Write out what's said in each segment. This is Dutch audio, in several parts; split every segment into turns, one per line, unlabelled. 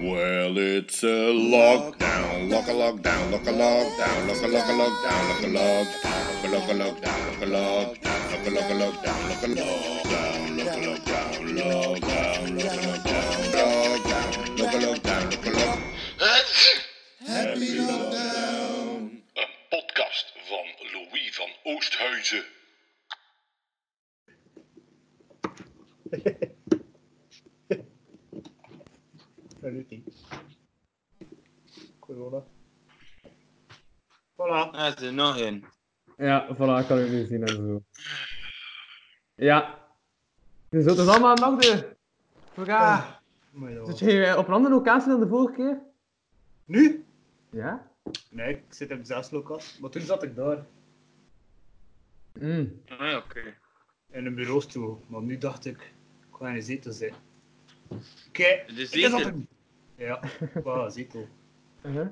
Well, it's a lockdown, lock a lockdown, lock a lockdown, lock a lock a lockdown, lock a lockdown, lock a lockdown, lock a lockdown, lock a lockdown, lock a lockdown, lock a lockdown, lockdown, lock a lockdown, lockdown, lock a lockdown, lock a lock. Happy lockdown.
Een podcast van Louis van Oosthuizen.
Saluti. Corona. Voilà.
Ah, er is er nog één.
Ja, voilà, ik kan het nu zien en zo. Ja. Dus dat is allemaal aan de Vraag.
Maar ja.
Zit jij eh, op een andere locatie dan de vorige keer?
Nu?
Ja?
Nee, ik zit in zes lokas. Maar toen zat ik daar.
Mm.
Ah, ja, oké.
In een bureaustoel. Maar nu dacht ik, ik ga in een zetel zitten. Oké.
De
ik zat
zetel.
hem. Ja, voilà, zetel.
Uh-huh.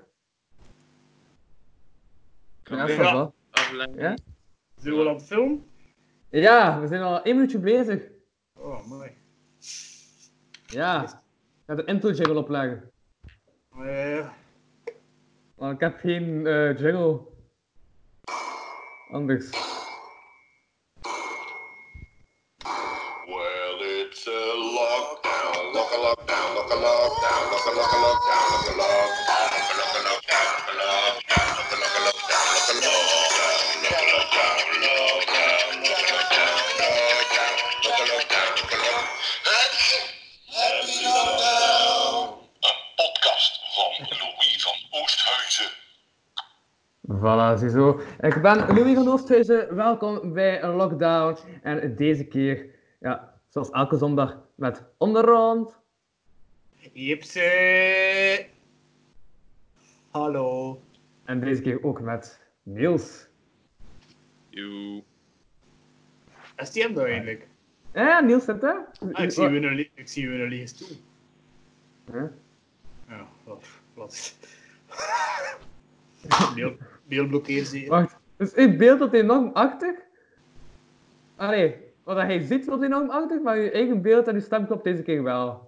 Kan
Ja,
weer
ja.
voilà.
afleggen.
Ja?
Zijn we al aan het filmen?
ja, we zijn al één minuutje bezig.
Oh, mooi.
Ja. Ik ga de intro jingle opleggen.
Eh,
Want ik heb geen eh, jingle. Anders.
Well, it's a lockdown, lock a lockdown, lock a lockdown, lock a lock a lockdown, lock a lockdown, lock a lock a lockdown, lock a lockdown, lock a lock a lockdown, lock a lockdown, lock a lockdown, lockdown, lock a lockdown, lockdown, lock a lockdown, lock a lock. Happy lockdown.
Een podcast van Louis van Oosthuizen.
Voilà, ziezo. Ik ben Louis van Oosthuizen, welkom bij Lockdown. En deze keer, ja, zoals elke zondag, met onderrond.
Jipse. Hallo.
En deze keer ook met Niels.
Joe.
Is die hem nou eigenlijk?
Eh, Niels zit daar?
Ah, ik zie u in een le- ik zie u in een lege stoel.
Huh?
Ja, wat? wat. Deel, deelblokkeer zie je.
Wacht, is uw beeld dat enorm achtig? Allee, wat hij ziet loopt enorm achtig, maar uw eigen beeld en uw stem klopt deze keer wel.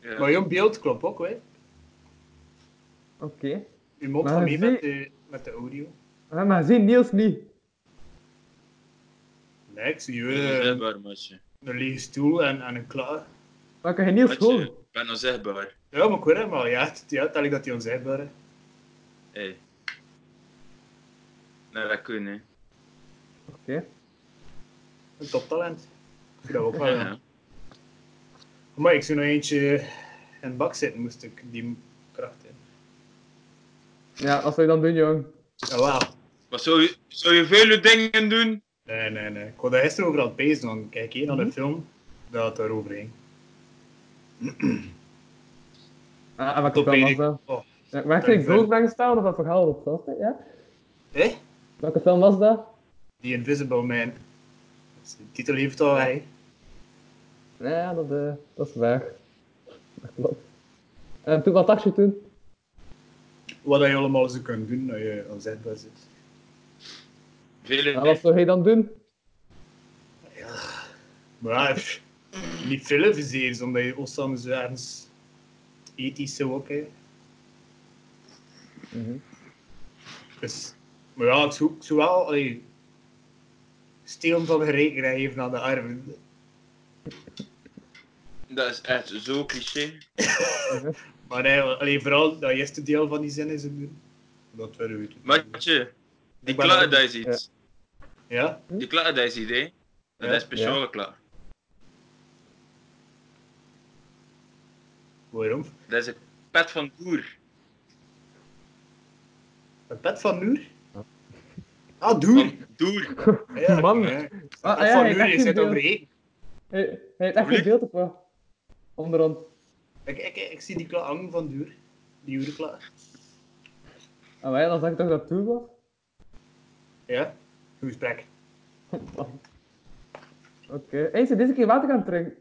Ja.
Maar jouw beeld klopt ook, hè?
Oké.
Je mond
Maar
gaat mee
zie-
met de, met de audio.
Eh, Maar zie Niels niet.
Nee, ik zie
Ik
je
ben
eh,
onzichtbaar, matje.
een lege stoel en, en een klaar.
Dan kan je Niels
Matje,
horen.
ik ben onzichtbaar.
Ja, maar ik weet het maar. Ja, het- ja tel ik dat hij onzichtbaar is.
Hey. Nou, dat kun hè.
Oké.
Een toptalent. Ik vind dat ook wel.
Ja,
ja. Maar ik zie nog eentje in een bak zitten, moest ik die kracht in.
Ja, wat zou je dan doen, jong?
Jawel.
Maar zou je, zou je vele dingen doen?
Nee, nee, nee. Ik wou dat gisteren overal bezig, want ik kijk hier naar de
Mhm.
film dat het daarover ging.
Ah, en welke
Top
film was
één.
dat?
Oh.
Ja, waar kreeg ik
Dankjewel.
brood bij gestaan of wat verhaal dat was? hè? Ja?
Hé?
Welke film was dat?
Die Invisible Man. Dus De titel heeft al, hè?
Ja, ja, dat, eh, dat is waar. Dat klopt. En toen, wat dacht je toen?
Wat dat je allemaal zo kunt doen als je onzetbaar zit.
Vele
Ja, Ah, wat zou jij dan doen?
Maar pff, niet veel viseers, omdat je Ossam zo ergens ethisch zo ook, hè?
Mhm.
Dus, maar ja, ik zoek zowel, allee, stelen van de rekening geven aan de armen.
Dat is echt zo cliché.
Maar nee, allee, vooral dat eerste deel van die zin is het doen. Dat willen we doen.
Matje, die
Ik ben
klaar
er-
dat je ziet.
Ja?
Die klaar dat je ziet, hè. Dat
Ja.
is speciale klaar.
Waarom?
Dat is een pet van boer.
Een pet van Noer? Ah, Doer! Ah,
Van Doer.
Ja,
Man.
ja.
Ah,
Pet
ja,
van
ik
Noer,
dacht
je
niet
zit
veel.
over eten.
Hij, hij heeft echt geen
Alsjeblieft.
beeld op wat? Onderhand.
Ik, ik, ik zie die klaar hangen van Duur. Die urenklaar.
En wij, Ah, dan zag ik toch dat toe was?
Ja? Goed gesprek.
Oké. Hey, ze deze keer water gaan drinken.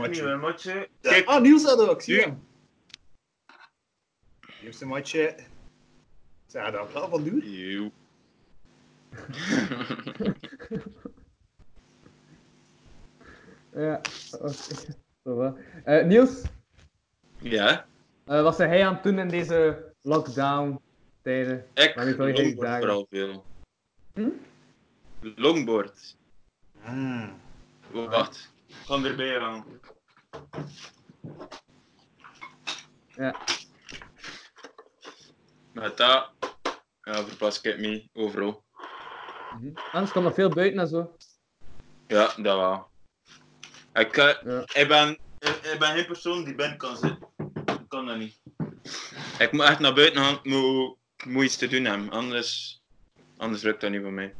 Matje.
matje.
Kijk, ah, Niels had ook. Zie
Duur.
hem. Eerste matje. Zeg dat klaar van Duur?
Eeuw.
Oh, Ja. oké. Voilà. Eh, Niels,
Ja,
eh, wat zijn jij aan het doen in deze lockdown-tijden?
ik
Maar niet alleen die
longboard
dagen.
vooral veel.
Hm?
Longboard.
Mm.
Wacht. Kom erbij aan.
Ja.
Met dat ja, verpas ik het mee overal.
Mhm. Anders kan dat veel buiten en zo.
Ja, dat wel. Ik, eh,
Ja.
ik ben
Ik, ik ben geen persoon die binnen kan zitten. Ik kan dat niet.
Ik moet echt naar buiten gaan, ik moet, ik moet iets te doen hebben, anders, anders lukt dat niet voor mij.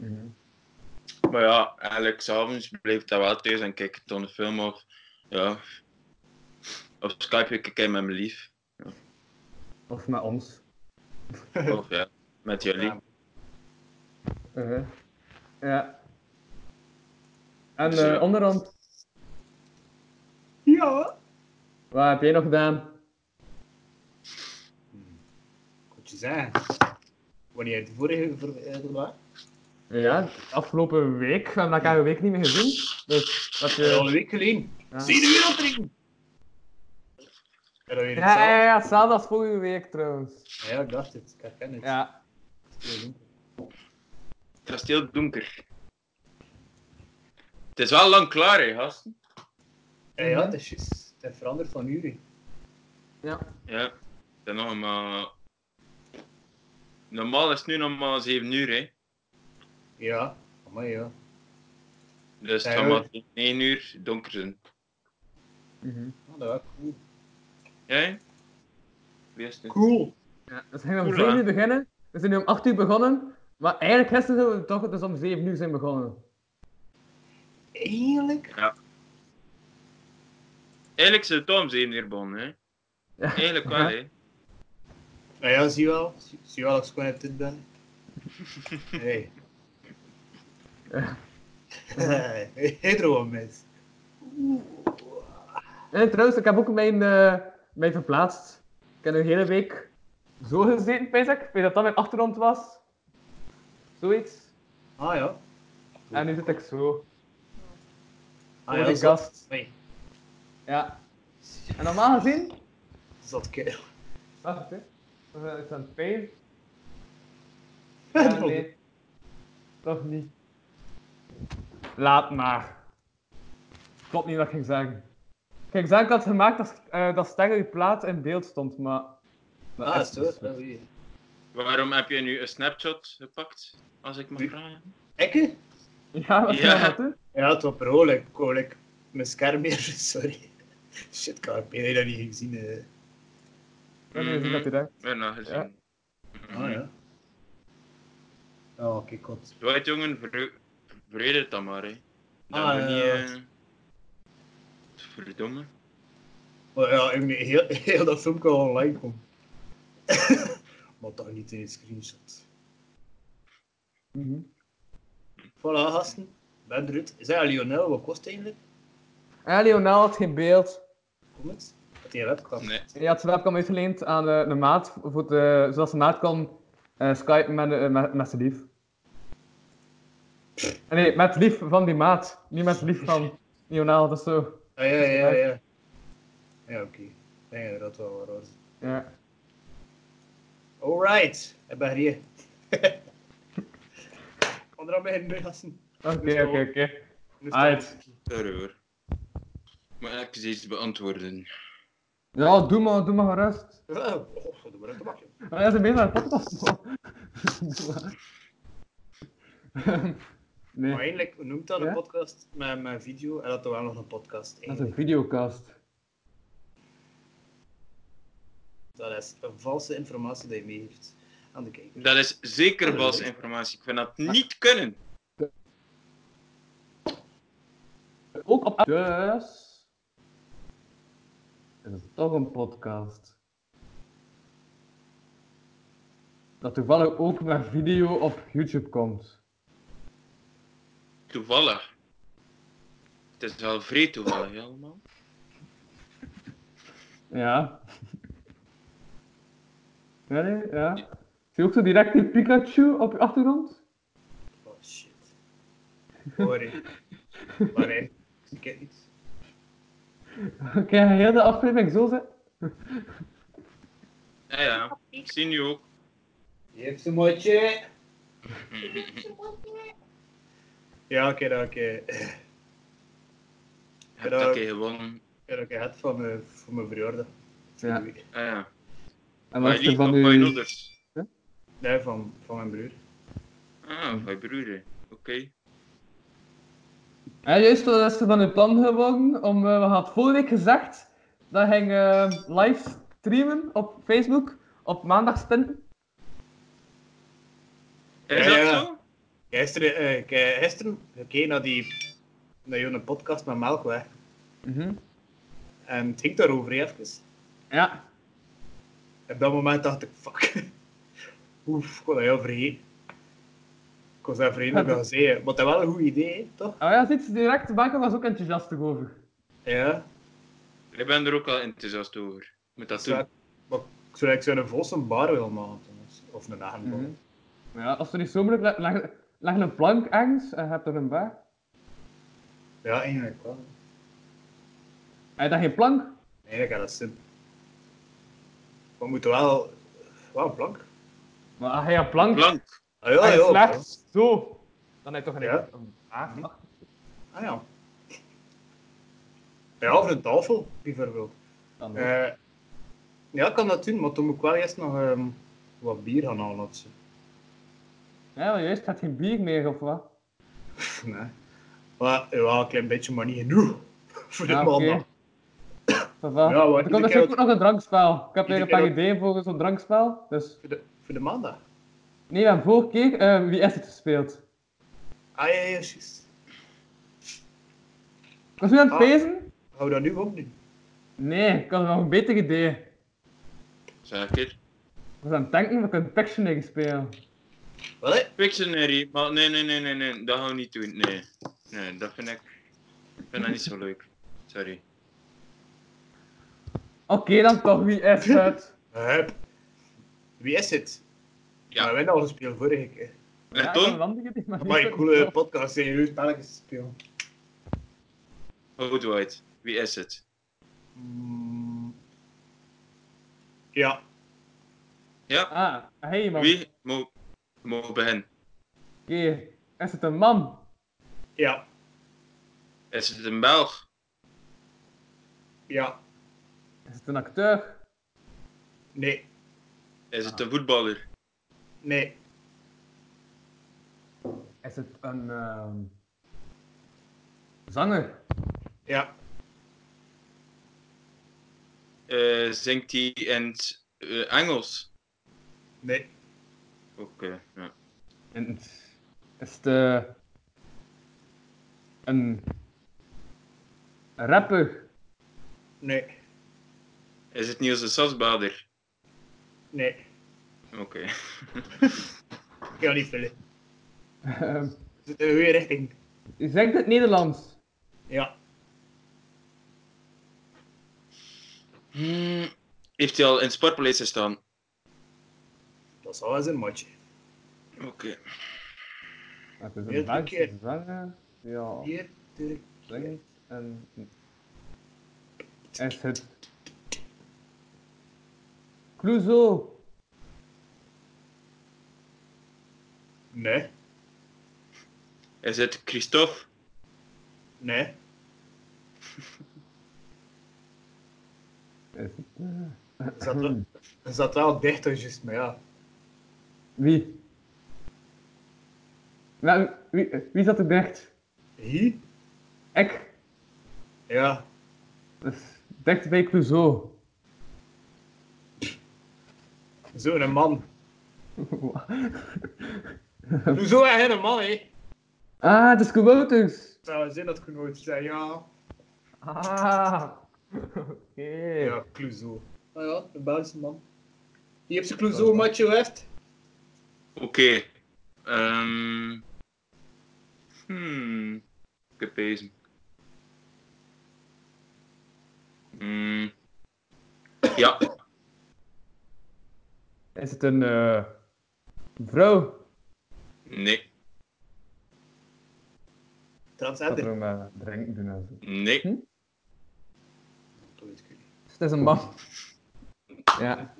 Mhm.
Maar ja, eigenlijk s'avonds blijft dat wel thuis en kijk ik dan een film of ja. Op Skype kijk ik met mijn lief.
Of met ons.
Of ja, met jullie.
Ja.
Eh, Ja. En
Dus,
eh
eh,
onderhand,
Ja.
wat heb jij nog gedaan?
Goed je zeggen. Wanneer de vorige ver- eh, er was?
Ja, afgelopen week. We hebben elkaar een week niet meer gezien. Dus dat je...
Al een week geleden.
ja.
Zie je de wereld drinken? En dan weer
Ja, ja,
hetzelfde.
ja, hetzelfde als vorige week trouwens.
Ja, ik dacht het. Ik herken het.
Ja.
Het was heel donker. Het is wel lang klaar, hè, gasten.
Ja, ja, het is juist. Het verandert van uren.
Ja.
Ja, het is nog maar. Normaal is het nu nog maar 7 uur, hè.
Ja. Maar ja.
Dus het
Ja,
gaat
ja.
maar 1 uur donker zijn.
Mhm.
Oh, dat was cool.
Ja, hè? Wie is het?
Cool.
Ja, dus we gaan om
Cool,
7
hè?
uur beginnen. We zijn nu om 8 uur begonnen. Maar eigenlijk gisteren zouden we toch dus om 7 uur zijn begonnen.
Eigenlijk?
Eigenlijk zou het om 7 uur begonnen, hè.
Ja.
Eigenlijk wel, hè.
Nou ja, zie je wel. Zie zie je wel dat ik gewoon op dit ben. Hey. Hetero mens.
En trouwens, ik heb ook mijn, eh, mijn verplaatst. Ik heb een hele week zo gezeten, pijs ik. Ik weet dat dat mijn achtergrond was. Zoiets.
Ah ja.
En nu zit ik zo.
Ah
voor
ja,
die
zat-
gast.
Nee,
Ja. En normaal gezien...
zat kerel.
Wacht, hè. Is dat- Is dat een pijn?
Ja,
Ja, nee. Toch niet. Laat maar. Klopt niet wat ik ging zeggen. Ik ging zeggen dat het gemaakt dat, eh dat Sterre uw plaat in beeld stond, maar... dat
Ah,
is
is
dus
het
niet.
hoor.
Waarom heb je nu een snapshot gepakt? Als ik mag
Wie?
vragen.
Ikke?
Ja, wat
Ja.
ja. dat doen?
Ja, het was per ongeluk. Ik wou, like, mijn scherm hier, sorry. Shit, ik heb dat niet gezien. eh.
Dat is
Mhm.
wat hij denkt.
Weer naar gezien. Mhm.
Ah ja. Oh, kijk, god.
Right, jongen, ver- vergeet het dan maar, hè. Dat
Ah,
we
ja,
niet...
ja.
eh, Verdomme.
Maar Oh, ja, ik meen, heel, heel dat filmpje al online komt. maar toch niet in een screenshot.
Mhm.
Voilà, gasten. Ben eruit. Is dat Lionel? Wat kost het eigenlijk?
Ja, Lionel had geen beeld.
Kom eens. Had hij een webcam?
Nee.
Hij had zijn webcam uitgeleend aan eh, de maat, voor de, zodat zijn maat kon eh skypen met, eh, met, met zijn lief. Eh, Nee, met lief van die maat. Niet met lief van Lionel, dat is zo.
Ah, ja, ja, ja. Ja, oké. Ik denk dat dat wel waar was.
Ja.
Alright, ik ben hier. Onder mij nu gasten.
Oké, oké, oké.
Nu staat-
Uit.
Sorry hoor. Maar ik heb iets beantwoorden.
Ja, doe maar, doe maar gerust.
Oh, oh, doe maar uit de bakje.
Maar ja, ze zijn bezig met de podcast. nee,
Maar eigenlijk hoe noemt dat
Ja?
een podcast met mijn video en dat er wel nog een podcast
dat is
in.
een videocast.
Dat is een valse informatie die je meegeeft aan de kijker.
Dat is zeker valse informatie. Ik vind dat niet kunnen.
Ook op... Dus... Is het toch een podcast. Dat toevallig ook met video op YouTube komt.
Toevallig. Het is wel vrij toevallig, helemaal.
Ja. Ja, nee, ja. Zie je ook zo direct die Pikachu op je achtergrond?
Oh shit. Sorry. Maar nee, ik weet niet.
Oké, heel de aflevering zo zit.
Ja, Ah, ja. Ik zie nu ook.
Je hebt een motje. Ja, oké, dan, oké.
Ik heb dat een keer gewonnen.
Ik heb het van mijn, van mijn verjaardag.
Ja.
Ah, ja.
En
Maar
wat is er
die
van
van mijn
uw...
ouders.
Nee, van, van mijn broer.
Ah, van je broer. Oké.
Ja, juist, wat is er van uw plan geworden? Om, eh, we hadden vorige week gezegd dat ging eh live streamen op Facebook op maandag stinten.
Ja,
Is dat
ja.
zo?
Gisteren, eh, ik heb gisteren gekeken naar die naar jouw podcast met Melkweg. En het ging daarover hè, even.
Ja.
Op dat moment dacht ik, fuck. Oef, ik was dat heel vergeten. Ik was dat vergeten dat ik dat zei. hè. Maar dat is wel een goed idee, hè, toch?
Oh ja, ziet, direct, Bakker was ook enthousiast over.
Ja.
Ik ben er ook al enthousiast over. Ik Moet dat
Zou,
doen.
maar ik zou ik zou een vols een bar willen maken. trouwens. Of een hagenbal.
Mhm. Maar ja, als het niet zo moeilijk leg, leg, leg een plank ergens en je hebt er een bar.
Ja, eigenlijk wel.
Heb je dan geen plank?
Eigenlijk had dat zin. Maar we moeten wel... Wel blank.
Maar als je een plank,
Blank.
Ah
als
ja,
je
ja.
slecht zo, dan heb je toch een,
Ja.
een bar.
Ah ja. Ja, of een tafel, bijvoorbeeld.
Dan ook.
Eh, ja, ik kan dat doen, maar toen moet ik wel eerst nog ehm, wat bier gaan halen. of zo.
Ja, maar juist, je hebt geen bier meer of wat?
Pff, nee. Maar, ja, een klein beetje, maar niet genoeg. Voor dit
Ja, oké.
maandag.
Papa.
Ja, maar
er
iedere
komt
keer
natuurlijk ook nog een drankspel. Ik
iedere
heb weer een
keer
paar
ook-
ideeën voor zo'n drankspel. Dus
Voor de, voor de maandag.
nee, we hebben vorige keer eh, wie is het gespeeld.
Ah ja, ja, juist.
Ik was nu aan het
Ah.
pezen?
Gaan we dat nu ook doen?
Nee, ik had nog een beter idee.
Zeker.
Ik was aan het denken, we kunnen Pictionary spelen.
Wel hè?
Pictionary. Maar nee, nee, nee, nee, nee. Dat gaan we niet doen. Nee. Nee, dat vind ik... Ik vind dat niet zo leuk. Sorry.
Oké, dan toch, wie is het?
Hup. Wie is het?
Ja.
Ja. We hebben al gespeeld vorige keer.
En
Ja, ik had een
Eh, Tom?
ander idee, maar
Maar een
niet-
coole podcast, zijn jullie spelletjes spelen?
Oud White. Wie is het?
Mm. Ja.
Ja?
Ah, hey man. Oké,
Wie? Mo... Mo begin.
is het een man?
Ja.
Is het een Belg?
Ja.
Is het een acteur?
Nee.
Is het een voetballer?
Nee.
Is het een ehm, zanger?
Ja.
Eh, zingt hij in het eh, Engels?
Nee.
Oké, ja.
En is het eh, een rapper?
Nee.
Is het Niels de Sasbader?
Nee.
Oké.
Ik kan niet vullen.
Ehm,
We zitten in de goede richting.
U zegt het Nederlands.
Ja.
Hmm, Heeft hij al in sportplaatsen staan?
Dat zal wel zijn matje.
Oké.
Het is
Heel
een Belgische
verkeerd.
zanger. Ja,
Hier, terug.
zingt en... Is het... Clouseau?
Nee.
Is het Christophe?
Nee.
Is het... eh,
Is dat wel- Is dat wel dichter, juist, maar ja.
Wie? Nou, wie, wie zat er dicht?
Hier?
Ik.
Ja.
Dus dicht bij Clouseau.
Zo'n man.
ah,
Hoezo hij een man, hè?
het is Kowoters.
Het zou wel zijn dat ik nooit zei, ja.
Ah. Oké.
Ja, Clouseau. Nou ja, een Belgische man. Die heeft zijn Clouseau matje heeft.
Oké. Ehm. hmm. Ik heb bezig. Hmm. Ja,
Is het een eh, vrouw?
nee,
Dat
Transgender.
we maar drinken doen en zo.
nee.
Het is een man. Ja.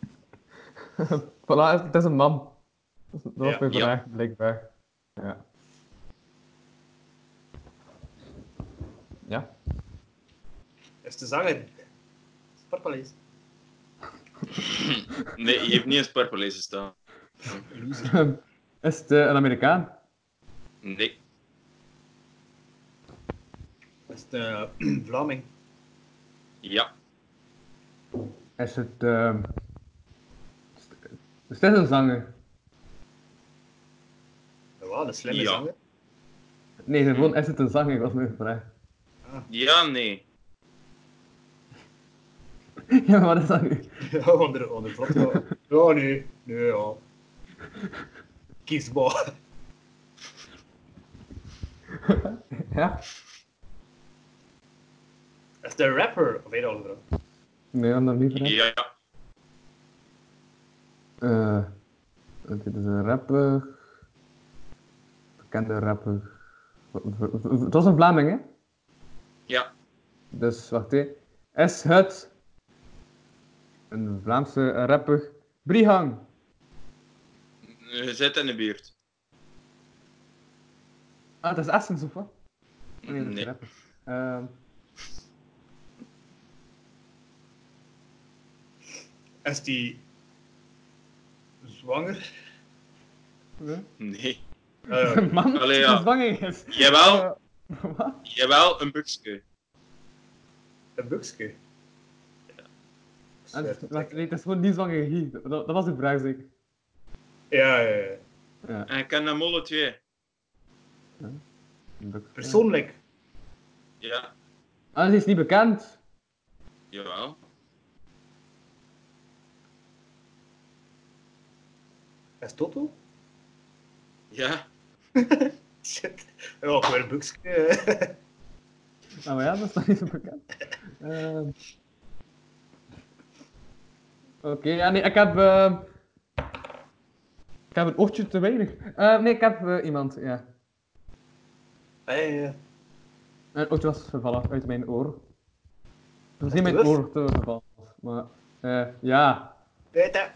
voilà, het is een man. Dat was
Ja.
mijn
Ja.
vraag, blijkbaar. Ja. Ja.
Is de zanger? Sparpalees.
Nee, je hebt niet eens Purple Ace staan.
is het eh, een Amerikaan?
Nee,
Is de Vlaming?
ja,
Is het... ehm, Is het een zanger?
Ja, de slimme
Ja.
zanger.
Nee, gewoon is het een zanger, was mijn vraag.
ja, nee.
ja, maar wat is dat nu?
Ja, onder, onder vlot. Ja, Ja, nee. Nee, ja. Kies maar.
ja?
Is de rapper? Of weet je al vrouw?
Nee, dan dat niet vraag.
Ja,
Eh, dit is een rapper. Bekende rapper. Het was een Vlaming, hè?
ja,
Dus wacht hè. Is het een Vlaamse rapper? Brihang.
je zit in de buurt.
Ah, dat is Essence of wat? Oh, Nee, dat is
Nee.
een rapper. Ehm,
Is die zwanger?
nee.
Nee.
Ah, ja.
Een man
Allee,
die
ja.
zwanger is.
Jawel,
Eh, wat?
jawel, een buksje.
een buksje.
Ah, dat is- wacht, nee, dat is gewoon niet zwanger hier. Dat, dat was de vraag zeker.
Ja, ja, ja.
En ik ken hem alle twee.
Persoonlijk.
Ja,
Ah, die is niet bekend.
jawel.
Is Toto?
Ja,
Shit. Ja, gewoon een buksje.
Nou maar ja, dat is nog niet zo bekend. Ehm. Oké, ja, nee, ik heb. ehm, Ik heb een oortje te weinig. Eh, nee, ik heb eh, iemand, ja.
Ja, ja, ja.
Mijn oortje was vervallen uit mijn oor. Het was niet
Echt
mijn
waar?
oor te vervallen, was, maar. eh, ja.
Weet dat?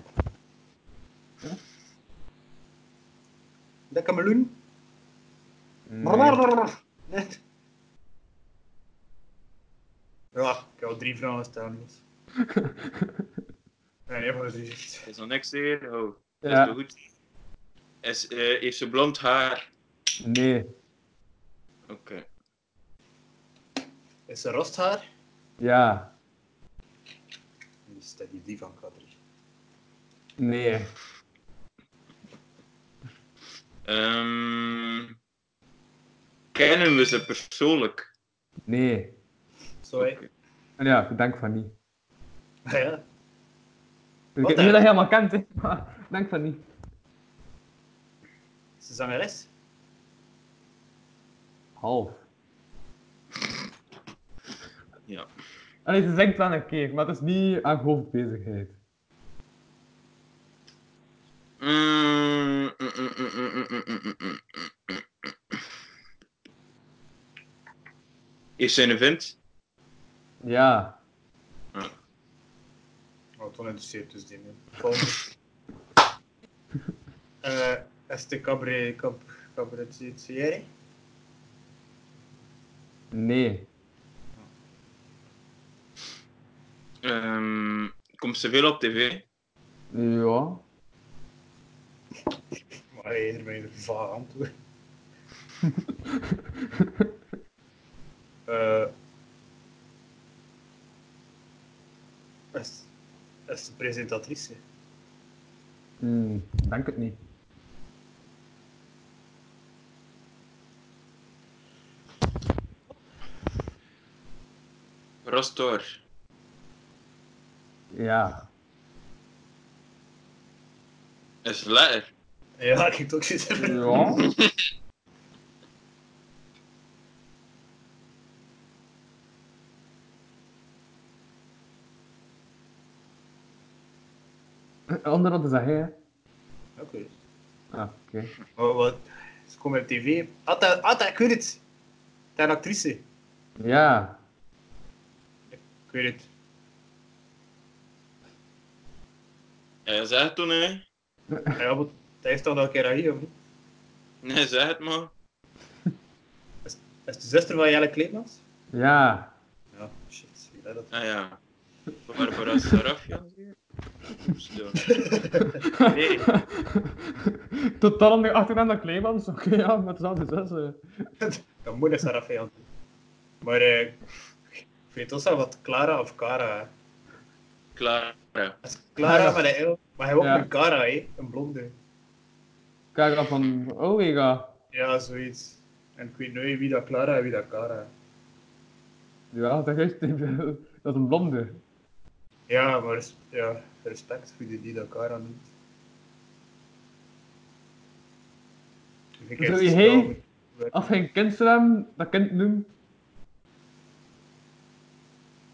Dat kameloen?
Nee.
Net. Ja, ik heb al drie vragen staan. Dus. Nee, nee, van de drie.
het is nog niks hier. Oh, dat is
Ja.
toch goed. Is, eh, heeft ze blond haar?
Nee.
Oké.
Is ze rosthaar?
Ja.
Nee, Is dat die die van K3?
Nee.
Ehm, kennen we ze persoonlijk?
Nee.
Sorry.
En ja, ik denk van niet.
Ah, ja.
Dus ik
Wat
weet niet
dan?
dat je helemaal kent, hè, maar ik denk van niet.
Is ze zangeres?
Half.
Ja.
Allee, ze zingt wel een keer, maar het is niet aan hoofdbezigheid.
Mm, mm, mm, mm, mm, mm, mm, mm, mm, mm. Is ze een vent?
Ja.
Oh, toen interesseert dus die niet. Volgende. Eh, is de cabaret... Cab, cabaretier?
Nee.
Ehm, komt ze veel op tv?
Ja.
Maar hij is mij vaag aan toe. Eh, is, is de presentatrice?
Hmm, denk het niet.
Rostor.
Ja.
Is ze letter?
Ja, ik heb het ook zitten.
Ja. Onderhand is dat hij, hè?
Oké.
Ah, oké.
Maar wat? Ze komen op tv. Atta, Atta, ik weet het. Het is een actrice.
Ja.
Ik weet het.
Ja, zeg het toen, hè?
Ah, Ja, maar hij heeft dan al een keer aan hier, of niet?
Nee, zeg het maar.
Dat is de zuster van Jelle Kleemans?
Ja.
Ja, shit. Ik weet dat.
Ah ja. Barbara Sarafian? Oeps, ja. Nee,
Totaal onder achternaam dan Kleemans. Oké, ja, maar het is altijd zes. eh.
Dat moet ik Sarafeel doen. Maar eh, ik weet ook wel wat Clara of Cara. hè.
Clara.
Dat is Clara
Ja.
met een L, maar hij ook
Ja.
een Cara, hè? een blonde.
Kijk dan van Omega.
Ja, zoiets. En ik weet nooit wie dat Clara en wie dat Cara. is.
Ja, dat is, dat is een blonde.
Ja, maar res- ja, respect voor die die dat Cara noemt. Ik vind het
Wil je
snel
heen?
goed werk.
Als hij een kindnaam dat kind noemt,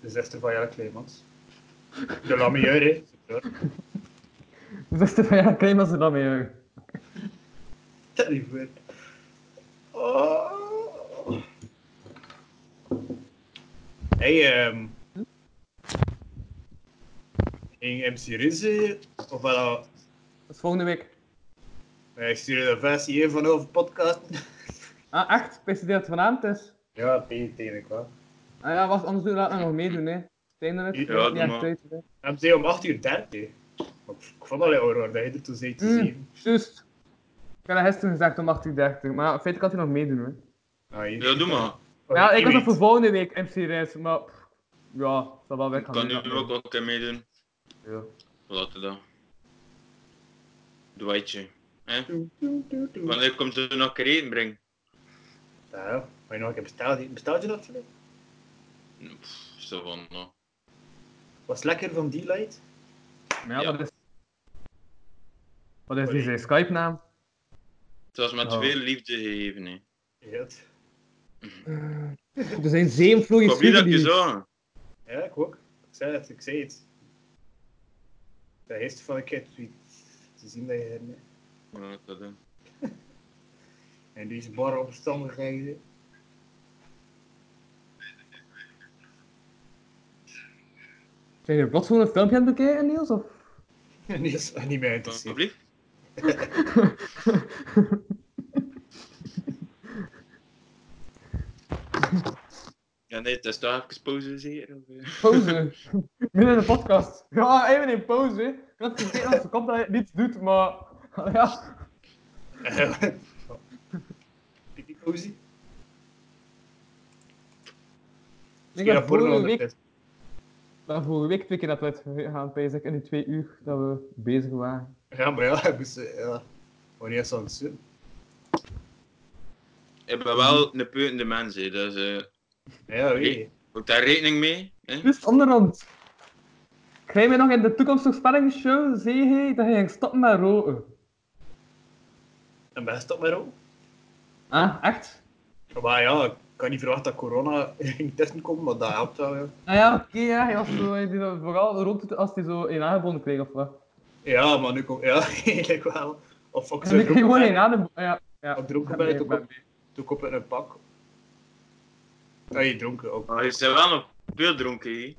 De zuster van Jelle Kleemans. De lamieur, hè?
dan is het van ja, Kleemans er dan mee.
Stel je voor. Oh. Hey, ehm. Ging MC Rizzi, of wel,
Dat is volgende week.
eh, ik stuurde een versie hier van over podcast.
Ah, echt? Presenteert vanavond is?
Ja, tegen ik wel.
Ah ja, was, anders doen we later nog meedoen, hè. Tegen het?
Ja,
Ik heb
doe
niet echt
maar.
tijd, hè.
MC om 8 uur 30. Maar pff, Ik vond al horror dat je er toen zei te
Mm,
zien.
Juist. Ik had dat gisteren gezegd om 18.30, maar feitelijk had hij nog meedoen, hoor.
Oh,
Ah, je-
Ja, doe maar.
Oh,
ja, ik
je
had dat
weet.
voor volgende week MC Reis, maar pff, ja, dat zal wel weg
Ik
gaan.
kan nu
doen, dat
ook wel een keer meedoen.
mee. Ja.
Laten dan. Dwightje. Hè?
Mm.
Doe, doe, doe, doe.
Wanneer komt er nog een keer eten brengen?
Ja, maar je nog een keer besteld. Besteld je dat voor mij?
Pff, Zo van, nou.
Was lekker van die light?
Maar ja,
Ja.
wat is... Wat is die
Sorry.
zijn Skype-naam?
Het was met
Oh.
veel liefde gegeven, hè.
Ja,
Er zijn zeven
Ik
vloeijes
hoop niet dat je zo...
Ja, ik ook. Ik zei het, ik zei het. De eerste van een keer tweet te zien dat je in,
Ja, dat doen.
in deze barre omstandigheden. zit.
Zijn je plots gewoon een filmpje aan het bekijken, Niels? Of...
En die is niet meer interesseerd.
Alsjeblieft. Ja, nee, het is toch even pauze, zeker? of, eh?
Pauze. Midden in de podcast. Ja, even in pauze. Ik had vergeten dat ze komt dat hij niets doet, maar... Ja.
Pipi Cozy?
Ik heb vorige week, dat vorige week twee keer dat we het gaan bezig in die twee uur dat we bezig waren.
Ja, maar ja, hij moest... eh, Ja. Wanneer is dat zo?
Ik ben wel een peutende mens, hè, dus eh
Ja, weet je.
houd daar rekening mee. Hè?
Dus onderhand. Krijg je nog in de toekomstige spellingsshow, zei hij, dat je ging stoppen met roken.
En ben je stop maar ook.
Ah, echt?
Maar ja, ik kan niet verwachten dat corona ging tussenkomen, maar dat helpt wel, ja.
Ah ja, oké, ja, hij was zo, hij deed dat vooral rond als hij zo een aangebonden kreeg of wat.
Ja, maar nu komt... Ja, eigenlijk wel. Of ik
En
zou
ik kreeg gewoon een
dronken
aangebonden, ja. ja.
Op dronken ben ik ook op. Toen koppen in een pak. Ja, je dronken ook.
Maar je bent wel nog veel dronken, hè.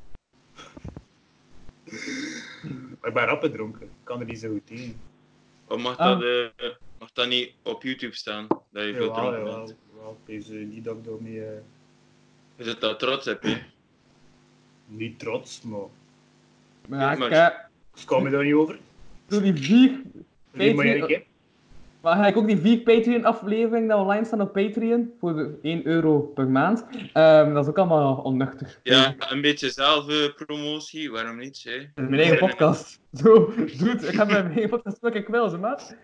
Maar ik ben rappen dronken. Ik kan er niet zo goed in.
Of mag,
Ah.
dat, eh, mag dat niet op YouTube staan, dat je veel
Jawel,
dronken
jawel.
bent?
jawel. Deze, niet dat ik daarmee... eh,
Je zit daar trots op, hè.
niet trots, maar...
Maar
Ja,
ik
maar-
eh,
Ik kom me daar niet over.
door die vier...
Niet maar
Patreon-
één keer.
Maar ga ik ook die vier Patreon-afleveringen die online staan op Patreon, voor de 1 euro per maand, Ehm, dat is ook allemaal onnuchtig.
Ja, een beetje zelfpromotie, waarom niet, hè?
Dat is mijn eigen podcast. Zo, doet. Ik heb mijn eigen podcast welke ik wil, ze maat.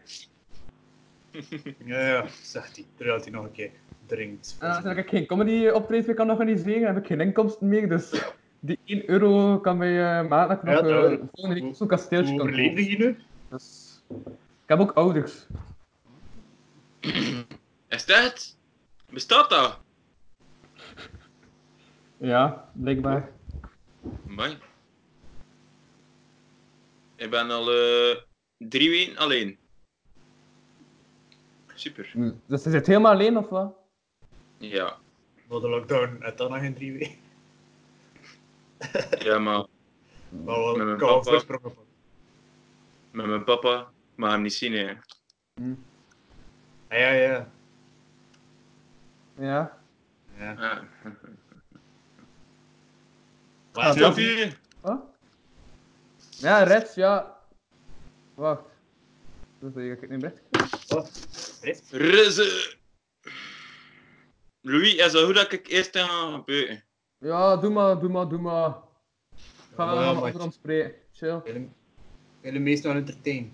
Ja, ja, zegt hij. Terwijl hij nog een keer drinkt.
En Eh, als ik geen comedy optreden meer kan organiseren, heb ik geen inkomsten meer, dus die 1 euro kan mij eh maken dat ik
Ja,
nog eh,
dat-
volgende week
hoe-
zo'n kasteeltje
Hoe
kan
overleef
kopen.
je nu?
Dus, ik heb ook ouders.
Is dat? Bestaat dat?
Ja, blijkbaar.
Mooi. Ik ben al eh, drie weken alleen. Super.
Dus ze zit helemaal alleen, of wat?
Ja.
Wat de lockdown uit dan nog in drie weken.
Ja, maar
Maar wel,
Met
ik
mijn
kan wel
papa.
voorsprongen pakken.
met mijn papa mag hem niet zien, hè.
Hm.
Ah, ja, ja.
Ja.
ja.
Ja.
Maar
Snap je?
Huh? Ja, Reds, ja. Wacht. Dus dat ik het niet meer.
Rizze! Louis, is dat goed dat ik eerst aan ga buiten?
Ja, doe maar, doe maar, doe maar. Ik ga
Ja,
wel
maar-
over ons spreken. Chill.
Willem, Willem is nog entertain.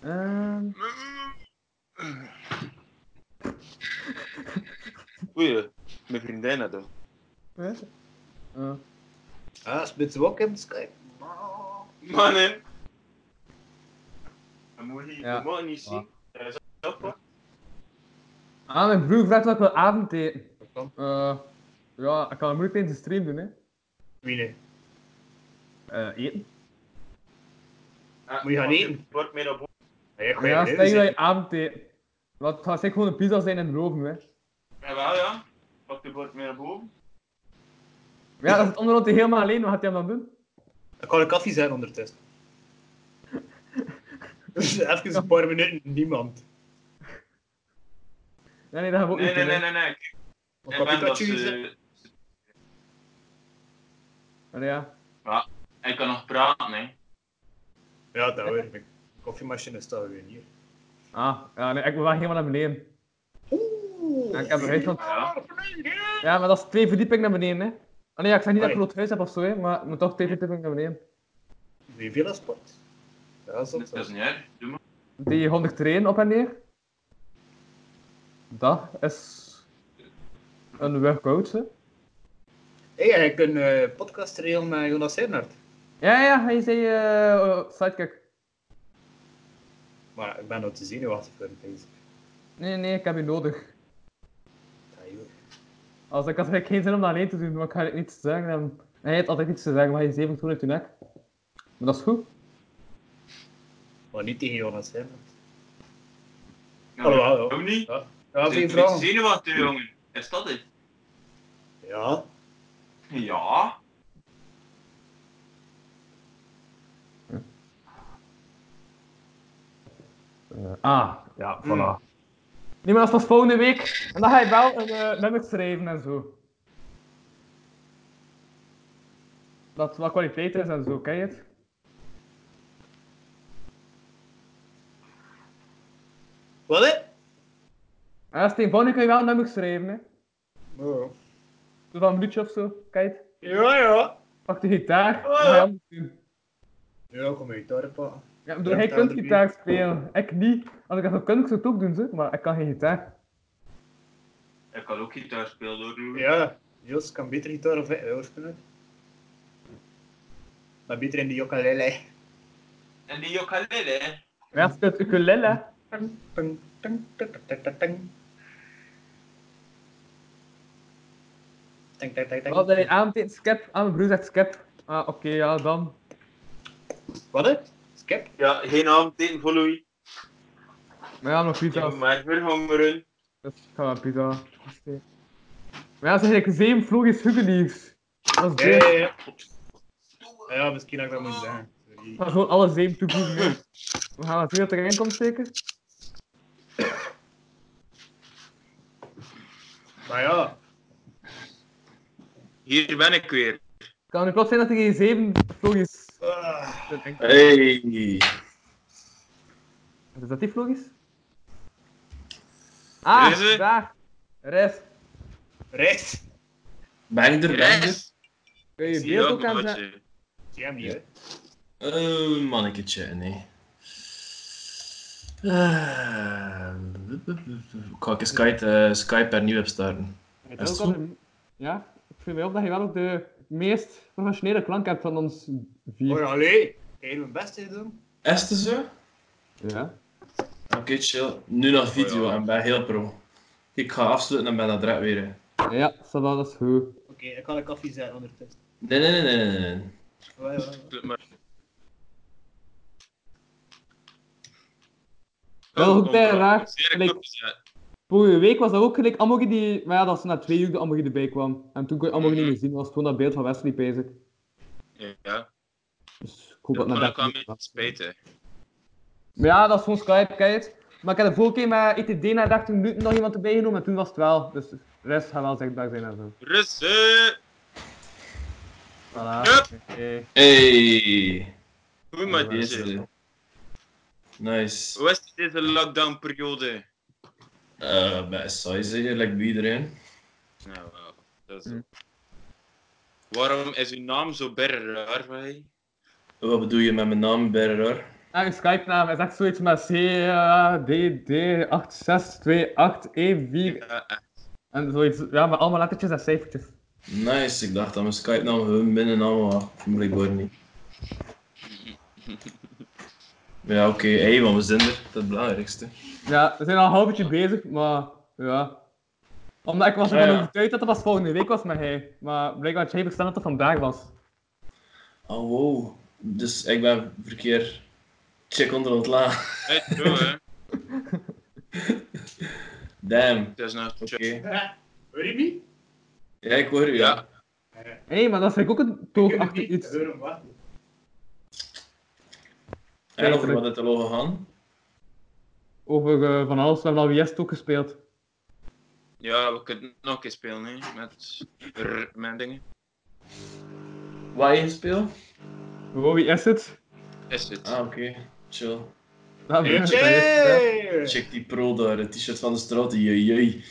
Ehm,
Oei, mijn vriendin had dat.
weet je? Eh,
Ah, spits we ook in Skype.
Mannen! Dat moet je
Ja.
dat moet je niet zien. Dat is ook wat.
Ah, mijn broer vraagt wat ik wil avondeten.
Dat kan.
Eh, ja, ik kan het moeilijk tijdens de stream doen, hè.
Wie nee?
Eh, eten.
Ja,
Moet je gaan
want
eten?
Ah, je Wordt meer op
Ja, ik
Maar ja,
dus
stel je dat je avondeten. Want het gaat zeker gewoon een pizza zijn en roven, hè.
Jawel, ja. Want je wordt meer op boven.
Maar ja, dat is het onderhoud helemaal alleen. Wat gaat hij hem dan doen?
Dan kan ik koffie zijn ondertussen. Dus Even een paar minuten, niemand.
Nee, nee, dat gaan we ook
Nee,
niet
nee, nee,
doen, hè.
nee. nee. Ik
Wat kan
ben dat eh,
Pikachu zijn?
ze...
Maar ja.
Hij kan nog praten, hè.
Ja, dat hoor ik. Koffiemachine staat weer hier.
Ah, ja, nee, ik ben wel helemaal naar beneden. Ja, ik heb eruit van...
Ja.
Ja, maar dat is twee verdiepingen naar beneden, hè. Ah, nee, ja, ik zeg niet dat ik een
Allee.
groot huis heb of zo, hè, maar ik moet toch twee verdiepingen naar beneden.
Wie veel is sport? Ja, soms.
Dat is niet erg. Doe maar.
Die 100 trainen op en neer. Dat is... Een workout, hè.
Hé, hey, jij kunt eh podcast regelen met Jonas Hernard.
Ja, ja, hij zei... eh sidekick.
Maar ik ben nou te zenuwachtig voor een deze.
Nee, nee, ik heb je nodig.
Ja, joh.
Als ik had eigenlijk geen zin om dat alleen te doen, maar ik ga eigenlijk niets te zeggen. En hij heeft altijd iets te zeggen, maar hij is even toen uit je nek. Maar dat is goed.
Maar niet tegen Jonas Hernard.
Ja,
Alhoewel, ja.
Ook niet.
Ja, ja
Zijn
geen
jullie
vraag.
zenuwachtig, jongen? Is dat het?
Ja,
Ja.
ah, ja, voilà. Nee, maar dat is pas volgende week. En dan ga je wel een eh, nummer schrijven en zo. Dat het wel kwaliteit is en zo, ken je het?
wat hè?
En als het eenvoudig kun je wel een nummer schrijven, hè. Doe dat een minuutje of zo, ken je het?
Ja, ja.
Pak de gitaar, en ga je anders doen.
Ja, kom je daar pakken.
Ja, ik bedoel, hij kunt gitaar spelen, ik niet. Als ik dat zou kunnen, ik zou het ook doen, zo. maar ik kan geen gitaar.
Ik kan ook gitaar spelen, hoor. Louis.
Ja, Jos kan beter gitaar of hoor spelen. Maar beter in de jokalele.
En die ukulele, hè.
Maar ja, speelt ukulele, hè.
Tang, tang, tang, tang, tang, tang, tang. Tang, tang, tang, tang.
Wat ben je aanbetekend? Skep. Ah, mijn broer zegt skep. Ah, oké, ja, dan.
Wat hè? Skip?
Ja, geen avondeten voor Louis.
Maar ja, nog pizza.
maar weer hongeren.
Dus ik ga maar pizza. Oké. Maar ja, zeg ik, zeem vloog huggeliefs. Dat is
Ja, ja,
beter.
ja. Ja, misschien had ik dat moeten zeggen. Sorry.
Ik ga gewoon alle zeem toevoegen. hè. We gaan het zien wat erin komt, zeker?
Maar ja,
Hier ben ik weer.
Het kan nu plots zijn dat er geen zeven vloogjes
ah,
zijn. denk ik.
Hey.
Is dat die vloogjes? Ah,
Deze?
daar. Rest.
rechts.
Ben ik er? Ben ik er?
Reis.
Kun je je beeld ook aanzetten?
Zie hem niet, hè?
Eh, manneketje, nee. Eh, wup, wup, wup, wup. Ik ga even Skype, eh, Skype per nieuw opstarten.
Het
Is
ook
het
al een- Ja, ik vind wel dat je wel ook de meest professionele klank hebt van ons
Hoor,
vier.
allee. Ik ga mijn best te doen.
Is het zo? Oké,
Ja.
chill. Nu naar video
Oh ja.
en ben heel pro. Ik ga afsluiten en ben dat direct weer. hè.
Ja, ça va, dat is goed.
Oké, ik kan een koffie zetten ondertussen.
Nee, nee, nee, nee, nee, nee. nee.
Ja, ja, ja.
Wel goed, hè,
Kom,
Raak.
kom, zeer
Gelijk.
goed gezet.
Vorige week was dat ook gelijk Amogi die... Maar ja, dat is na twee uur de Amogi erbij kwam. En toen kon je Amogi niet meer zien. was gewoon dat beeld van Wesley bezig.
Ja,
Dus ik hoop
dat vond
dat naar
ik wel
dat
een beetje spijtig.
Maar ja, dat is gewoon Skype, kijk het. Maar ik heb de vorige keer met E ETD na 13 minuten nog iemand erbij genomen. En toen was het wel. Dus de rest gaat wel zichtbaar zijn en zo.
Russen!
Voilà.
Hup.
Oké.
Hey!
Goed maar deze.
Nice. Nice.
Hoe is het deze lockdownperiode?
Eh, maar is saai zeker, like bij iedereen.
Nou, wel, dat is
Hm.
Waarom is uw naam zo berre raar van hij?
Wat bedoel je met mijn naam, Berrar?
En Ah, je Skype-naam is echt zoiets met C, eh, D, D, 8, 6, 2, 8, E, 4.
Ja, eh,
En zoiets. Ja, met allemaal lettertjes en cijfertjes.
Nice, ik dacht dat mijn Skype nou naam hun binnennaam was. Blijkbaar niet. Maar ja, oké, hey, want we zijn er. Dat is het belangrijkste.
Ja, we zijn al een half beetje bezig, maar ja. Omdat ik was ervan
Ja, ja.
overtuigd dat het pas volgende week was met hij. Maar blijkbaar had jij bestemd dat het vandaag was.
Oh wow. Dus ik ben verkeer check onder ontlaan.
het wel, hè.
Damn.
Het is nou
Oké.
Hoor je Eh, niet?
Ja, ik hoor u.
Ja.
Ja.
Hé, maar dat is eigenlijk ook een toog achter iets.
Hoor hem wat?
En over wat het er al gegaan?
Over eh, van alles. We hebben al Wiest ook gespeeld.
Ja, we kunnen het nog een keer spelen, hè. Met, r- met dingen.
Waar je gespeeld?
Wow, wie is het?
Is het?
Ah, oké. Chill.
Dat weet ik niet.
Jee!
Check die pro daar, het t-shirt van de straat. Jee, jee.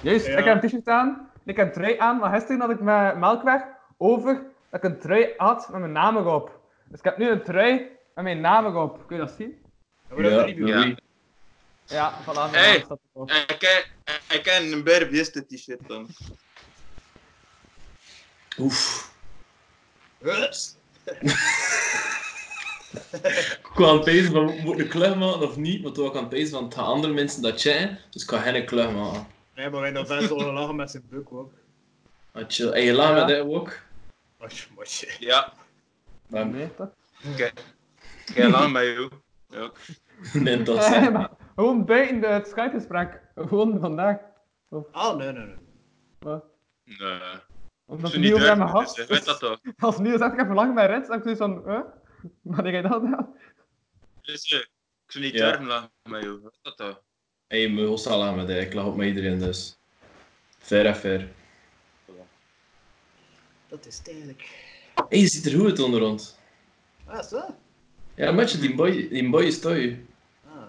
Juist,
Ja.
ik heb een t-shirt aan, ik heb een trui aan, maar gisteren had ik mijn melkweg over dat ik een trui had met mijn naam erop. Dus ik heb nu een trui met mijn naam erop. Kun je dat zien?
Ja,
Ja.
Ja.
Louis.
Ja, voilà. mijn
Hey.
naam staat erop.
En Ik ken- en ik ken een berb is dit t-shirt dan.
Oef.
Hups.
Ik kwam aan het pezen van, moet ik een klug maken of niet? Maar toen was ik aan het pezen van, het gaan andere mensen dat chatten, dus ik ga geen klug maken.
Nee, maar wij hebben best wel gelachen met zijn buk ook.
Ah, chill. En je laat
Ja.
met dat ook?
Mosje, mosje.
Ja,
Maar
Nee, toch?
ik heb lang bij jou. Ja.
nee, dat is...
Nee, maar gewoon buiten de- het Skype-gesprek. Gewoon vandaag.
Ah, nee, nee, nee.
Maar-
Nee.
Omdat
Zo
het niet over
duidelijk
mijn
is,
gehad.
hè. dus Weet dat toch?
Als Niels zegt, ik heb lang met Rens, dan heb ik zoiets van, eh? Wat heb jij dat gedaan?
Dus, eh, ik zou niet
Ja.
durven lachen met jou. Weet dat toch?
Hé, hey, mijn host al aan met dat. Ik lag op met iedereen, dus... Fair en fair.
Dat is tijdelijk.
Hé, je ziet er goed uit onder ons.
Ah, zo?
Ja, met je, die boy, die boy is toe.
Ah.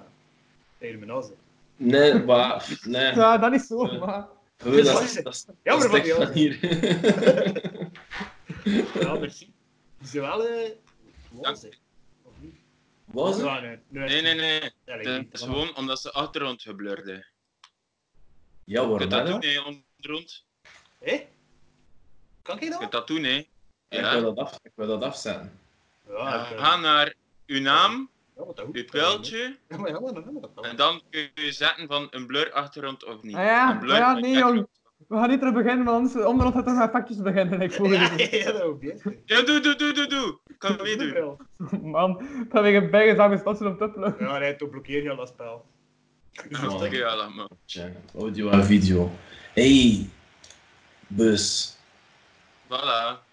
Tegen mijn nazen.
Nee, maar... pff, Nee.
Ja, dat is zo,
Ja.
maar...
Gewoon, dat is... Dat is
Ja, maar
dat
van
is
die
van
andere.
hier.
Ja, merci. Die zijn wel... eh, roze. Of niet?
Was het?
Ah, nee, nee.
Nee, nee, nee.
Ja, dat
Het
weet
is
ik niet.
gewoon omdat ze achtergrond geblurden.
Ja,
Je
waar
kunt dat
ben
doen,
ik?
hè, ondergrond.
Hé? Kan ik
Je kunt
dat?
dat doen, hè.
Ik
Ja.
wil dat af- ik wil dat afzetten.
Ja,
Ja,
ik, eh,
Ga naar uw naam,
ja, wat dat goed.
uw pijltje,
Ja, maar ja, maar dan hebben we dat wel.
en dan kun je zetten van een blur achtergrond of niet.
Ah ja,
Een blur
ah ja,
met
nee, jong.
achtergrond.
We gaan niet terug beginnen, want anders onderhand gaat het met factjes beginnen. Ik voel
Ja,
het
ja, ja, dat hoeft niet.
Ja, doe, doe, doe, doe, doe. Kan meedoen.
wel.
Man, ik ga weer een bijgezaam is op te uploaden.
Ja, nee, toen blokkeer je al dat spel.
man.
Oké, ja, laat maar.
Tja, Audio en video. Hey, bus.
Voilà.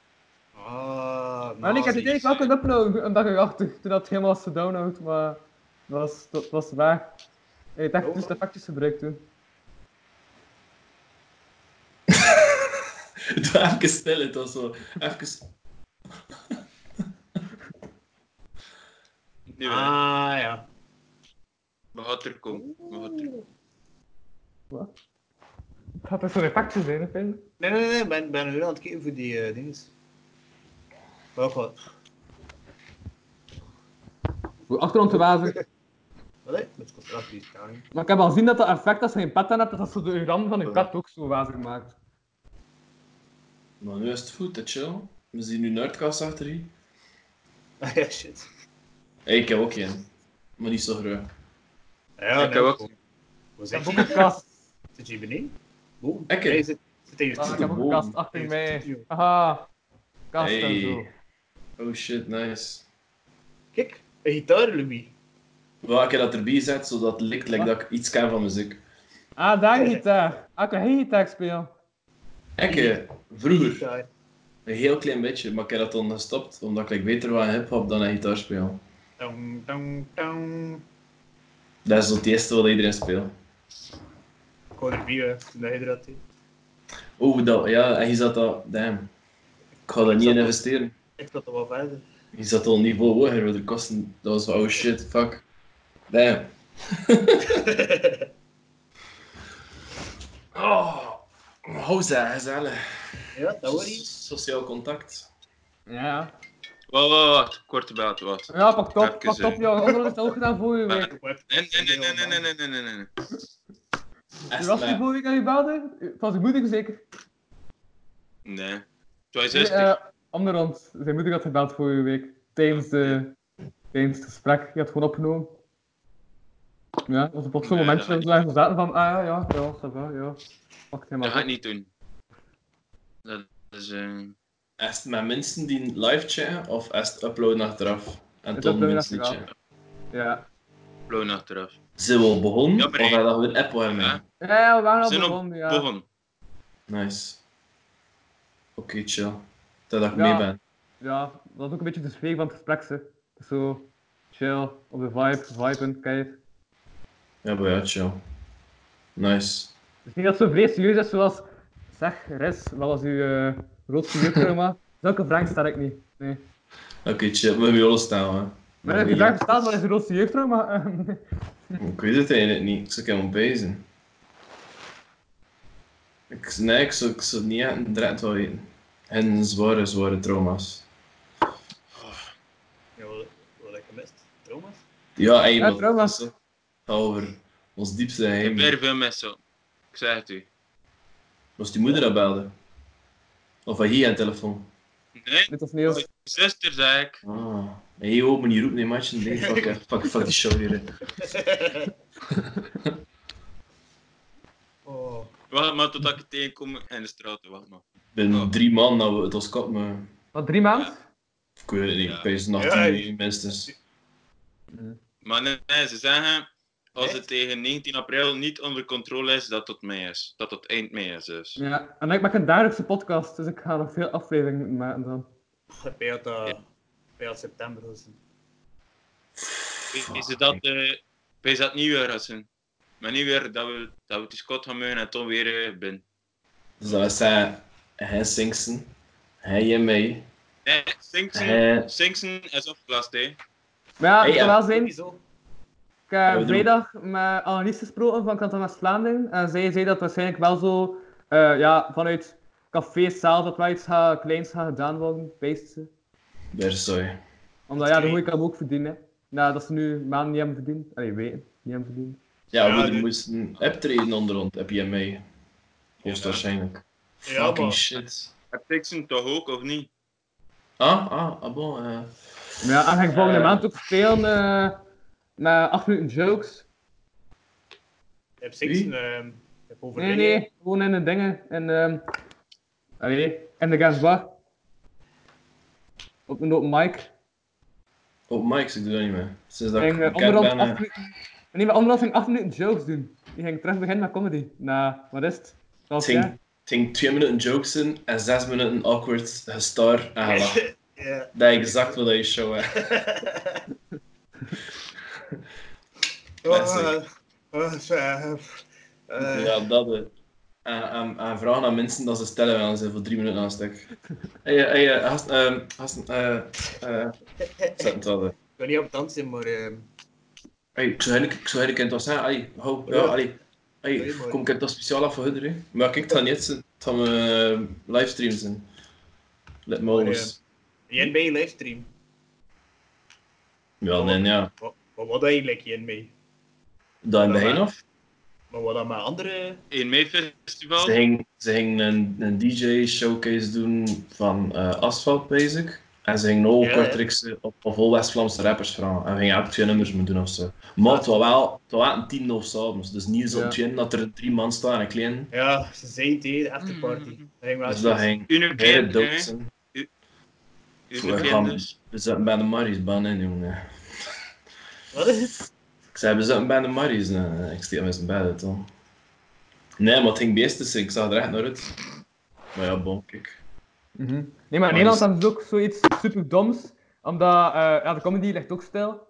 Ah,
Maar ik heb het idee, ik had kunnen uploaden een dag erachter, toen dat het helemaal was gedownload, maar dat was, dat was waar. Ik heb echt dus de factjes gebruikt toen.
Het was even stil, het was zo. Even.
Nu, hè.
Ah, ja.
we gaan er komen. We gaan er
Het gaat dus zo'n factjes zijn, hè, Pim?
Nee, nee, nee, ik ben, ben nu aan het kijken voor die eh dinges. Wel goed.
Hoe achtergrond te wazen.
Wat hè? Met contract die staan.
Maar ik heb al gezien dat dat effect als je een pet aan hebt, dat dat zo de rand van je pet ook zo wazig maakt.
Maar nu is het goed, hè, chill. We zien nu een uitkast achter je.
Ah, ja, shit.
Hey, ik heb ook één. Maar niet zo groot.
Ja,
Ik heb ook-
kom. Wat
Ik
zeg
heb ook een
je?
kast.
Zit je beneden? Boom.
Oké.
Nee, zit, zit in je
Ah, ik
studio.
heb ook een kast achter mij. Haha. Kast en zo.
Hey. Oh shit, nice.
Kijk, een gitaar, Louis.
Welke keer dat erbij zet, zodat het lijkt like dat ik iets ken van muziek.
Ah, daar gitaar. Ah, ik kan geen gitaar spelen.
Ik, eh, vroeger,
Ja,
een heel klein beetje, maar ik heb dat dan gestopt, omdat ik like, beter was in hip-hop dan in gitaar speel.
dong, dong, dong.
Dat is zo het eerste wat iedereen speelt.
Ik hoor erbij, hè, toen hij er had. hè.
Oeh, Oh, dat, ja, en je zat dat, damn. Ik ga daar niet in investeren.
Ik zat er wel verder.
Je zat al een niveau hoger, want de kosten, dat was van, oh shit, fuck. Damn. oh, hoza, gezellig.
Ja, dat hoor je.
Sociaal contact.
Ja.
Wacht, wacht, wacht. Korte belt, wacht.
Ja, pak top,
Even,
pak top.
eh.
Jouw ronde werd ook gedaan vorige week.
Nee, nee, nee, nee, nee, nee, nee, nee, nee, nee.
U was die
maar-
vorige week aan je belde? U- Van zijn moeder zeker?
Nee.
Nee,
62.
eh, om de rond. Zijn moeder had gebeld vorige week. Tijdens, de, tijdens het gesprek. Je had gewoon opgenomen. Ja, dat was op zo'n
Nee,
moment
dat
dat we daar zaten van, ah ja, ja, ja, ça va, ja. Wacht
dat ga
helemaal.
ik niet doen. Dat is... eh,
Is het met mensen die live chatten of is het uploaden achteraf? En
Het
toen
uploaden
mensen die
achteraf.
chatten.
Ja.
blown achteraf.
Zijn we al begonnen?
Ja,
of
maar
hebben
nee.
we weer app warmen?
Ja.
Ja, we waren
We
al
zijn op
begonnen, ja.
begonnen.
Nice. Oké, chill. Dat ik
Ja.
mee ben.
Ja, dat was ook een beetje de sfeer van het gesprek, hè. Zo, chill, op de vibe, viben, kijk.
Ja, maar ja, chill. Nice.
Het is niet dat het zo vrees serieus is, zoals, zeg, Res, wat was uw eh grootste jeugdtrauma? Zulke vraag stel ik niet, nee.
Oké, chill. We hebben jullie staan, hè.
Maar heb je
Oké.
vraag gesteld, wat is uw grootste jeugdtrauma? Eh,
Ik weet het eigenlijk niet. Ik zou helemaal bezig. Ik, nee, ik zou, ik zou het niet echt een dread wel weten. En zware, zware trauma's.
Ja, wat wat heb ik gemist? Trauma's?
Ja, en je
Ja,
moet-
trauma's.
Het gaat over ons diepste
Ik heb
geheim.
weer veel mensen. Ik zeg het u.
Was die moeder dat belde? Of was hij aan de telefoon?
Nee,
Dit was Neil.
zuster zei ik.
Ah. En je ook me niet roepen in matchen. Nee, fuck, eh, fuck, fuck die show hier. hè.
oh,
Wacht maar totdat ik het tegenkom in de straat. Wacht maar.
Ik ben
Oh.
drie man, nou, het was kap, maar...
Wat, drie maanden?
Ik weet het niet,
Ja.
ik ben nog
Ja,
tien uur minstens.
Maar nee, nee, ze zeggen, als het
Echt?
tegen 19 april niet onder controle is, dat tot mei is. Dat tot eind mei is dus.
Ja, en ik maak een dagelijkse podcast, dus ik ga nog veel afleveringen maken dan.
bij het, eh, bij het september. Dus.
Is het dat, eh wees dat nieuwjaarrassen? Maar niet weer dat we, dat we die Scott gaan meugen en toen weer eh, binnen.
Dus dat was hij, hij Sinksen, hij en mij.
Nee, Sinksen,
Eh.
Sinksen is afgelast, hè.
Maar ja, ik
Hey,
kan
ja.
wel zijn, ik
Sowieso.
heb
we doen-
vrijdag met Annelies gesproken van Kanton West-Vlaanderen. En zij zei dat waarschijnlijk wel zo, eh, ja, vanuit cafés zelf, dat wel iets gaat- kleins gaat gedaan worden, based. ze.
Bersoy.
Omdat ja, de moeite kan ook verdienen. Nou, dat ze nu maanden niet hebben verdiend. Allee, weten, niet hebben verdiend.
Ja,
Ja,
moeder
dit-
moest een optreden onder ons, heb je mij. Hoogstwaarschijnlijk.
Ja,
Fucking
maar-
shit.
Heb Sinksen toch ook, of niet?
Ah, ah, ah bon. eh.
Maar ja, en ga ik volgende
Eh.
maand ook spelen eh met 8 minuten jokes.
Ik heb seks.
Wie?
ehm, ik heb over
Nee,
dingen.
nee, gewoon in de dingen. In, ehm allee, in de gasbar. Op een open mic.
Op mics, ik doe dat niet meer. Sinds dat
Ik
ik
ging eh,
cat
onderhand
ben, eh,
acht minuten- nee, maar onderhand ging ik acht minuten jokes doen. Die ging terug beginnen met comedy. Na, wat is het?
het
Twaalf
ging-
jaar?
het ging twee minuten jokes in en zes minuten awkward gestar en gelachen.
Ja.
Dat is exact wat je show hè.
Oh, eh, oh, eh, eh,
Ja, dat eh. En, en, en vragen aan mensen dat ze stellen wel zijn voor drie minuten aan een stuk. Hé, hey, hey, gast, ehm, gast, eh, eh, zet het wel, eh.
Ik ben niet op het dans in, maar ehm,
Hey, ik zou eigenlijk, ik zou eigenlijk in het was zijn, allee, hou, ja,
Ja.
allee. Hey,
Nee, maar-
kom, ik heb dat speciaal af voor hun, hè. Maar kijk, het gaat niet zijn, het gaan we eh, livestreams zijn. Let me always.
jij bij je livestream.
Ja, nee, ja.
Wat, maar wat eigenlijk jij mee?
Dat in het begin
Ja.
af.
Maar wat dan met andere?
In mei festival?
Ze ging, ze ging een, een DJ-showcase doen van eh, Asphalt Basic. En ze ging nog
Ja,
ja,
ja.
eh, op, op vol West-Vlaamse rappers vragen. En we gingen ook twee nummers moeten doen of zo. Maar het was wel, het was wel een tien of s'avonds. Dus niet zo'n
Ja.
twin dat er drie man staan en klein.
Ja, ze zei het, hè, de afterparty.
Mm.
Dat ging wel
Dus dat
goed.
ging heel
Uniclin,
dood
hè.
zijn.
Uniclin
Gaan-
dus.
We zaten bij de Marie's baan in, jongen.
Wat is het?
Ik zei, we zitten bij de Marius. Nee, ik steek hem eens in bed uit dan. Nee, maar het ging beest tussen. Ik zag er echt naar uit. Maar ja, bon, kijk.
Mhm. Nee, maar in Nederland hebben ze ook zoiets super doms. Omdat eh, ja, de comedy ligt ook stil.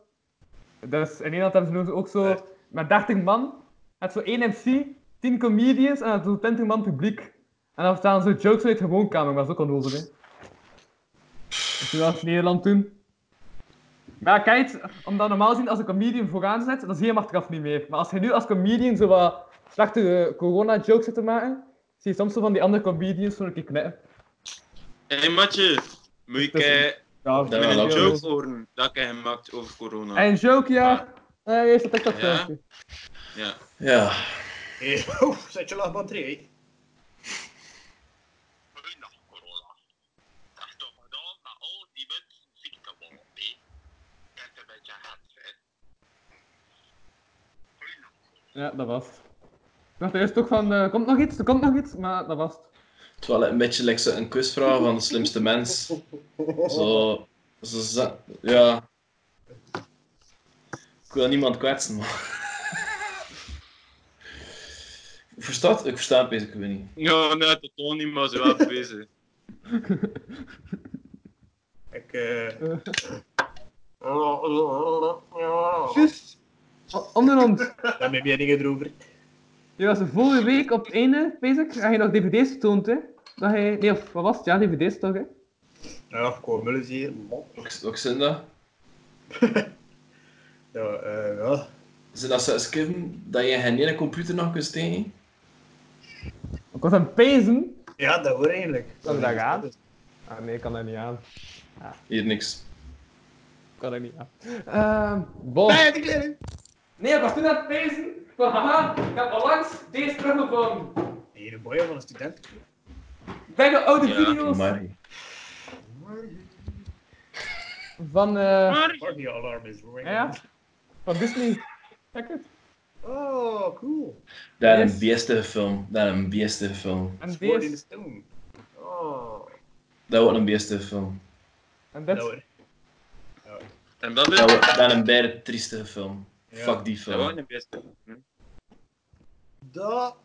Dus in Nederland hebben ze nu ook zo met 30 man. Het zo één MC, 10 comedians en het zo 20 man publiek. En dan staan zo jokes uit de woonkamer, maar dat is ook onnozel. hè. Dus dat was Nederland toen. Maar kijk, omdat normaal gezien als een comedian vooraan zit, dan zie je hem achteraf niet meer. Maar als je nu als comedian zo wat slechte eh, corona-jokes zit te maken, zie je soms zo van die andere comedians zo een keer knippen.
Hé hey, Matje, moet ik
Dat is
eh,
Ja,
Ja,
met een
dat
joke horen dat ik heb gemaakt over corona?
En joke, ja. Eh, eerst dat TikTok
Ja.
filmpje.
Ja.
Ja.
Hey, oef, zet je lachband erin.
Weinig corona. Dat is toch gedaan dat al die mensen ziek worden, nee? Dat is een beetje hard, hè?
Ja, dat was het. Ik dacht eerst ook van, eh, komt nog iets, er komt nog iets, maar dat was het.
Het was wel een beetje like zo een quizvraag van de slimste mens. Zo. zo za- ja. Ik wil niemand kwetsen, maar. Ik versta het, ik versta het basic weer niet.
Ja, nee, totaal niet, maar ze wel bezig.
Ik, eh,
Eh. Juist. O- Onder ons.
daar heb je meningen erover.
Je was vorige week op het einde bezig, had je nog dvd's getoond, hè? Dat hij, nee, of wat was het? Ja, dvd's toch, hè?
Ja, ik wou mullen hier. Mop.
Ook, ook zijn dat?
Ja, eh, ja.
Zijn dat zo'n skiffen dat je geen ene computer nog kunt steken?
Ik was aan het pezen.
ja, dat hoor eigenlijk.
Zou dat gaan? Ah nee, ik kan dat niet aan.
Hier niks.
Ik kan dat niet aan. Ehm, bon.
Nee, die kleine.
Nee, ik was toen aan het pezen van, haha, ik heb onlangs deze teruggevonden.
Hier, een boy van een student.
Ik denk aan oude
Ja,
video's
Maar
van, eh,
Party alarm is ringing.
ja, van Disney. Kijk het.
Oh, cool.
dat is
Yes.
een beestige film. Dat is een beestige film.
En
Sword in the
deze.
stone. Oh.
Dat wordt een beestige film.
En
Dat
dit.
hoor.
En dat is...
Dat wordt dat is een bijna triestige film.
Ja.
Fuck die
Dat was
film.
niet best. Hm? hè.
Dat.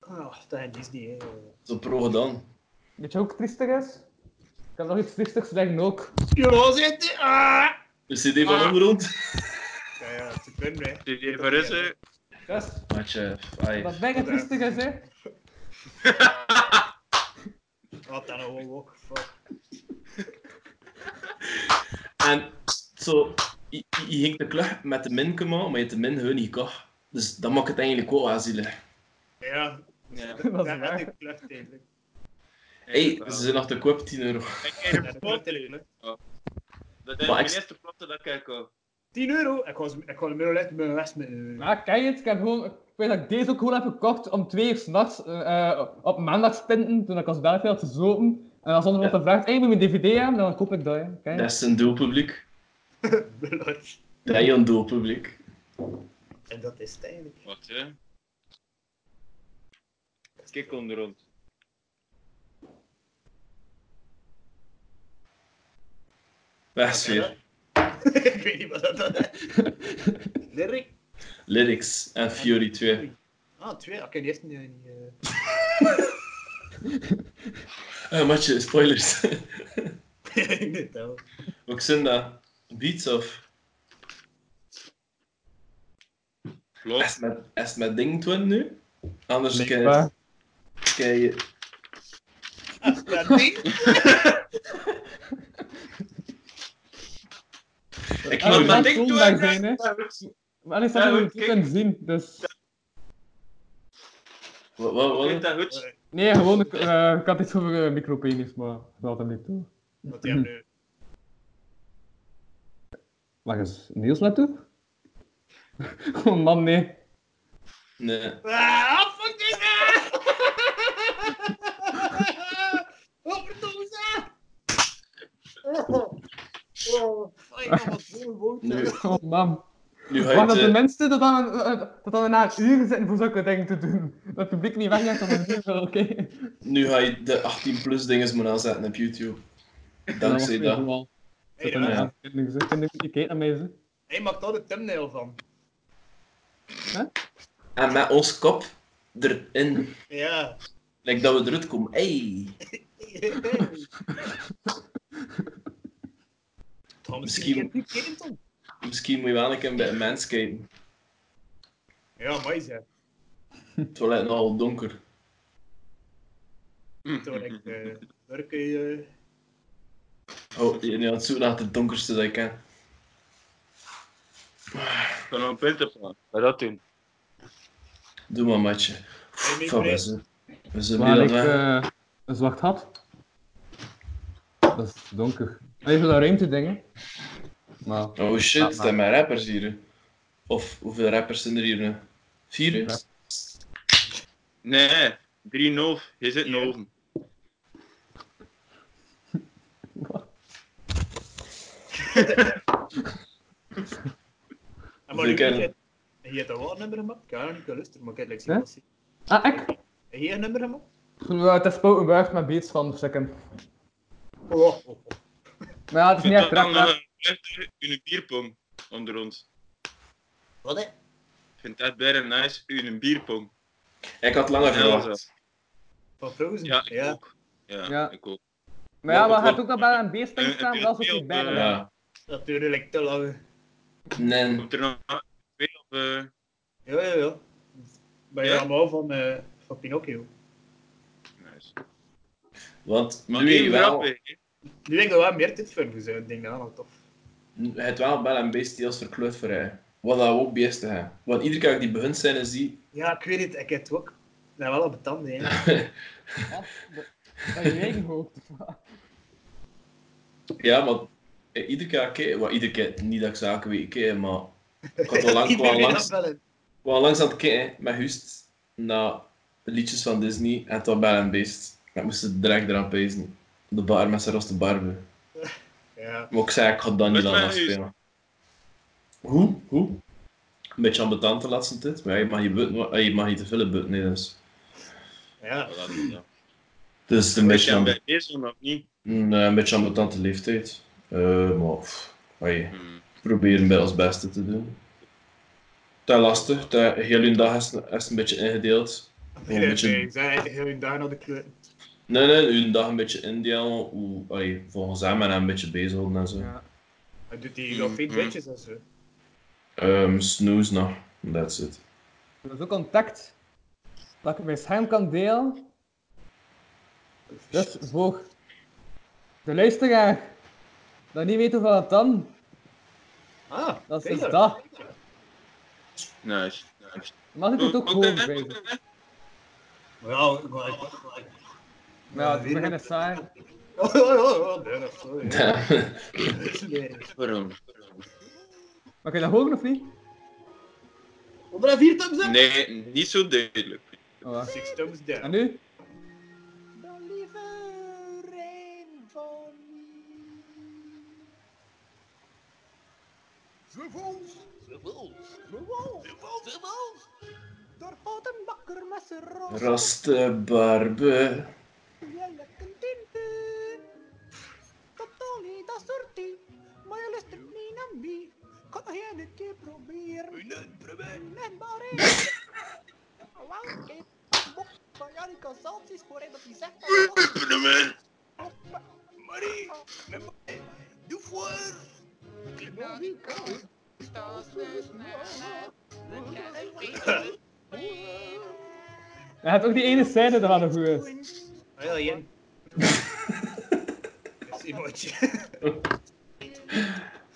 Ah, dat is Disney. hè.
Zo pro gedaan.
Weet je wat ook triestig is? Ik heb nog iets triestigs zeggen ook.
Spionage zitten. Ah!
De CD van Ondergrond.
Ja, ja, ze kunnen, hè.
Die die verrissen.
Dus,
Matje, ai.
dat ben ik triestig is, hè.
Wat dan ook, ook. Fuck.
En zo, je, je- je ging de klug met de min komen, maar je had de min hun niet gekocht. Dus dat maakt het eigenlijk wel aanzienlijk.
Ja,
Ja.
Dat is
dat had ik
waar.
klucht eigenlijk.
Hé, ze zijn nog te koop 10 euro.
Ik
Dat
heb
had
een
ik
pot.
klucht eigenlijk.
Dat is
Maar
mijn
ik-
eerste platte dat ik koop.
10 euro? Ik was, ik was middel uit mijn west met euro.
Maar kijk het, ik heb gewoon... Ik weet dat ik deze ook gewoon heb gekocht om twee uur s'nachts eh eh, op maandagspinten, toen ik als België had gezopen. En als iemand
Ja.
dan vraagt, hey, moet je mijn dvd hebben? Dan koop ik dat, hè. Kijk.
Dat is een doelpubliek.
Belangrijk.
Dat is een doelpubliek.
En dat is het eigenlijk.
Wat hè? Kijk onder ons.
Weg is weer.
ik weet niet wat dat is. Lyric?
Lyrics en Fury 2.
Ah, twee. Oké, die eerste niet. eh,
Eh, Matje, spoilers.
Ik weet het wel.
Wat zijn dat? Beats of? Is
Klopt.
het met, is het met Ding Twin nu? Anders kan
Blijkbaar.
je... kan je-
Dat ding?
Ik
Ah,
moet
maar dat
met Ding
kon daar zijn, hè. Maar ik
Ja,
zat
goed,
het niet
kijk.
kunnen zien, dus...
Wat, wat,
Kijk
wat?
dat goed?
Nee, gewoon, ik, eh, ik had iets over eh, micropenis, maar dat hem niet toe.
Wat die hebben nu.
Mag eens Niels naartoe? oh man, nee.
Nee.
Ah, fuck dit! ah! Oh, verdomme ze! Oh, oh, fijn, wat voor woord.
Nu,
Oh man.
nu ga je
Wacht
het,
dat de
eh,
mensen dat dan, eh, dat dan na een uur zitten voor zulke dingen te doen. Dat het publiek niet weggaat om een uur, wel, oké.
Nu ga je de 18 plus dinges moeten aanzetten op YouTube. Dankzij dat.
Hey,
Hey,
ja.
daar.
Kinderen, kinderen, je kijkt naar mij, ze.
Hij maakt daar de thumbnail van.
En met ons kop erin.
Ja.
Like dat we eruit komen. Hey.
Tom, misschien.
Misschien-
Die keer Tom.
Misschien moet je wel een keer bij een mens kijken.
Ja, mooi zeg.
Het toilet is al donker.
Hm,
Toen ik eh, daar kun je.
Oh, je bent aan het zoeken naar het donkerste dat ik ken.
Ik kan nog een punt ervan. Wat dat doen?
Doe maar, matje.
mee,
Van, we
Fred?
zijn, we zijn
Waar
bij
ik
dat weg.
eh, een zwart had. Dat is donker. Even dat ruimte dingen. Maar
Oh shit,
Laat
het
maar.
zijn maar rappers hier. hè. Of hoeveel rappers zijn er hier? hè? Vier? hè?
Ja.
Nee, 3-0. Je zit in
Ja.
oven.
En maar
Ik
nu
ken-
heb je het wel een nummer gemaakt? Ik heb nog niet geluisterd, maar ik heb het
Hè?
like zien.
Ah, ik?
Heb je een nummer gemaakt?
Ja, Het is Spokenburg met beats van Second.
Oh, oh, oh.
Maar ja, het is niet
Zit
echt
dan eh,
rap.
nog
maar-
een vijfde in een bierpong onder ons.
Wat hè?
Ik vind dat bijna nice, in een bierpong.
Ik had langer
Ja,
verwacht.
Van Frozen?
Ja, ik ook. Ja,
Ja.
ik ook.
Maar ja,
Ja,
maar
dat
gaat ook dat bij een beesting
Een-
staan,
een
maar dat is ook
beeld,
niet bijna.
eh,
waar.
Ja.
Dat duurde like, te lang.
Nee.
Komt er nog twee of... eh,
Ja, ja, ja. Bij
Ja?
allemaal van, eh, van Pinocchio.
Nice.
Want
Maar
nu
één
heb je wel,
grap, hè.
Nu denk ik dat wel meer tijd voor voor zo'n ding, dat tof.
het wel bij een beest die als verkleurd voor hij. Wat dat ook beesten hebben. Want iedere keer dat ik die begint zijn, is die...
Ja, ik weet het, ik heb het ook. Nou, wel op het tanden, hè.
Af, de- Bij je eigen hoofd.
ja, maar eh, iedere keer dat ik kijk- wel, iedere keer, niet dat ik zaken weet, kijk, maar... Ik had al lang, ik wou
Iedereen
langs, ik
afbellen.
wou langs aan het kijken, met Hust, naar liedjes van Disney en tot bij een beest. Ik moest er direct eraan pezen. De bar met zijn roste barbe.
Ja,
Maar ik zei, ik ga dan niet
Met
aan
mij is-
afspelen. Hoe? Hoe? Een beetje ambetant de laatste tijd. Maar ja, je mag niet, butten, eh, je mag niet te veel butten, nee, dus...
ja.
Voilà, dan, ja.
Dus het is een
Ben
beetje,
je
ambe-
bij deze nog niet?
een, eh, een beetje ambetante leeftijd. Eh, maar pff, hey,
Hmm.
proberen bij ons beste te doen. Dat is lastig. Dat, heel hun dag is, is een beetje ingedeeld.
Nee,
een
nee,
beetje-
nee, ik zei eigenlijk heel in daar naar de kleur.
Nee, nee, hun dag een beetje indelen. Hoe, allee, volgens hem en hem een beetje bezighouden en zo.
Ja.
Hij doet die
Mm-hmm.
wel veel
Mhm.
bedjes en zo.
Ehm, snooze nog. That's it.
Dat is ook contact. Dat ik mijn scherm kan delen. Dus voor de luisteraar, dat niet weet hoeveel het dan,
Ah,
dat is
kijk daar.
dus dat.
Nice. nice.
Mag ik het ook gewoon wijzen?
Ja, ik wou- ik wou- ik wou-
Maar ja, het begint saai.
Oh, oh, oh, oh, nee, dat is zo, ja. Nee.
Waarom?
Maar kun je dat horen of niet?
Op dat vier thumbs up?
Nee, niet zo duidelijk.
Oh, wacht.
Six thumbs down.
En nu?
Raste barbe.
Pneumel.
Hij had ook die ene scène dat wel nog goed is.
Ah, ja, Jen. Dat is iemand.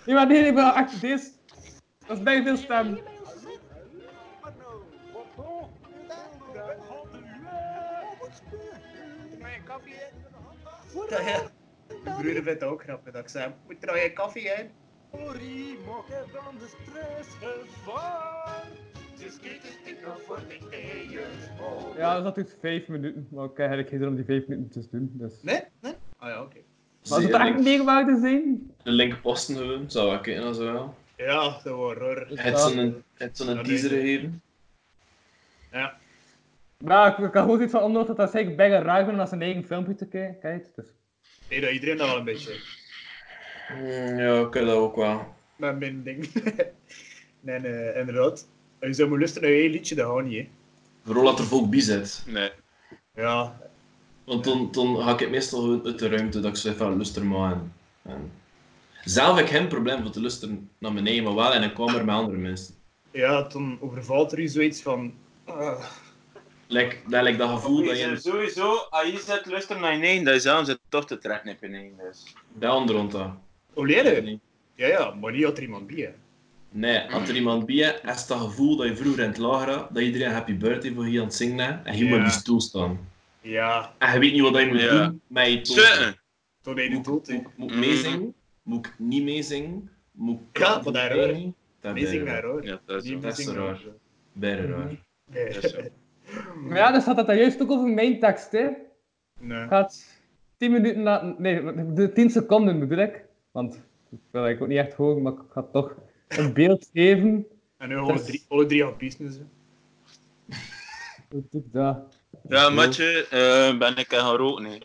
Nee, maar nee, nee, maar achter deze. Dat is bijna veel stem.
Ja, ja. Mijn broer vindt dat ook grappig, dat ik zei, moet er nog geen koffie in?
Ja, dat duurt vijf minuten. Maar ik heb eigenlijk geen zin om die vijf minuten te doen. Dus.
Nee? Nee? Ah ja, oké.
Maar als het
Zeer
echt meegemaakt zijn,
De linkerposten gewoon, zou ik kunnen als wel.
Ja, dat wordt hoor.
Het zo'n het zo'n teaser gegeven.
Ja.
maar Nou, ik, ik had gewoon iets van omdat dat dat zeker bijna raar om naar zijn eigen filmpje te kijken. Kijk, dus.
Nee, dat iedereen dat wel een beetje.
Mm, Hmm, Ja, ik kan dat ook wel.
Met mijn ding. nee, nee, inderdaad. Je zou moeten luisteren naar je eigen liedje, dat gaat niet, hè.
Vooral dat er volk bij zit.
Nee.
Ja,
Want dan, dan ga ik het meestal gewoon uit de ruimte dat ik zo even luster maken. En... Zelf heb ik geen probleem voor te luisteren naar beneden, maar wel in een kamer met andere mensen.
ja, dan overvalt er u zoiets van... ah,
Like, dat, like dat
Oh,
gevoel dat je in
sowieso, als je zit luisteren naar nee, dan is aan zit toch te trekken op nee. Dus.
de andere rond dat.
oh, leren? Ja, ja, maar niet dat er iemand bij hè.
Nee, als er iemand bij je is dat gevoel dat je vroeger in het lager had, dat iedereen happy birthday voor je aan het zingen is, en je moet
Ja.
op die stoel staan.
Ja,
En je weet niet wat je moet
Ja.
doen met je toon.
Zitten!
tot hij de
Moet,
dood, hè.
moet,
Mhm.
moet ik meezingen? Moet ik niet meezingen? Moet ik
Ja, maar daar hoor.
meezingen? Dat
Nee, zing
ben je
daar, hoor.
Ja, dat is
Nee,
zo.
dat is
zing
zo
daar.
raar. Ben je
Mhm.
raar.
Nee.
Dat is zo.
Maar ja, dus had dat daar juist ook over mijn tekst, hè?
Nee.
Gaat 10 minuten na. Nee, de 10 seconden bedoel ik. Want dat wil ik ook niet echt horen, maar ik ga toch een beeld geven.
En nu alle drie, alle drie aan business, hè.
Hoe doe ik dat?
Ja, matje, eh, ben ik aan gaan roken, nee.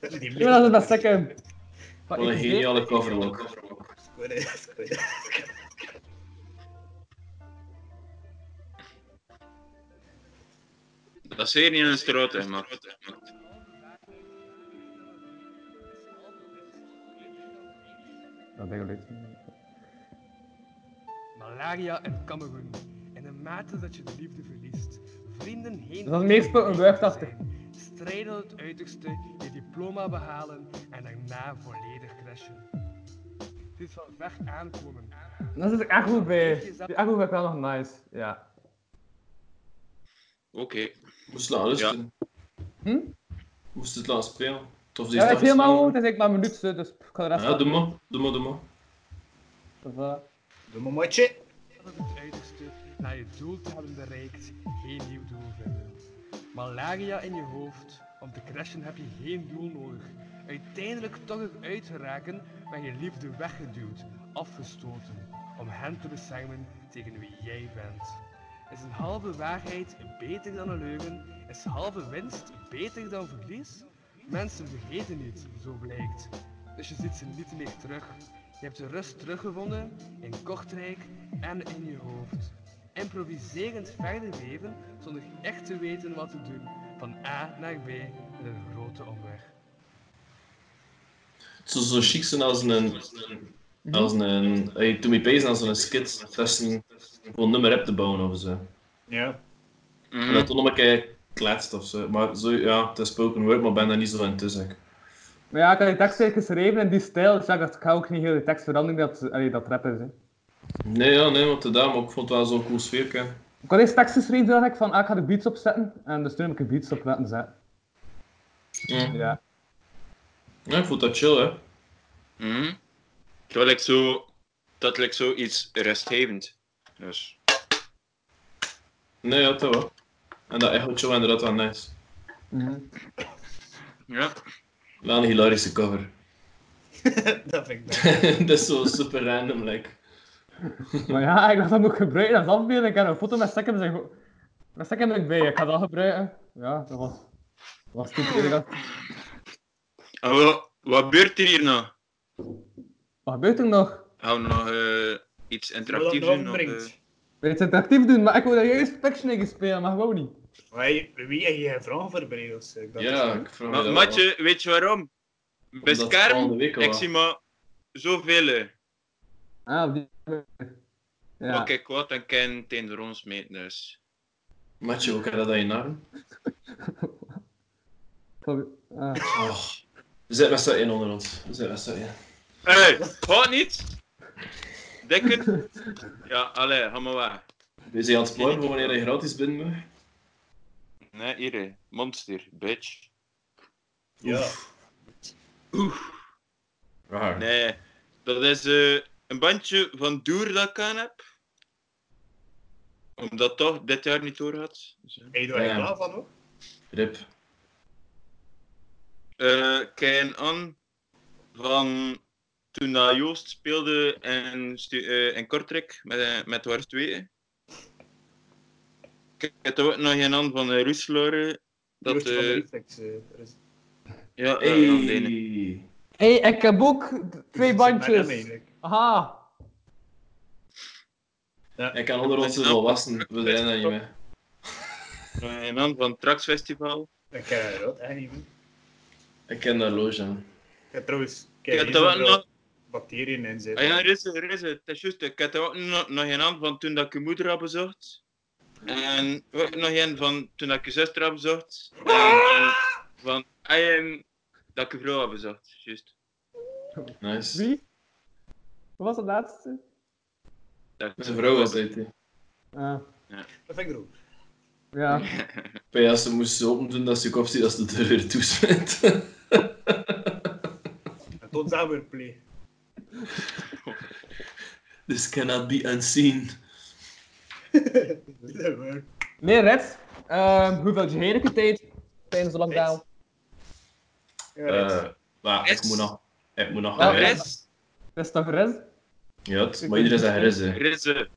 Die
Ik wil dat het best lekker.
Wat een geniale coverwalk.
Dat is hier niet een straat, hè, man.
Dat denk ik leuk.
Malaria en Cameroen. In de mate dat je de liefde verliest, vrienden heen.
Dat is meer spul- een wuifachtig.
Strijden tot het uiterste, je diploma behalen en daarna volledig crashen. Dit zal ver aankomen.
Daar zit ik echt goed bij. Die echt goed vind ik wel nog nice. Ja.
Oké.
Moest laten luisteren.
Hm?
Moest het laten spelen. Tof,
Ja, het is helemaal goed.
goed.
Het is eigenlijk maar een minuut, dus ik ga de rest
Ja, doe maar. Doe maar, doe maar.
Dat is, eh,
Doe maar matje.
Tot het uiterste, naar je doel te hebben bereikt, geen nieuw doel vinden. Malaria in je hoofd, om te crashen heb je geen doel nodig. Uiteindelijk toch eruit geraken, ben je liefde weggeduwd, afgestoten, om hen te beschermen tegen wie jij bent. Is een halve waarheid beter dan een leugen? Is halve winst beter dan verlies? Mensen vergeten niet, zo blijkt. Dus je ziet ze niet meer terug. Je hebt de rust teruggevonden in Kortrijk en in je hoofd. Improviserend verder leven zonder echt te weten wat te doen. Van A naar B met een grote omweg.
Het zou zo chic zijn als een...
Mhm.
Als een... Hey, toen we bezig als een skit testen voor een nummer op te bouwen of zo.
Ja.
Mhm.
En dat toen nog een keer kletst of zo. Maar zo, ja, het is spoken word, maar ik ben daar niet zo in tussen.
Maar ja, ik had die tekst eigenlijk geschreven in die stijl, dus ja, ik dacht, ik ga ook niet heel de tekst veranderen, dat, allee, dat rap is. Hè.
Nee, ja, nee, want de dame, maar ik vond het wel zo'n cool sfeerke.
Ik had eerst tekst geschreven, dacht ik, van, ah, ik ga de beats opzetten, en dus toen heb ik de beats op laten zetten.
Hm.
Ja.
Ja, ik vond dat chill, hè.
Mhm. Dat lijkt zo... Dat lijkt zo iets rustgevend. Dus...
Nee, ja, dat wel. En dat echo chill inderdaad wel nice.
Ja.
Wel een hilarische cover.
dat vind ik dat.
dat is zo super random, like.
Maar ja, ik dacht, dat moet ik gebruiken als afbeelding. Ik heb een foto met Sekkem, zeg, met Sekkem ben ik bij, ik ga dat gebruiken. Ja, dat was... dat was goed, ik dacht,
En wat, wat gebeurt er hier nou?
wat gebeurt er nog?
Gaan we nog eh, iets
Wat dat
interactiefs
dan
doen? of, eh,
brengt.
Wil je het interactief doen? Maar ik wil dat juist Pictionary spelen, maar gewoon niet.
Maar je- Wie heb je vragen voorbereid? of zo? Ik dacht-
Ja, ik vraag me
Maar
dat
Matje, weet je waarom?
Omdat het volgende
Bescherm,
week al
ik
was.
zie maar zoveel. hè.
Ah, op die... Ja.
Maar kijk wat, dan kan het in de rond meten dus.
af. Matje, hoe kan dat aan je naam?
Ah.
Oh. Zet best dat in onder ons. Zet best dat in.
Hé, hey, gaat niet? Dikker? Ja, allee, ga maar weg.
We zijn aan het sparen voor wanneer je gratis bent, me.
Nee, hier, hè. monster, bitch.
Ja.
Raar.
Nee, dat is eh, een bandje van Doer dat ik aan heb. Omdat toch dit jaar niet door had.
Ben je daar
Ja.
klaar van, hoor?
Rip.
eh Kein An van toen dat Joost speelde in, stu- eh, in Kortrijk met, eh, met Wars 2. Ik heb er ook nog een aan van eh, Ruus Loren. Dat,
Jurtje van de
eh,
Reflex, eh, er is-
ja, eh, ja, ja, die ene.
Hey.
Hé, hey, ik heb ook d-
er
twee
is- maar hem
bandjes.
eigenlijk.
Aha.
Hij kan onder ons is volwassen, we zijn daar niet mee.
En dan van het Traxfestival.
Ik ken dat rood echt niet. man.
Ik ken daar loge aan.
Ik heb trouwens ik
Ik
heb
had
hier
er wel
zoveel
nog...
bacteriën in
Ah
zitten.
ja, Risse, Risse, het is juist. Ik had er ook nog, nog een aan van toen dat ik je moeder had bezocht. En ook nog een van toen dat ik je zuster had bezocht. En, en van ah, en dat ik je vrouw had bezocht. Juist.
Nice.
Wie? Wat was het laatste?
Dat ik
Zijn vrouw was dit. hè.
Ah,
Dat vind ik rood.
ja.
Maar ja, ze moest zo open doen dat ze kop ziet als de deur weer toesmet.
En tot samen weer play.
This cannot be unseen.
Dat is waar.
Nee, Red. Ehm, hoeveel had je heren tijd tijdens de lockdown?
Ja, Nou, dat
Eh, maar ik
Yes.
moet nog. Ik moet nog
Ja,
gaan
yes.
werken.
Res,
Dat is toch Red?
Ja, het- maar iedereen zegt res, hè.
Risse.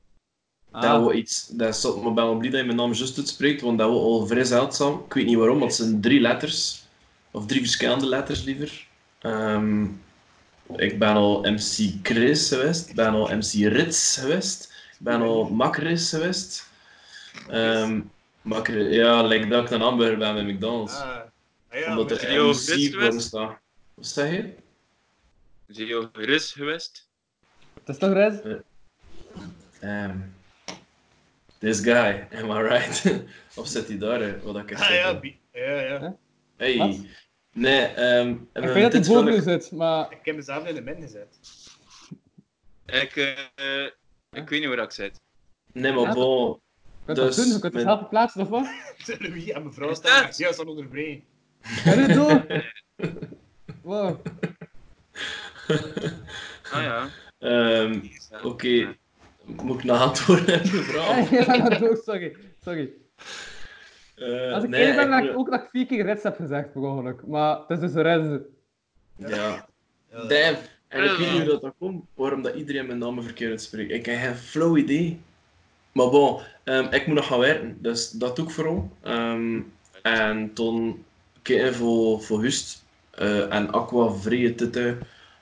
Dat
Ah,
we iets, dat zat me bij me blij dat je mijn naam juist uitspreekt, want dat we al vrij zeldzaam. Ik weet niet waarom, want het zijn drie letters. Of drie verschillende letters liever. Ehm, ik ben al MC Chris geweest, ik ben al MC Rits geweest, ik ben al Macris geweest. Ehm Macri, ja, like dat ik een hamburger ben bij McDonald's.
Ah, ah ja,
omdat
maar,
er
je ook Rits
MC voor
geweest?
staat. Wat zeg je?
Zie je ook Ris geweest?
dat is toch Red?
Ehm, this guy, am I right? of zet hij daar, hè, wat ik echt
ah
zeg, hè.
ja, bi- ja, ja.
Hey.
Wat?
Nee, ehm
Ik
eh,
weet dat
dit
hij boven
wil
u
ik-
zit, maar...
Ik heb mezelf in de min gezet.
Ik, eh, eh, ik weet niet waar ik zit.
Nee, maar bon.
Je kunt
Dus
dat doen, je kunt
mijn-
jezelf verplaatsen, of wat?
Louis en mevrouw
Is
staan
dat?
juist aan onderbreken.
Ga je dit door? Wow.
Ah ja.
ehm, Oké. Moet ik nog antwoord hebben, mevrouw?
Ah, ja, dat ook, sorry. Sorry.
Eh,
Als ik
nee,
eerlijk ben,
ik
ben
wil-
ik ook dat ik vier keer Reds heb gezegd, per ongeluk. Maar het is dus Reds.
Ja.
Ja,
Damn. En ik weet niet hoe dat, dat komt, waarom dat iedereen mijn naam verkeerd uitspreekt. Ik heb geen flow idee. Maar bon, ehm, ik moet nog gaan werken, dus dat doe ik vooral. Ehm, en toen keer voor, voor Hust eh, en Aqua vrije titten.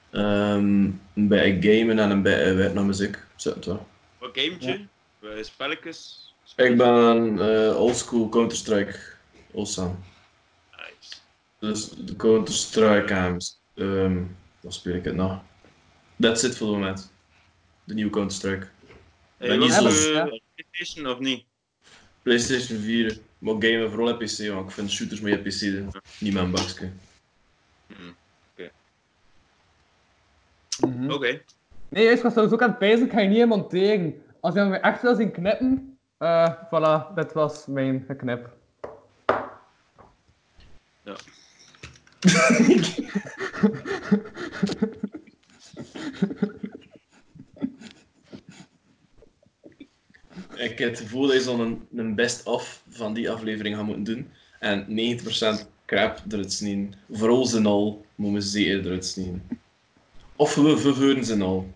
ehm, een beetje gamen en een beetje werken naar muziek. Zo, het wel.
Wat gametje? Ja. Spelletjes?
Ik ben eh, oldschool Counter-Strike Ossa.
Nice.
Dus de Counter-Strike games. ehm dan speel ik het nog. That's it voor het moment. De nieuwe Counter-Strike.
Hey,
Ben
was
je
zelf,
eh,
ja?
PlayStation of niet?
PlayStation 4. Maar gamen vooral op PC, want ik vind shooters met je PC doen. niet mijn bakje. Mhm. Hm.
Oké.
Nee, juist, ik was trouwens ook aan het pijzen, ik ga je niet in monteren. Als je me echt wil zien knippen, eh, voilà, dat was mijn geknip.
Ja.
Ik heb het gevoel dat je zo'n een best-of van die aflevering gaat moeten doen. En 90% crap eruit zien. Vooral zijn al, moeten we zeker eruit zien. Of we verveuren zijn al.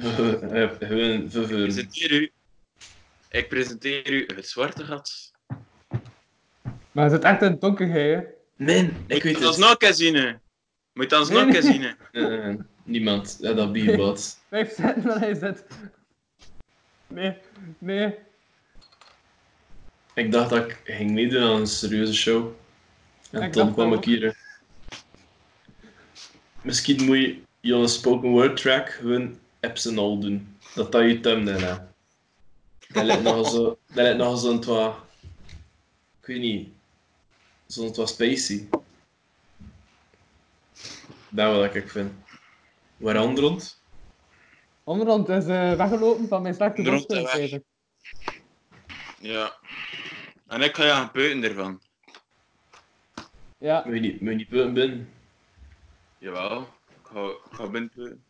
Gewoon
Ik
verveuren.
presenteer u. Ik presenteer u het zwarte gat.
Maar je zit echt in het donker, jij, hè?
Nee, ik weet
Moet
het.
ons nog casino. Moet ons nog casino.
Nee, nee, nee. Niemand. Ja, dat bierbad.
Blijf zitten waar hij zit. Nee, nee.
Ik dacht dat ik ging meedoen aan een serieuze show. En
Ik
toen
dacht
kwam
dat
ik
ook.
hier. hè. Misschien moet je je een spoken word track gewoon apps en al doen. Dat dat je thumbnail hè. Dat lijkt nog zo, dat lijkt nog zo'n twa... Ik weet niet. Zo'n twa spacey. Dat wat ik vind. Waar rond?
Onderhand is eh, weggelopen van mijn slechte
Onderhand
bossen,
weg.
eigenlijk.
Ja. En ik ga je aan buiten ervan.
Ja,
Moet je niet, moet je niet buiten binnen?
Jawel. Ik ga, ik ga binnen. buiten.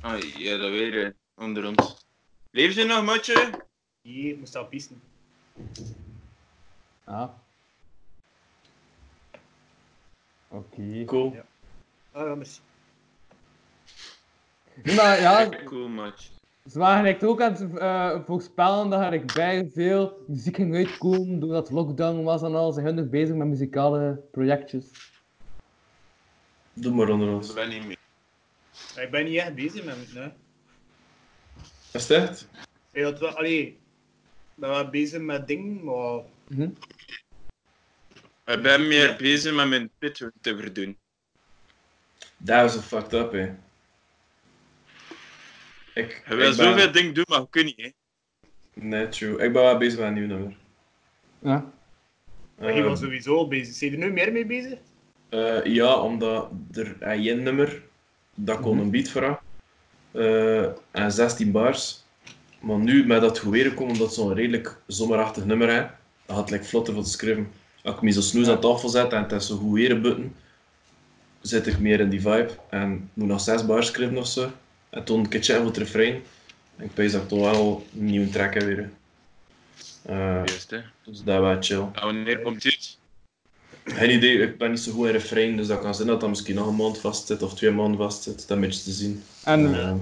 Ah, ja, dat weer eh, onder ons. Leef je nog, matje?
Hier, ik moest al pissen.
Ah. Oké.
Cool.
Ja. Ah ja, merci.
Nee, maar ja,
Cool, matje.
ze waren eigenlijk ook aan het eh, voorspellen dat er eigenlijk bij veel muziek ging uitkomen doordat het lockdown was en al. Ze zijn nog bezig met muzikale projectjes.
Doe maar onder ons.
Ik ben niet meer.
Ik ben niet echt bezig met het, hè.
Is het echt?
Ik had wel, allee, ik ben wel bezig met dingen, maar...
Ik ben meer bezig met mijn pitwin te verdoen.
Dat is een fucked up, hè. Ik,
Je wil
ik ben-
zoveel dingen doen, maar je kunt niet, hè.
Nee, true. Ik ben wel bezig met een nieuw nummer.
Ja.
Maar je
Ehm,
was sowieso al bezig. Zijn je er nu meer mee bezig?
Eh, ja, omdat er aan één nummer, dat kon een beat voor haar, eh, en 16 bars. Maar nu, met dat goed weer komen, omdat het zo'n redelijk zomerachtig nummer hè, dat had ik vlotter van te schrijven. Als ik me zo snoes aan tafel zet en het is zo goed weer butten, zit ik meer in die vibe. En ik moet nog 6 bars schrijven of zo. En toen een keertje voor het refrein. En ik pees dat ik toch wel een nieuwe track heb weer. hè. Eh,
Juist, hè.
dus dat was chill.
Ja, wanneer komt dit?
Geen idee, ik ben niet zo goed in refrein, dus dat kan zijn dat dat misschien nog een maand vastzit of twee maanden vastzit. Dat een beetje te zien.
En
Eh,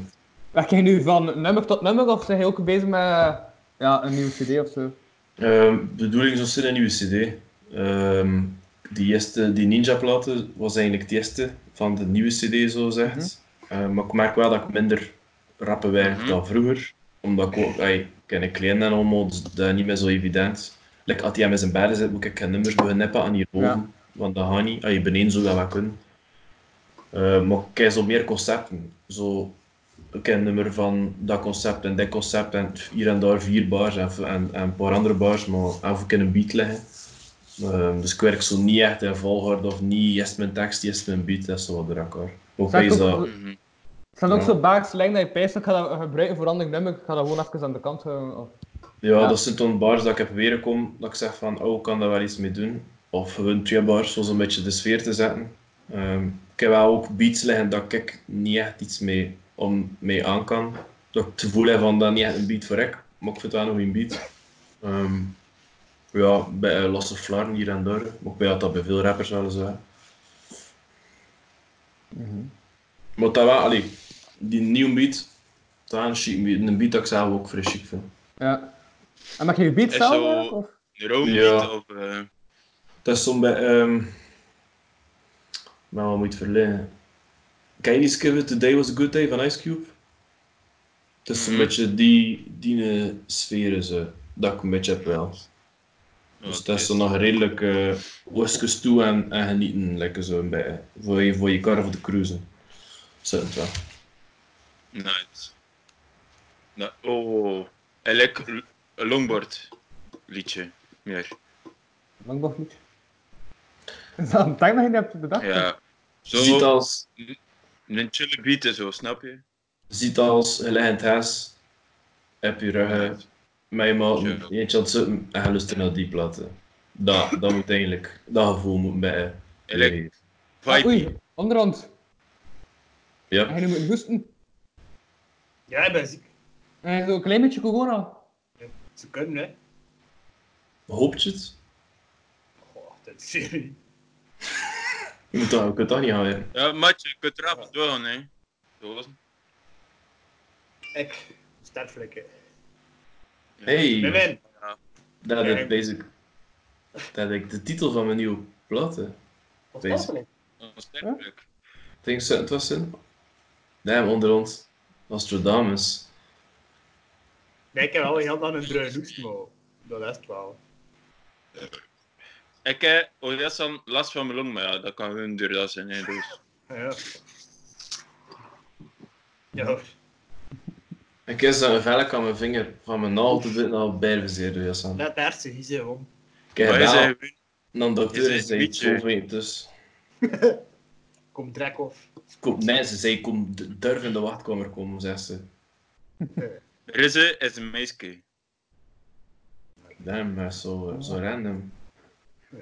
werk je nu van nummer tot nummer of zijn je ook bezig met eh, ja, een nieuwe CD of zo?
ehm, de bedoeling is een nieuwe CD. Ehm, die, eerste, die Ninja-platen was eigenlijk de eerste van de nieuwe CD, zo zegt. Eh, maar ik merk wel dat ik minder rappen werk
Mhm.
dan vroeger. Omdat ik ook, ai, ik ken een klein en allemaal, dus dat is niet meer zo evident. Like, als hij hem in zijn bedden zit, moet ik geen nummers beginnen nippen aan hierboven.
Ja.
Want dat gaat niet. Als je beneden zou dat wel kunnen. Eh, maar ik heb zo meer concepten. Zo, ik ken een nummer van dat concept en dat concept en hier en daar vier bars en, en, en een paar andere bars, maar af ik in een beat leggen. Ehm, dus ik werk zo niet echt in volgorde of niet, eerst mijn tekst, eerst mijn beat, dat is zo wat door elkaar. Ook
Zijn
is
het
dat...
ook-
Mhm.
zijn het ook
Ja.
zo baars slang dat je pijst, ik ga dat gebruiken voor ander nummer, ik ga dat gewoon even aan de kant houden. Of...
Ja,
Ja.
dat zijn dan bars dat ik heb weer gekomen, dat ik zeg van, oh, ik kan daar wel iets mee doen. Of gewoon twee bars, zo een beetje de sfeer te zetten. Ehm, ik heb wel ook beats liggen dat ik niet echt iets mee, om, mee aan kan. Dat ik het gevoel heb van, dat is niet echt een beat voor ik, maar ik vind dat nog een goeie beat. Ehm, ja, bij eh, losse flaren hier en daar, maar ik weet dat dat bij veel rappers wel eh. zo Maar dat wel, allee, die nieuwe beat, dat is een chic beat, een beat dat ik zelf ook vrij chic vind.
Ja. En maak je je beat
Is
zelf?
zo-
eh, Of?
Roombeat
Ja.
of... eh,
Dat is soms bij. ehm maar wat moet je verlenen? Kan je niet skippen Today was a good day van Ice Cube? Het is een
Mhm.
beetje die, die eh, sfeer ze, dat ik een beetje heb wel. Dus dat is dan nog redelijk eh whiskas toe en, en genieten, lekker zo een beetje. Voor je, voor je kar of de cruisen. Zit het wel.
Nice. Nou, oh, hij lijkt een longboard liedje meer.
Lang nog niet. Is dat een tijd dat je niet hebt bedacht?
Ja,
Je Ziet
zo
als,
een chille beat en zo, snap je?
ziet als geleid huis, heb je ruggen, mij maar
Ja.
eentje aan het zitten en je lust naar die platen. Dat, dat moet eigenlijk, dat gevoel moet bij.
Hij lijkt
Nee.
Ah,
vibe.
oei, onderhand.
Ja.
En je nu moet hoesten.
Ja, ik ben ziek.
En zo'n klein beetje corona.
Ze kunnen, hè.
Hoopt je het?
Goh, dat is serie.
Je moet dat, je kunt dat niet houden.
Ja, maatje, je kunt eraf doen, hè. Zo was het.
Ik, startflikken. Win,
Hey,
win.
dat is
Nee.
basic. Dat is de titel van mijn nieuwe platen.
Wat
Deze.
startflik?
Onsterfelijk.
Denk je het was in? Nee, maar onder ons. Nostradamus.
Nee, ik heb wel heel dan een druin hoest, maar dat is het wel.
Ik eh, heb ooit dan last van mijn long, maar ja, dat kan hun door dat zijn, hè. Dus.
Ja. Ja,
Ik is dat een velk aan mijn vinger, van mijn naald te bitten, al bijverzeerd door Jassan.
dat daar ze is, hè, om.
Ik heb
Maar hij
wel
zei gewoon,
een
je
dokter
zei
en zei,
niet, hè.
zo weet dus.
Kom drek of.
Kom, nee, ze zei, kom, d- durf in de wachtkamer komen, zegt ze.
Rizze is een meisje.
Damn, maar zo, eh, zo random.
Ja.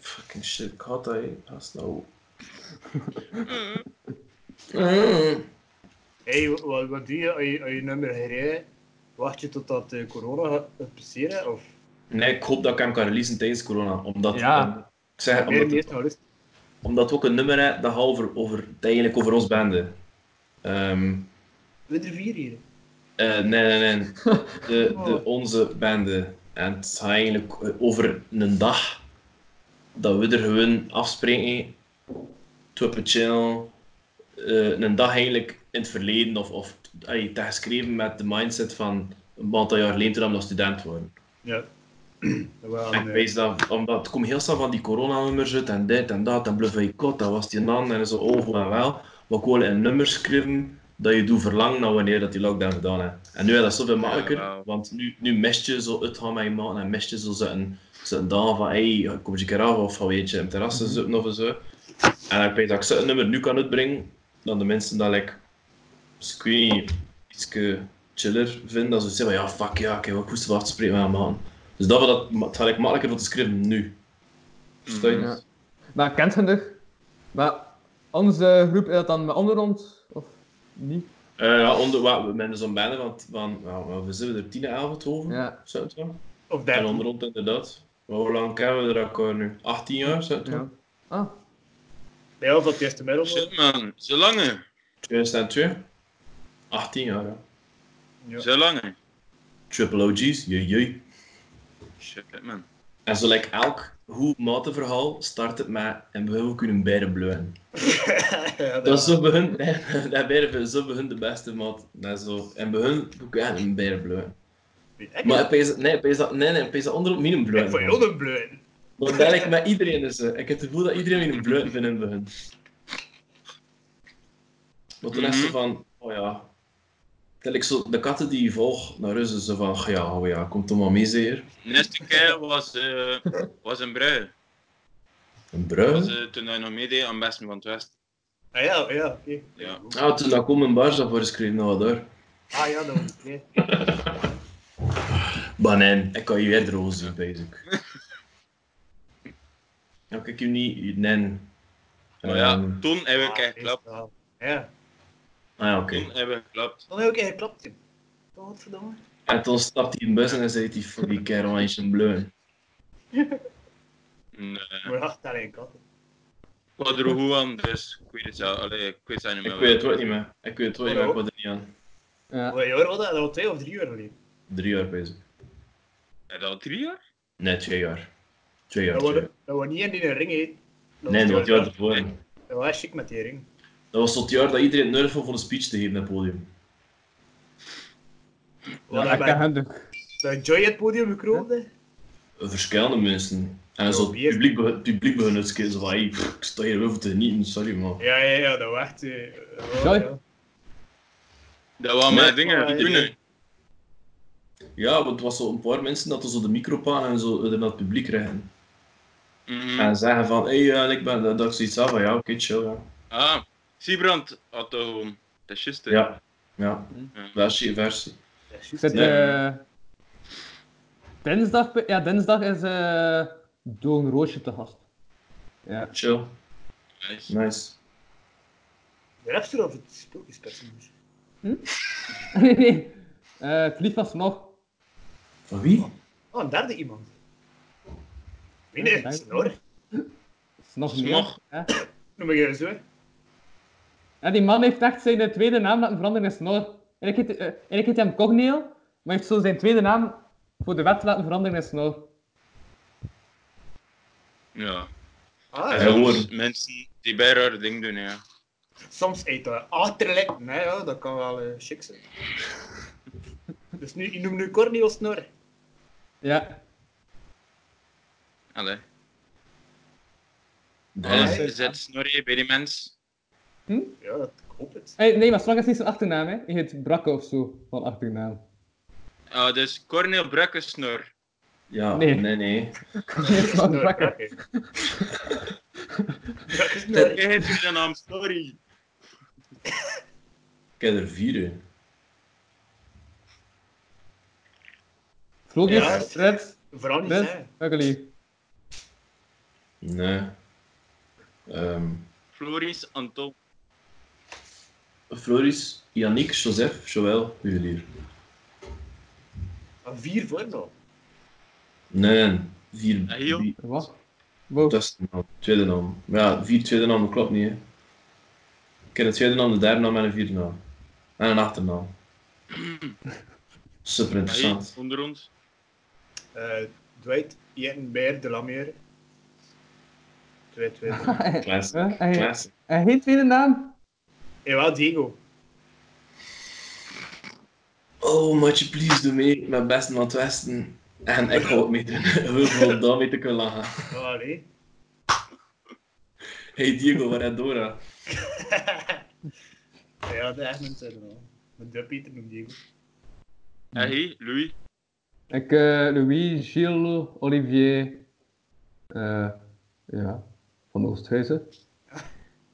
Fucking shit, ik had dat, hé. Dat is nou...
Hey, wat, wat doe je als je, als je nummer gereden? Wacht je totdat eh, corona gaat het passeren? Of
Nee, ik hoop dat ik hem kan releasen tijdens corona. Omdat,
Ja.
om- ik zeg,
meer
omdat,
niet nou rust?
omdat we ook een nummer hebben dat gaat over, over, dat eigenlijk over ons bende. Ehm,
We hebben er vier hier.
eh, nee, nee, nee. De, de, onze bende. En het gaat eigenlijk over een dag dat we er gewoon afspreken Twippen chill. eh, een dag eigenlijk in het verleden of, of allee, te geschreven met de mindset van een aantal jaar geleden toen we nog student waren.
Ja. Wel,
En ik
nee.
wijs dat, omdat het komt heel snel van die coronanummers uit en dit en dat en bluff je kot, dat was die dan en zo over en wel. Maar ik wil een nummer schrijven dat je doet verlangen naar wanneer dat die lockdown gedaan heeft. En nu is dat zoveel makkelijker,
wauw.
want nu, nu mist je zo uitgaan met je maten en mist je zo zitten, zitten dagen van hey, kom eens een keer af of van, weet je, een terras is open of zo. En ik weet dat ik zo'n nummer nu kan uitbrengen, dan de mensen dat ik, dus ik weet niet, ietske chiller vinden, dat ze zeggen van ja, fuck ja, ik heb ook goed wat spreken met mijn maten. Dus dat, we dat ma- het gaat eigenlijk makkelijker voor te schrijven nu. Versta je?
Mhm.
Ja. Maar kent genoeg. Maar onze groep is dat dan met anderen rond? Of niet?
Eh, ja, onder, wa- we zijn zo'n bijna, want, van, nou, we zijn er tien avond over.
Ja.
Zo, het wel.
Of
En
dertien.
onderhand inderdaad. Maar hoe lang kennen we er elkaar nu? 18 jaar, zo, het wel?
ja. Ah,
Nee, of dat het eerste middel
Shit
was.
man, zo lange.
2002? 18 jaar, ja.
Ja.
Zo lange.
Triple OG's, jee jee.
Shit man.
En zo lijkt elk goed matenverhaal start het met en we kunnen beide bluwen.
Ja,
Dat is zo bij hun, dat beide, zo bij hun de beste mat. Dat is zo. En bij hun, we kunnen beide bluwen.
Ik-
Maar ik pees- nee, ik pees dat- nee, nee, ik pees dat onder op minimum
Ik
bluwen.
vond jou een bleun.
Want eigenlijk met iedereen is ze. Ik heb het gevoel dat iedereen weer een blunt vindt bij hun. Maar toen is ze
Mhm.
van, oh ja. Tel zo, de katten die je volgt naar huis, is ze van, "Ach ja, oh ja, komt toch maar mee, zeer.
De eerste keer was, eh, was een brui.
Een
Was,
bruin.
eh, toen hij nog meedeed aan Besten van het West.
Ah ja, ja, oké.
Ja.
Ah, toen dat kom een bars dat voor schreef, nou daar.
Ah ja, dat was oké.
Banijn, ik kan je weer droog zien, basic. Nou, kijk je niet, nee.
Maar Oh ja,
Ehm,
toen hebben we
Ah,
keihard geklapt.
meestal. Ja.
ah ja, oké.
Toen hebben we geklapt.
Dan heb ik eigenlijk geklapt. joh. Godverdomme.
En toen stapt hij in de bus en dan zei hij, voor die kerel is een blunt.
Nee.
Maar wacht, daar een kat.
Ik was er goed eh, aan, dus ik weet het zelf. Allee, ik weet het niet meer.
Ik weet het ook niet meer. Ik weet het ook niet meer, ik was er niet aan.
ja.
Hoeveel jaar was dat? Dat was twee of drie jaar geleden.
Drie jaar bezig.
Is dat al drie jaar?
Nee, twee jaar. Twee jaar.
Dat
Twee
was,
jaar.
dat was niet in die ring, hè. Dat
Nee, dat was
was
het jaar
dat
ervoor.
dat was chic met die ring.
Dat was tot het jaar dat iedereen nerf om voor een speech te geven op het podium.
Ja,
dat
ik ken
ben-
hen dus.
Dat Joy het podium gekroond, hè.
Verschillende mensen. En
Ja,
zo het
weer.
publiek, be- het publiek begon het te van, hey, pff, ik sta hier wel voor te genieten, sorry man.
Ja, ja, ja, dat was echt... eh, oh,
Joy?
ja.
Dat waren
Nee,
mijn dingen.
maar-
Toen, hè.
Ja, want het was zo een paar mensen dat er zo de microfoon en zo er naar het publiek rijden.
Mhm.
En zeggen van, hé, hey, eh, ik ben, dat, dat ik zoiets had van, ja, oké, chill, ja.
Ah, Siebrand had dat gewoon. Dat is juist. hè.
Ja, Mm. ja.
Ja.
Versie, versie.
Dat is
Ik
juist.
zit
Ja.
eh, dinsdag, be- ja, dinsdag is eh Doorn Roosje te gast. Ja.
Chill.
Nice.
Nice.
De rapster of het sprookjespersonage?
nee, nee. Eh, het lief was nog.
Van wie?
Oh, een derde iemand. Wie
Ja,
nee,
dank.
het is een hoor.
Is nog
Is
meer,
nog.
hè.
Noem ik even zo, hè.
En die man heeft echt zijn tweede naam laten veranderen in Snor. En ik heet, eh, en ik heet hem Cogneel, maar hij heeft zo zijn tweede naam voor de wet laten veranderen in Snor.
Ja.
Ah,
En
ja.
soms
hoor.
mensen die bij rare dingen doen, ja.
Soms eet dat achterlippen, hè, ja, dat kan wel eh, chic zijn. dus nu, ik noem nu Corneo Snor.
Ja.
Allee.
Nee.
Alles zit snorrie bij die mens.
Ja, dat, ik hoop het.
Hey, Eh, nee, maar Snor is niet zijn achternaam, hè. Hij heet Brakke of zo, van achternaam.
Ah, dus Cornel Brukke snor.
Ja,
Nee.
nee, nee.
Cogneel van
Snor,
Brakke.
oké. Brakke
Jij
Snor.
heet weer de naam Snorri.
Ik heb er vier, hè.
Ja.
Vlogjes, Fred,
Vooral niet,
Fred,
hè.
Ugly.
Nee. Ehm
Floris Anton.
Floris, Yannick, Joseph, Joël, Julier.
Maar vier voor nou.
Nee, nee, vier.
Ah, joh.
die-
Wat? Wow.
Dat is de naam, tweede naam. Maar ja, vier tweede naam dat klopt niet. Hè. Ik heb een tweede naam, de derde naam en een vierde naam. En een achternaam. Super interessant.
Hey, onder ons.
Eh, Dwight, Jen, Beer, De Lameer. Twee, twee. drie.
Klaas.
Huh? En je-
Klaas.
en geen tweede naam?
Jawel, Eh, Diego.
Oh, moet je please doe mee met Best van het Westen. En ik ga ook meedoen. Hoeveel daarmee te kunnen lachen.
Oh, allee.
Hey Diego, waar is Dora?
Ja, dat is echt mijn zin. hoor. Mijn duppie te noemen, Diego.
En hier, Louis.
Ik, eh, Louis, Gilles, Olivier, eh, ja, van Oosthuizen.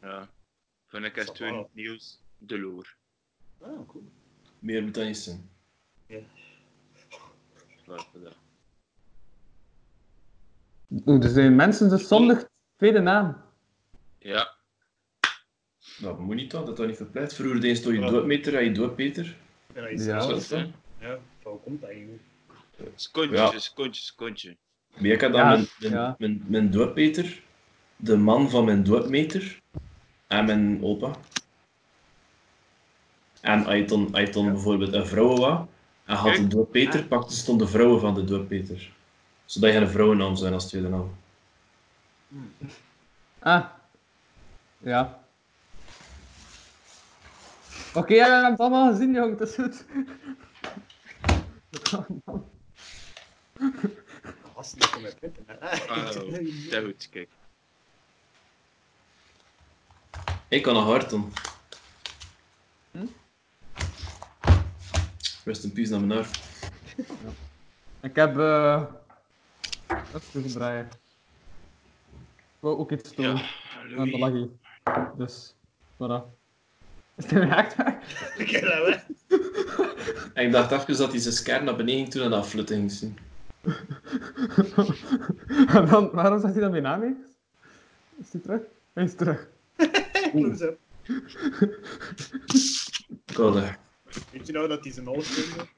Ja. Vind ik echt
Zal wel.
toen nieuws de loer.
Ah,
Oh, cool.
Meer moet dat niet zijn.
Laten we dat.
Oeh, dus zijn mensen dus zondig tweede naam.
Ja,
Dat moet Nou, niet toch, dat dat niet verpleit. Vroeger deed je toch je doodmeter en je doodpeter.
Ja, dat Oh, is
Ja.
ja.
Zo is dat.
ja, van komt dat eigenlijk?
skontje,
Ja.
skontje, skontje.
Maar ik had dan
Ja,
mijn, mijn,
ja.
mijn, mijn doodmeter, de man van mijn doodmeter en mijn opa. En als je dan- als je dan bijvoorbeeld een vrouw was en had een doodmeter,
Ah.
pakte ze dan de vrouwen van de doodmeter. Zodat je een vrouwennaam zijn als tweede naam.
Ah. Ja. Oké, ja, we hebben het allemaal gezien, jongen, dat is goed.
Gasten, ik kom met punten. hè.
Ah, dat goed, kijk.
Ik kan nog hard doen.
Hm?
Rest in peace naar mijn haar.
Ik heb... eh dat is goed draaien. Ik wou ook iets doen.
Ja,
En dat
Louis.
lag hier. Dus, voilà. Is het weer echt waar?
Ik heb dat wel.
En ik dacht even dat hij zijn scar naar beneden ging toen en dat flutten ging zien.
En dan, waarom zegt hij dan mijn naam eens? Is hij terug? Hij is terug.
Close up.
Koude.
Weet je nou dat hij zijn alles vindt?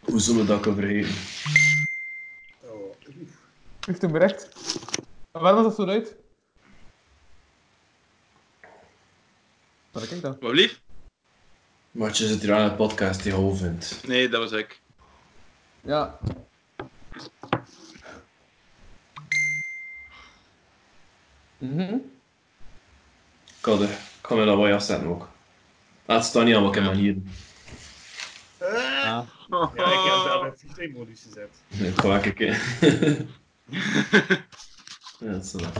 Hoe zullen we dat kunnen vergeten?
Oh,
Heeft hem berecht. En waarom was dat zo uit? Wat kijk dan?
Wat lief?
Maar je zit hier aan een podcast die je hoog vindt.
Nee, dat was ik.
Ja. Mhm.
Koude. Ik ga me dat wel afzetten ook. Laat staan niet aan welke manier.
Ah.
Ah.
Ja, ik
Oh.
heb dat bij vliegtuigmodus gezet.
Ik ga wel kijken. ja, dat is wel.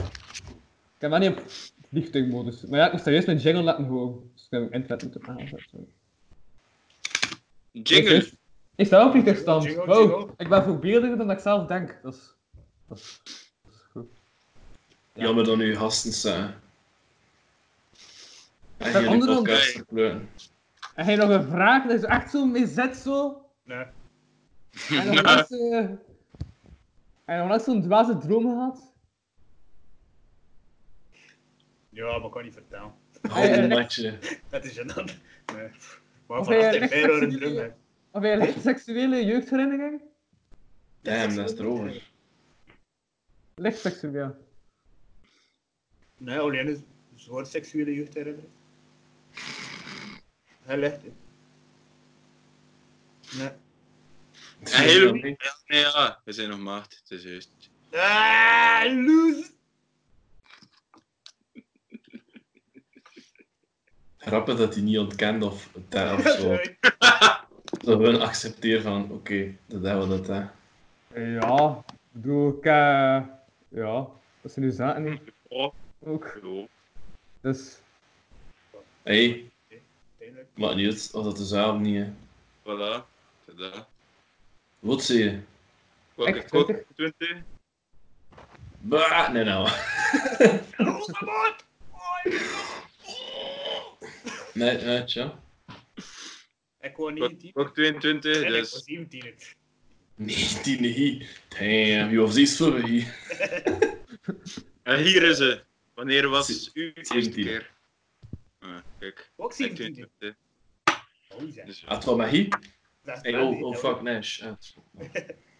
Ik heb dat niet op vliegtuigmodus. Maar ja, ik moest daar juist mijn jingle laten gewoon. Dus ik heb mijn internet moeten aanzetten.
Jingle.
Ik sta wel op vliegtuigstand.
Jingle,
Wow,
jingle.
ik ben voorbeeldiger dan ik zelf denk. Dat is, dat is, dat is goed.
Jammer dan uw gasten eh, zijn. En
Dat
jullie
andere
podcast
dan-
verkleuren.
En hij nog een vraag, dat is echt zo mee zet zo.
Nee.
En nog net, eh, en nog net zo'n dwaze droom gehad.
Ja, maar ik kan niet vertellen.
Hou een matje.
Dat is gênant. Nee. Maar
Of
vanaf
hij
de
echt
vijf een
seksuele-
drum hè.
Of hij lijkt seksuele jeugdherinnering?
Damn, dat is erover.
Licht seksueel.
Nee, alleen is soort seksuele jeugdherinnering. Hij legt het. Nee.
En heel Louis. Ja, nee, ja, we zijn nog maart. Het is juist.
Ah, loes!
Grappig dat hij niet ontkent of, dat- of zo. Dat we accepteren van, oké, dat hebben we dat. eh. Hè.
Ja, ik bedoel, ik, eh, ja, dat zijn nu zaten
Oh,
ook.
oh.
Dus,
Hey,
Uiteindelijk.
maakt niet uit of dat de zaal niet. Hè.
Voilà. Tada.
Wat zie je?
Welke
Echt,
kok?
20?
20?
Bah, nee nou. Nee, nee, tja.
Ik wou
Kok-
19.
Kok 22,
En ik was
dus
17.
19 hier. Damn, je was iets voor hier.
En Ah, hier is ze. Wanneer was
Ze-
uw eerste
17e.
keer? Ah, kijk.
Ook
Kijk,
17.
22.
Oh, zeg.
Dus...
Ah, het was maar hier.
Dat is
Hey,
wel
oh,
niet,
oh
hè.
fuck, Nash. Ah.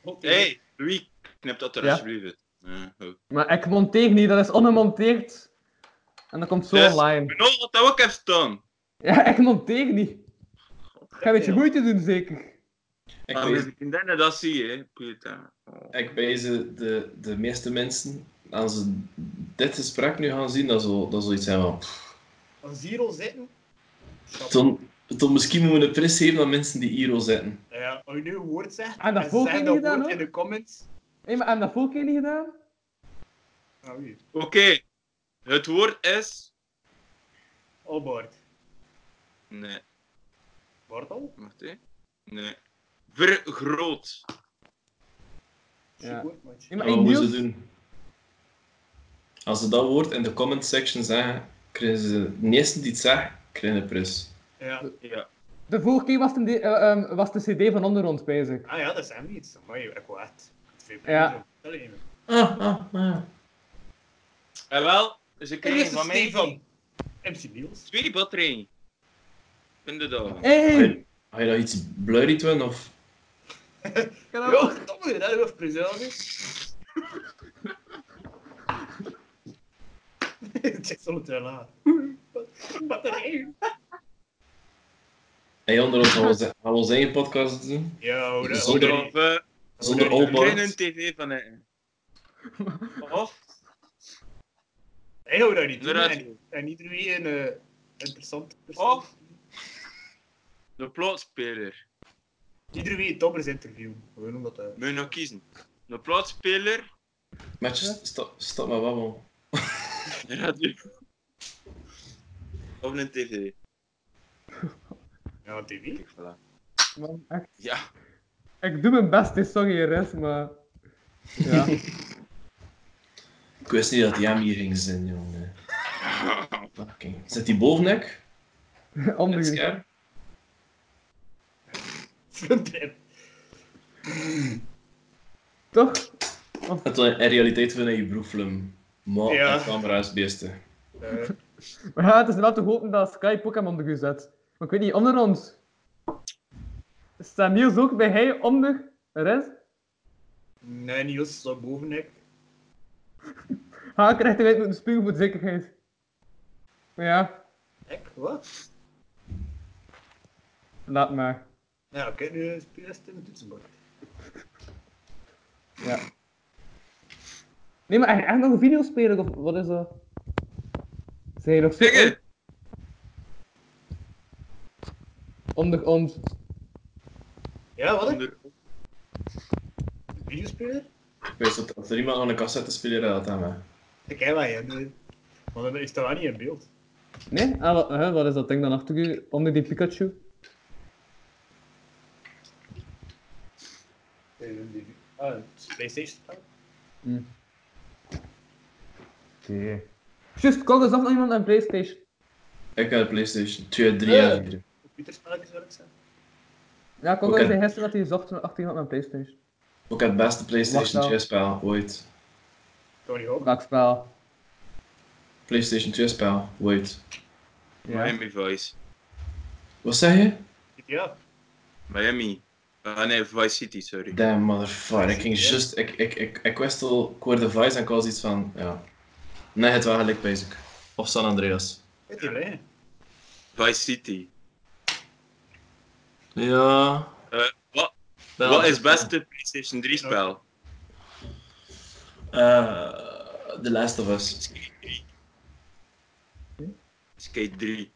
Ook niet.
Hey, Louis, knip dat er
Ja.
alsjeblieft uit. Ja, oh. goed.
maar ik monteer niet, dat is ongemonteerd. En dat komt zo
Dus-
online.
Nou, wat dat ook even staan.
Ja, ik monteer niet. Ik ga een beetje moeite doen, zeker.
Ik
Maar
weet,
mijn vriendinnen, Ah, dat zie je, hè, puta.
ik wijs de, de meeste mensen, als ze dit gesprek nu gaan zien, dat ze, dat ze iets zijn van... pff,
Als hier al zitten...
Toen, toen misschien moeten we een pris geven aan mensen die Iro zetten.
Ja, als je nu een woord zegt,
En Ah, dat
ze
vorige
zeggen
keer gedaan,
woord in
hoor.
de comments...
Hé, maar hebben we dat vorige keer niet gedaan?
Ah, wie?
Oké, het woord is.
Albert.
Nee,
Bartel?
wacht hè. Nee. Vergroot.
Ja.
Goed, maatje.
Hé, maar
En
hey,
wat moeten
Niels,
ze doen? Als ze dat woord in de comment section zeggen, krijgen ze de eerste die het zeggen, krijgen een pris.
Ja.
Ja.
de vorige keer was het een, de- eh, ehm, was de CD van Onderrond bezig.
Ah ja, dat zijn we iets. Maar je werkt wel echt. Veel
Ja.
plezier. Dat alleen maar.
Ah, ah, ah.
En Ah, wel, dus ze
Hier
krijgen
is
van mij
Stefan. MC Niels.
twee batterijen. In de dag.
Hé, hey,
Ga je dat iets blurry doen of...
Jo, domme, dat hoeft precies. Het is al te laat. Batterij.
Hey, onder ons gaan we ze- gaan we onze eigen podcast doen.
Ja, hoor.
Zonder-
hoor.
Of eh,
Zonder
Oh,
we krijgen
Albert.
een tv van het. Of
Hey, hou daar niet
de
toe. En,
radio.
en iedereen een eh, interessante persoon.
Of de plaatspeler.
Iedereen toppers interview. Gewoon omdat dat... eh?
Moet je nog kiezen. De plaatspeler.
Matjes, stop, stop met babbel.
de radio. Of een tv.
Ja, tv.
Kijk, voilà.
man, echt.
Ja.
Ik doe mijn best, hè, sorry Res, maar... Ja.
Ik wist niet dat die hem hier ging zijn, jongen. Fucking. Zit die bovenek?
Andere
Het scherm?
Frontend.
Toch?
En toen in realiteit vind je je broekflum. Maar
Ja.
de camera is het beste.
Eh,
Maar ja, het is wel te hopen dat Skype ook hem onder u zet. Maar ik weet niet, onder ons... Staat Niels ook bij hij onder Res?
Nee, Niels staat boven ik.
Ha, Ah, ik krijg eruit moeten spugen voor de zekerheid. Maar ja,
Ik? Wat?
laat maar.
Ja, oké, nu speel je in het toetsenbord.
Ja. Nee, maar echt, echt nog een video spelen of wat is dat? Zijn je nog zo
Zeggen!
onder ons?
Ja, wat?
Onder-
Videospeler?
Ik wist dat als er iemand aan een cassette speelde, dat aan mij.
Ik heb wel, ja. nee. Maar dan is dat wel niet in beeld.
Nee? Ah, wat, hè, wat is dat ding dan achter u? Onder die Pikachu?
Ah, het is PlayStation.
Oké. Just, kijk eens af naar iemand aan Playstation.
Ik had een Playstation 2, 3 en 4.
Computerspelletjes wil ik zeggen.
Ja, kijk
Oké.
eens gisteren dat hij zocht achter iemand aan Playstation.
Ook het beste
Wacht
PlayStation 2
wel.
spel ooit.
Tony Hawk.
Welk spel?
PlayStation 2 spel ooit.
Ja.
Miami Vice.
Wat zeg je?
Ja.
Miami. Ah nee, Vice City, sorry.
Damn motherfucker. Ik ging just. Ik, ik, ik, ik wist al, ik hoorde Vice en ik was iets van. Ja. Nee, het was gelijk basic. Of San Andreas.
Weet je wel, hè?
Vice City.
Ja.
Eh, wat-
Dat
Wat is het beste PlayStation 3 spel?
Eh, The Last of Us.
Skate 3.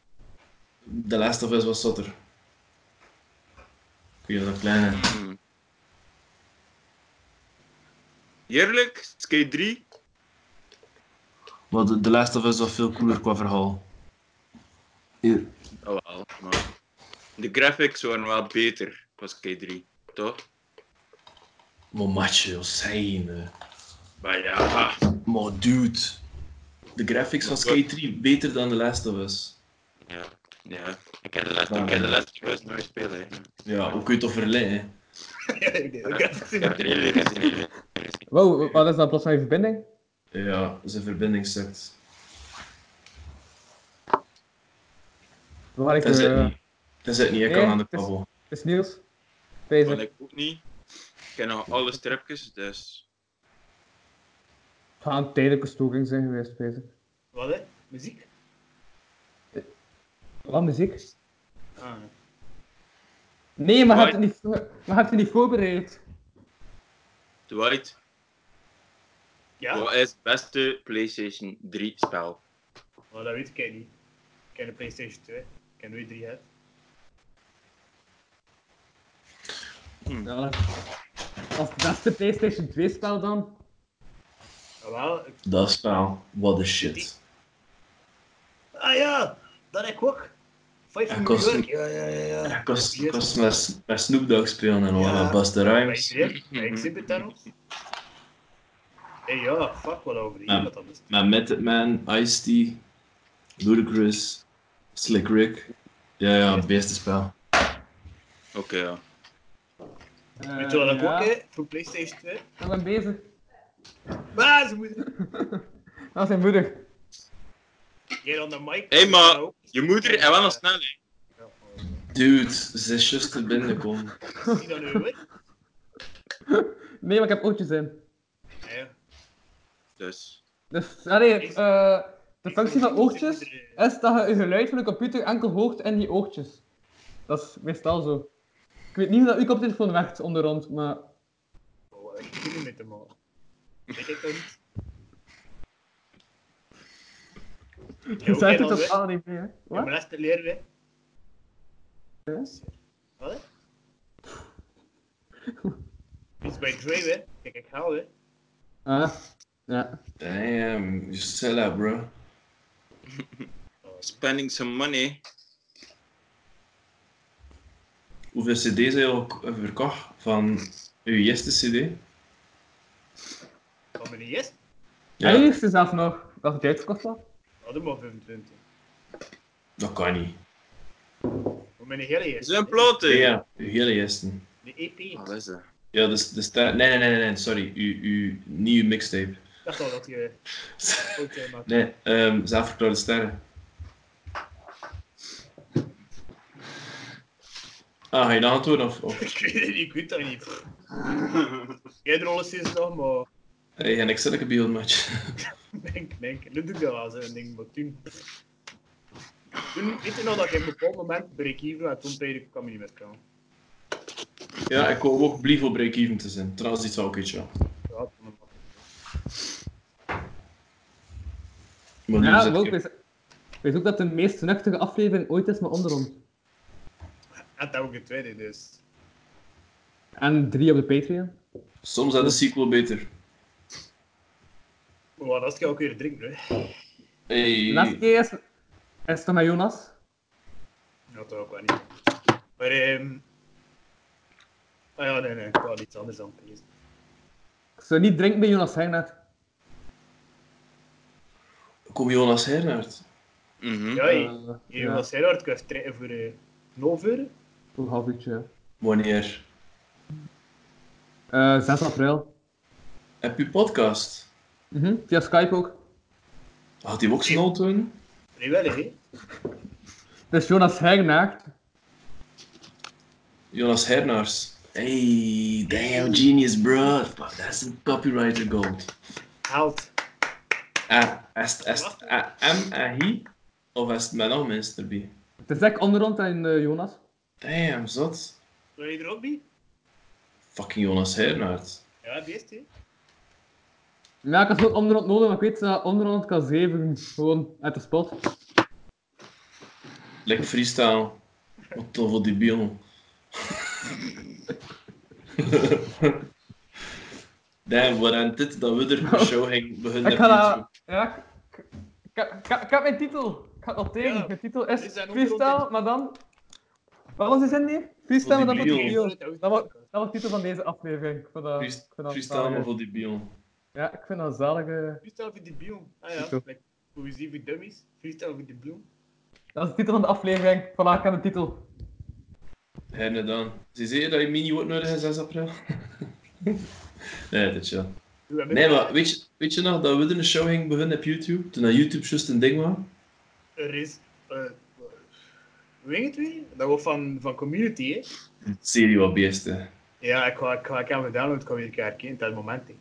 The Last of Us was zotter. Ik weet dat kleine.
Hmm. Eerlijk, Skate 3?
Maar The- The Last of Us was veel cooler qua verhaal. Hier.
Oh wel, maar... De graphics waren wel beter qua Skate 3, toch?
Maar matje, joh, zijn. eh.
Maar ja,
Maar dude. De graphics van Skate 3 beter dan The Last of Us.
ja, ja. Ik heb de laatste,
ik heb de
laatste best nooit spelen.
Ja, hoe kun je het toch verleiden?
Ik denk dat ik het zie.
er eerlijk, ik heb er eerlijk.
Wow, wat is dat plots van je verbinding?
Ja, zijn verbinding zakt.
Waar ik
Dat is
eh,
het niet. Dat is het niet, ik kan
Nee,
aan de
het is-
kabbel.
het is Niels. Bezig.
ik ook niet. Ik ken nog alle stripjes, dus...
Het gaat een tijdelijke stoking zijn geweest, bezig.
Wat, hè? Muziek?
Wat muziek?
Ah,
Nee, maar je hebt
Dwight.
het niet, voor- maar je hebt het niet voorbereid.
Dwight,
Ja?
wat is het beste PlayStation 3 spel?
Maar dat weet ik niet. Ik ken de PlayStation 2. Ik ken nooit 3 uit.
Ja, dat dat is Nou, het beste PlayStation 2-spel dan.
Jawel. Ah, ik-
Dat is nou, what the shit.
Ah ja, dat heb ik ook. Five
Ja,
from New
kost-
York. Ja, ja, ja. ja.
Dat kost,
Hier.
kost met, met Snoop Dogg spelen en eh,
Ja.
wat met Busta
Maar
Rhymes.
iedereen, maar ik zit het daarop. Hé ja, fuck wel over die
Ja.
wat dat is.
Met Method Man, Ice-T, Ludacris, Slick Rick. Ja, ja, het beste spel.
Oké, ja.
Eh,
Weet je wat ik
ja,
ook hè, voor PlayStation 2?
Ik ben bezig.
Maar ze moeten.
Dat is zijn moeder.
Jij dan de mic.
Hé, maar je moeder en wel nog snel, hè.
Ja,
Dude, ze is just te binnenkomen.
maar Zie dat nu weer?
Nee, maar ik heb oortjes in.
Ja, ja.
Dus.
Dus, allee,
Ik-
eh, de
ik
functie
vind
van
het
oortjes
niet iedereen.
is dat je je geluid van de computer enkel hoort in die oortjes. Dat is meestal zo. Ik weet niet hoe dat uw koptelefoon werkt onderhand, maar...
Oh, wat heb ik hier met hem al? Weet ik dat niet?
Je
oké,
zegt
dan
het op
weg.
alle niet meer, hè.
Ja,
Wat?
maar dat leren we.
Ja.
Wat? Iets bij Dre, hè? Kijk, ik haal, hè?
Ah, ja.
Damn, you sell out, bro.
Oh,
Spending some money.
Hoeveel cd's heb je ook verkocht van uw eerste cd?
Van mijn E yes?
En die is er zelf nog. Dat het uitverkocht was.
Hadden Oh, maar 25.
dat kan niet.
Van mijn hele
Is
yes.
dat een plotte?
Ja, ja, uw hele eerste.
De E EP.
Wat is dat?
Ja, dus de sta- Nee, nee, nee, nee, nee, sorry. Uw, uw, niet uw mixtape.
Ik dacht al dat je ook eh, maakt.
nee, ehm zelfverklaarde sterren. Ah, ga je dan antwoorden of, of
Ik weet het niet, ik weet dat niet. Jij rollen sinds dan, maar
hey, en ik zit ook een beeldmatch.
denk, denk. Nu doe ik dat wel zo'n ding, maar toen... Toen, weet je nog dat ik op een bepaald moment break-even had, toen zei ik, ik kan me niet meer komen.
ja, ik hoop ook blief op break-even te zijn. Trouwens, iets wel ook iets, ja.
Ja, toen een makkelijk.
Maar nu
Ja,
zit
maar ook.
ik-
Weet, weet ook dat de meest nuchtere aflevering ooit is met onderhand.
En dat ook een tweede, dus...
En drie op de Patreon.
Soms had de sequel beter.
Maar wat als ik ook weer drink, hè?
De
Hey.
laatste keer is, is het nog met Jonas.
Ja, toch ook wel niet. Maar, ehm... Ah ja, nee, nee, ik wou iets anders aan het lezen.
Ik zou niet drinken bij Jonas Heijnaert.
Kom Jonas Hernaert.
Mhm.
Ja, je,
Eh,
je
ja,
was heel hard kunnen trekken voor eh 0 euro.
voor een half uurtje.
Wanneer?
Eh, 6 april.
Heb je podcast?
Mhm, Via Skype ook.
Had die ook snel doen?
Nee, wel, hè?
Dus Jonas Heijnaert.
Jonas Hernaars. Hey, damn genius, bro. Fuck, that's some copywriter gold.
Haalt.
Ah, is het- is het ah, hem en hij? Of is het met nog mensen erbij?
Het is echt onderhand en eh, Jonas.
Damn, zot.
Wil je er ook bij?
Fucking Jonas Hernaert.
Ja, beest, hè?
Ja, ik had ook onderhand nodig, maar ik weet dat onderhand kan zeven. Gewoon uit de spot.
Lekker freestyle. Wat tof voor die biel. Damn, wat aan dit dat we er een show gingen beginnen
Ik
op
ga
YouTube.
dat... Ja, ik, ik, ik, ik- ik heb mijn titel. Ik ga het noteren.
Ja,
Mijn titel
dit
is
zijn ook
freestyle,
rondjes.
maar dan... Wat was die zin hier? Freestyle, maar dan voor
Voor die
de
bio.
bio. Dat was, dat was de titel van deze aflevering. Ik vind dat, ik
Freest-
vind dat
Freestyle
zalig.
maar voor die biel.
Ja, ik vind dat een zalige...
Freestyle voor de bloem. Ah ja,
Zo.
like, poëzie voor dummies. Freestyle voor de bloem.
Dat is de titel van de aflevering. Voilà, ik heb de titel.
Herne dan. Ze zeiden dat je mini ook nodig is 6 april. nee, dat is chill.
Doe hem
Nee,
in.
maar weet je, weet je nog dat we er een show gingen beginnen op YouTube? Toen dat YouTube juist een ding was?
Hm. Er is... eh weet je het weer? Dat wordt van, van community, hè?
Serie wat beesten.
Ja, ik ga ik ga ik aan mijn download kan weer een keer kijken, dat moment, hè.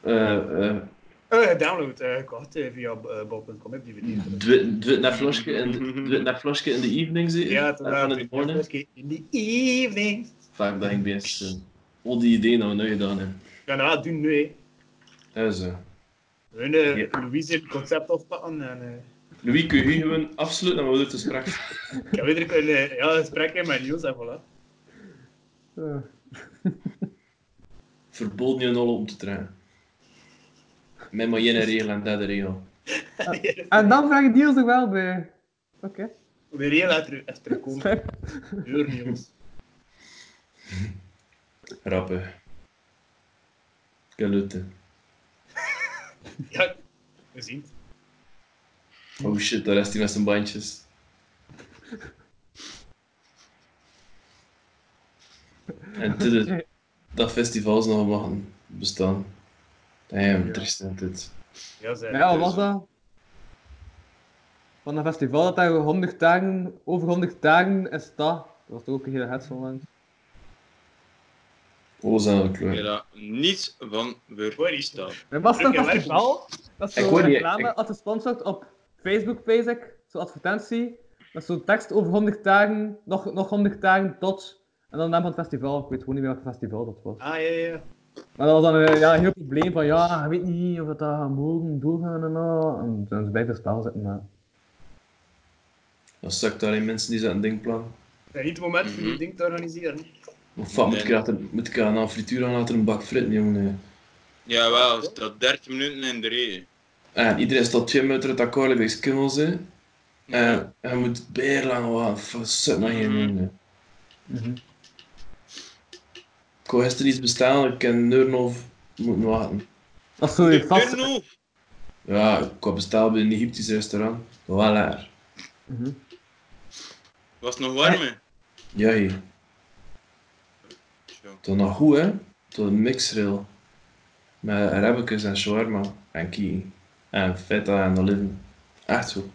Eh eh
Eh, gedownload, eh, gekocht eh, via eh, bol.com. Heb die verdiend.
Doe doe het naar Floske in de- doe het naar Floske in de evening, zeker?
Ja, het
en in de morning?
In the evening.
Vaak ben ik best. eh, Al die ideeën nou nu gedaan heb.
Ja, nou, doen nu. hè.
Dat is, eh.
Hun, eh,
Ja.
Louise heeft het concept oppakken. En, eh,
Louis, kun je gewoon afsluiten en we doen het dus straks.
ik heb weer een eh, ja, gesprek in mijn nieuws en voilà.
Eh,
Verboden je nul om te trainen. Met maar één regel en derde regel.
en dan vraag je Niels er wel bij. Oké.
Weer heel laat terug- echt terugkomen.
Stijn.
Deur nieuws.
Rappen. Kalutte.
Ja, we zien het.
Oh shit, daar is hij met zijn bandjes. En dit is- dat festival is nog mag bestaan. Damn,
Ja.
Tristan, dit.
Ja, ze.
Ja, wat was dat? Van een festival dat daar 100 dagen, over 100 dagen is dat. Dat was toch ook een hele hetzel langs.
Alles aan de
Ik heb
kleur.
daar niets van
Ah,
verstaan.
Er was
Druk
een
je weg.
festival, dat
Ik
zo'n
hoor niet,
reclame
ik-
had gesponsord op Facebook, basic, zo'n advertentie, met zo'n tekst over 100 dagen, nog, nog 100 dagen tot, en dan de naam van het festival, ik weet gewoon niet meer welk festival dat was.
Ah, ja, ja.
Maar dat was dan eh, ja, een heel probleem van, ja, ik weet niet of dat gaat mogen doorgaan en al, en dan ze blijven spel zitten, maar...
Dan stuk daarin mensen die zijn dingplan.
Dat is niet het moment om
Mhm.
die ding te organiseren.
Maar fuck, moet ik,
Nee.
later, moet ik aan een frituur aan laten een bak fritten, jongen. hè.
Jawel, is dat 30 minuten in de rij.
En iedereen staat twee meter uit akkoord bij skimmels, hè. En hij moet bijlang wachten. Fuck, Zet nog geen
Mhm.
jongen. hè. Mhm. Ik wou gisteren iets bestellen, ik ken Neurnov moeten wachten.
Dat is zo'n vast...
Turno!
Ja, ik had besteld bij een Egyptisch restaurant. Wel lekker.
Mhm.
Was het nog warm? hè?
Ja, hier.
Zo.
Toen nog goed, hè? Toen een mixreel. Met rebbekes en shawarma. En ki. En feta en oliven. Echt zo.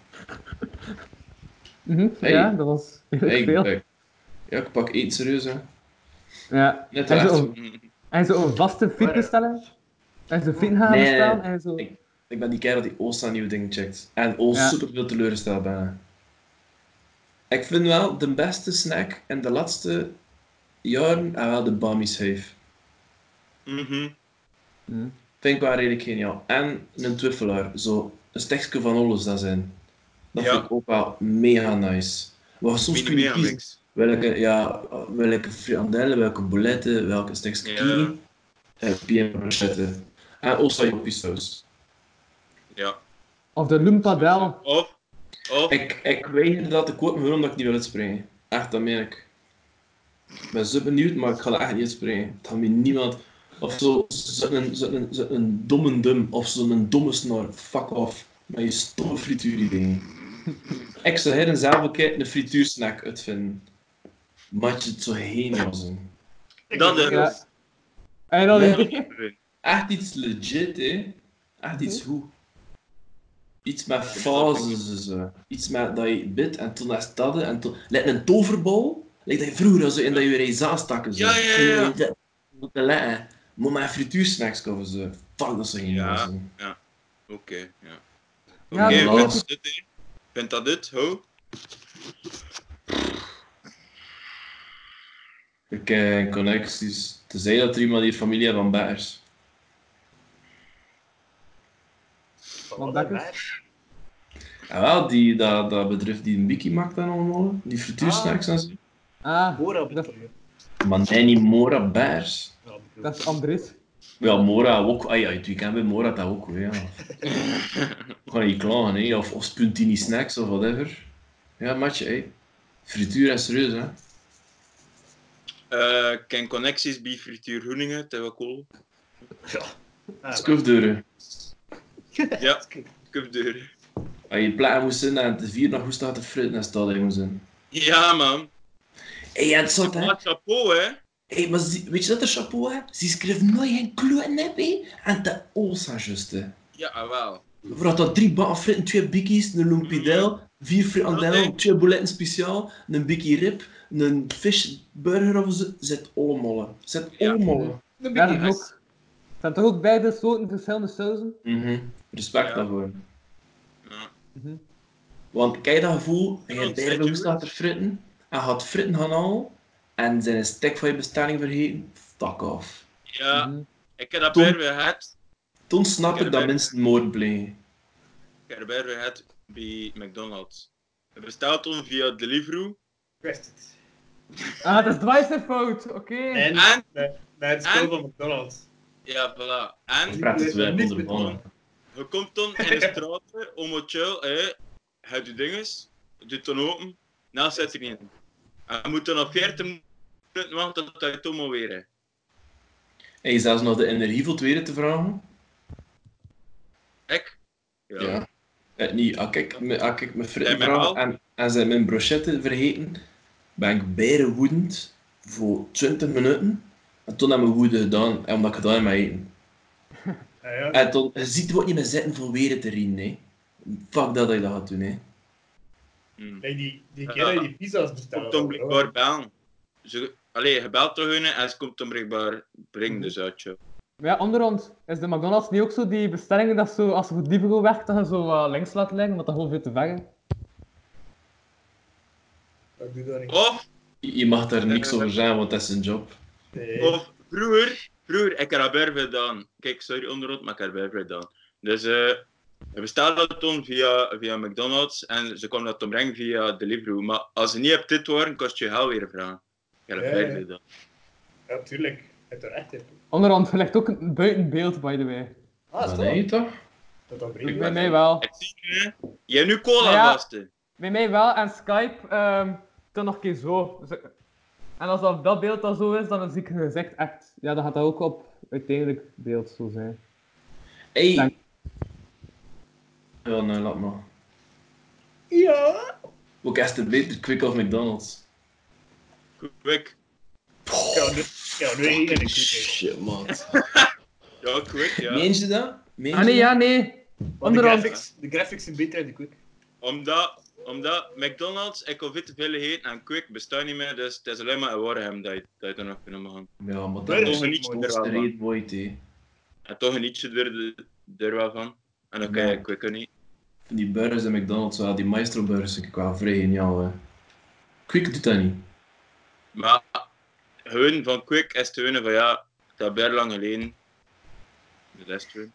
Mhm,
Hey.
Ja, dat was heel
Hey,
veel.
ik- ja, ik pak eten serieus, hè.
Ja.
Net
en,
echt.
zo,
Mhm.
en zo een vaste
Maar
fiets
ja.
bestellen. En zo fiets gaan
Nee.
bestellen. En zo...
Ik- Ik ben die kerel die Oost aan nieuwe dingen checkt. En Oost
Ja.
super veel teleurgesteld bijna. Ik vind wel de beste snack in de laatste jaren en wel de Bami Safe.
Mhm.
Mhm.
Vind ik wel redelijk geniaal. En een twiffelaar, zo een stekje van alles dat zijn. Dat
Ja.
vind ik ook wel mega nice. Maar soms kun je
Minimaal
kiezen
niks.
welke, ja, welke frikandellen, welke bouletten, welke stekjes Eh,
Ja.
kiezen. En pm En also saus.
Ja.
Of de Lumpadel.
Of, of,
Ik, ik weiger dat te kopen waarom dat ik niet wil uitspringen. Echt, dat meen ik. Ik ben zo benieuwd, maar ik ga dat echt niet uitspringen. Het gaat me niemand... Of zo, zo'n zo zo een domme dum, of zo'n domme snor. Fuck off. Met je stomme frituuridee. ik zou hier zelf ook een frituursnack uitvinden. Maatje, het zou geniaal zijn.
dan de
Ja. En dan
Ja.
die-
Echt iets legit, hè. Echt iets goed. Iets met fases, en zo. Iets met dat je bidt en toen is dat, en toen... Lijkt een toverbal. Lijkt dat je vroeger zo in dat je weer eens aanstakken, zo.
Ja, ja, ja, ja.
Dat- Moet je letten. Moet maar frituursnacks kopen, zo. Fuck, dat zijn geen
Ja.
ja.
Oké, ja.
Ja,
Oké,
maar-
vindt dat dit, hè? Vindt dat dit, ho?
Ik eh, connecties. Tenzij dat er iemand hier familie heeft van Betters.
Want dat is-
Ja, Ah, wel, die, dat, dat bedrijf die een bikkie maakt dan allemaal. Die frituursnacks en zo.
Ah,
Bora
dat,
bedoel je?
Maar nee, niet Mora Betters.
Ja, bedoel.
dat is Andries.
Ja, Mora ook. Ah ja, het weekend bij Mora dat ook weer. Ja. Gewoon niet klagen, hè. Of, of Spuntini Snacks of whatever. Ja, matje, hé. Frituur en serieus, hè.
Eh, Ik ken connecties bij Frituur Groeningen, dat is wel cool.
Ah,
Skufdeuren.
Ja, cupdeuren.
Als je plaat moest zijn en te vier nog goed staat te fritten, dan staat hij moest in.
Ja, man.
Hé, en het zat, hè.
Maar chapeau, hè.
Hé, maar zie- weet je dat er chapeau, hè? Ze schreef nooit geen kloten op, hè. En oh, de osa just, hè.
Ja, ah, wel.
Voor had dat drie bakken fritten, twee bikkies, een lumpidel, vier
Dat,
frikandellen,
hè.
twee bouletten speciaal, een bikkie rib, een visburger of zo. Zet allemaal. Zet
Ja.
allemaal.
Ja, dat is ook. zijn toch ook beide soorten verschillende sausen?
Mhm. Respect
Ja.
daarvoor.
Ja.
Mhm.
Want kijk dat gevoel, je hebt
Ontzettend
bijna
goed.
laten fritten, hij gaat fritten gaan al, en zijn een stek van je bestelling vergeten, fuck off.
Ja,
Mhm.
ik heb dat
Tom.
bij weer gehad.
Toen snap
Ik
ik
heb
dat
erbij-
mensen moord plegen.
Ik heb dat bij weer gehad bij McDonald's. We besteld toen via Deliveroo.
Wist het.
Ah, dat is Dwight's fout, oké.
En
En,
naar het spel van McDonald's. Ah,
ja, voilà.
Ik
En
praat het
Niet
wel
met
onder
Tom.
mannen.
Je komt dan in de straat, om het chill, hè. Heb je dinges, doet dan open, nou zit er niet in. En je moet dan nog 40 minuten wachten tot hij Tom weer hè.
En je zelfs nog de energie voor het weer te vragen.
Ik? Ja.
Ja. Eh, niet, als ik, me- als ik mijn
Zijn
fritten
we
vraag
al?
en, en zijn mijn brochette vergeten, ben ik bijna woedend voor 20 minuten. En toen heb ik mijn woede gedaan, en omdat ik gedaan heb met eten.
Ja, ja.
En dan, je ziet er ook niet meer zitten voor weer te riemen, hè. Fuck dat dat je dat gaat doen, hè.
Hm.
Nee, die, die
Ja.
keer dat je die pizza's
Komt
bestelde.
dan
hoor.
blijkbaar bellen. Ze, allee, je belt toch hun en ze komt dan blijkbaar brengen, dus uit je.
Maar ja, onderhand is de McDonald's niet ook zo die bestellingen dat zo, als ze goed dieper werkt, dat je zo eh, links laat liggen, omdat dat gewoon veel te ver is?
Ik doe dat niet.
Of,
Je je mag daar niks over zeggen, want dat is een job.
Nee.
of vroeger, vroeger, ik heb dat bij weer gedaan. Kijk, sorry onderhoud, maar ik heb dat bij weer gedaan. Dus, eh we bestelde dat toen via, via McDonald's en ze kwam dat dan brengen via Deliveroo. Maar als ze niet hebt dit waren, kost je geld weer vragen. Ik heb dat
Ja,
bij
ja.
weer gedaan.
Ja, tuurlijk. Het er echt
Ah,
in.
Onderhand, je ligt ook een- buiten beeld, by the way.
Ah, is
Maar nee,
dat?
toch?
Dat dat
Ik
Bij
brief.
ben-
mij wel.
Ik zie je, hè. je hebt nu cola
Ja.
gasten.
Bij mij wel, en Skype, ehm dan nog een keer zo. Zo- En als dat, dat beeld dan zo is, dan zie ik je gezicht echt. Ja, dan gaat dat ook op uiteindelijk beeld zo zijn.
Hey!
Dank.
Ja, nou, laat maar.
Ja.
Ook is het beter, Quick of McDonald's?
Quick.
Ja, nu, ja, nu hier in de keuken.
Shit, man.
Ja, quick, ja.
Meen je dat? Meen je
Ah nee,
dat?
ja, nee.
Want de
Onderhand.
graphics, de graphics zijn beter in de keuken.
Omdat, omdat McDonald's, ik kon veel te veel eten en quick bestaat niet meer, dus het is alleen maar in Warham dat je, dat je er nog kunnen gaan.
Ja, maar dat
Burgers
is
Toch
zijn
geniet je
mooi.
er
de
wel van.
reden, boy, hè.
En toch geniet je er, er wel van. En dan kan je quick niet.
Van die burgers en McDonald's, ja, die maestro burgers, ik wel vrij geniaal, hè. Quick doet dat niet.
Maar hun van quick is te winnen van ja, dat is bij lang geleden. De rest hun.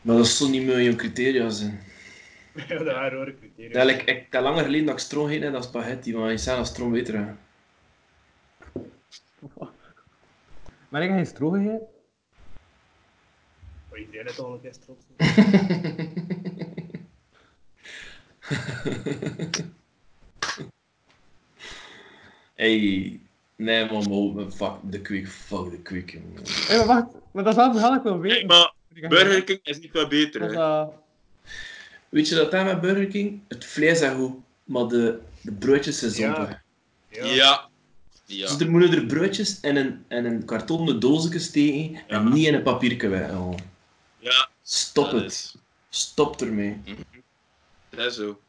Maar dat zou niet meer jouw criteria zijn.
Ja, dat waren hoor criteria.
Ja, like, ik heb langer geleden dat ik stroom heet dan spaghetti, want je zei dat stroom beter hè.
Maar ik heb geen stro gegeten.
Maar Oh, iedereen heeft al een best trots.
Hey, nee man, maar ook- fuck de quick, fuck de quick. jongen.
Hé, maar wacht. Maar dat is wel een verhaal dat ik wil
Kijk,
weten.
maar
Ik heb
Burger
geen-
King is niet veel beter.
Dat is,
hè.
eh,
Weet je dat daar met Burger King? Het vlees is goed, maar de, de broodjes zijn
Ja.
zompig.
Ja. Ja.
Dus er moeten er broodjes in een, in een kartonnen doosje steken
Ja.
en niet in een papiertje weghalen.
Ja,
Stop
dat
het.
is-
Stop ermee.
Dat is zo.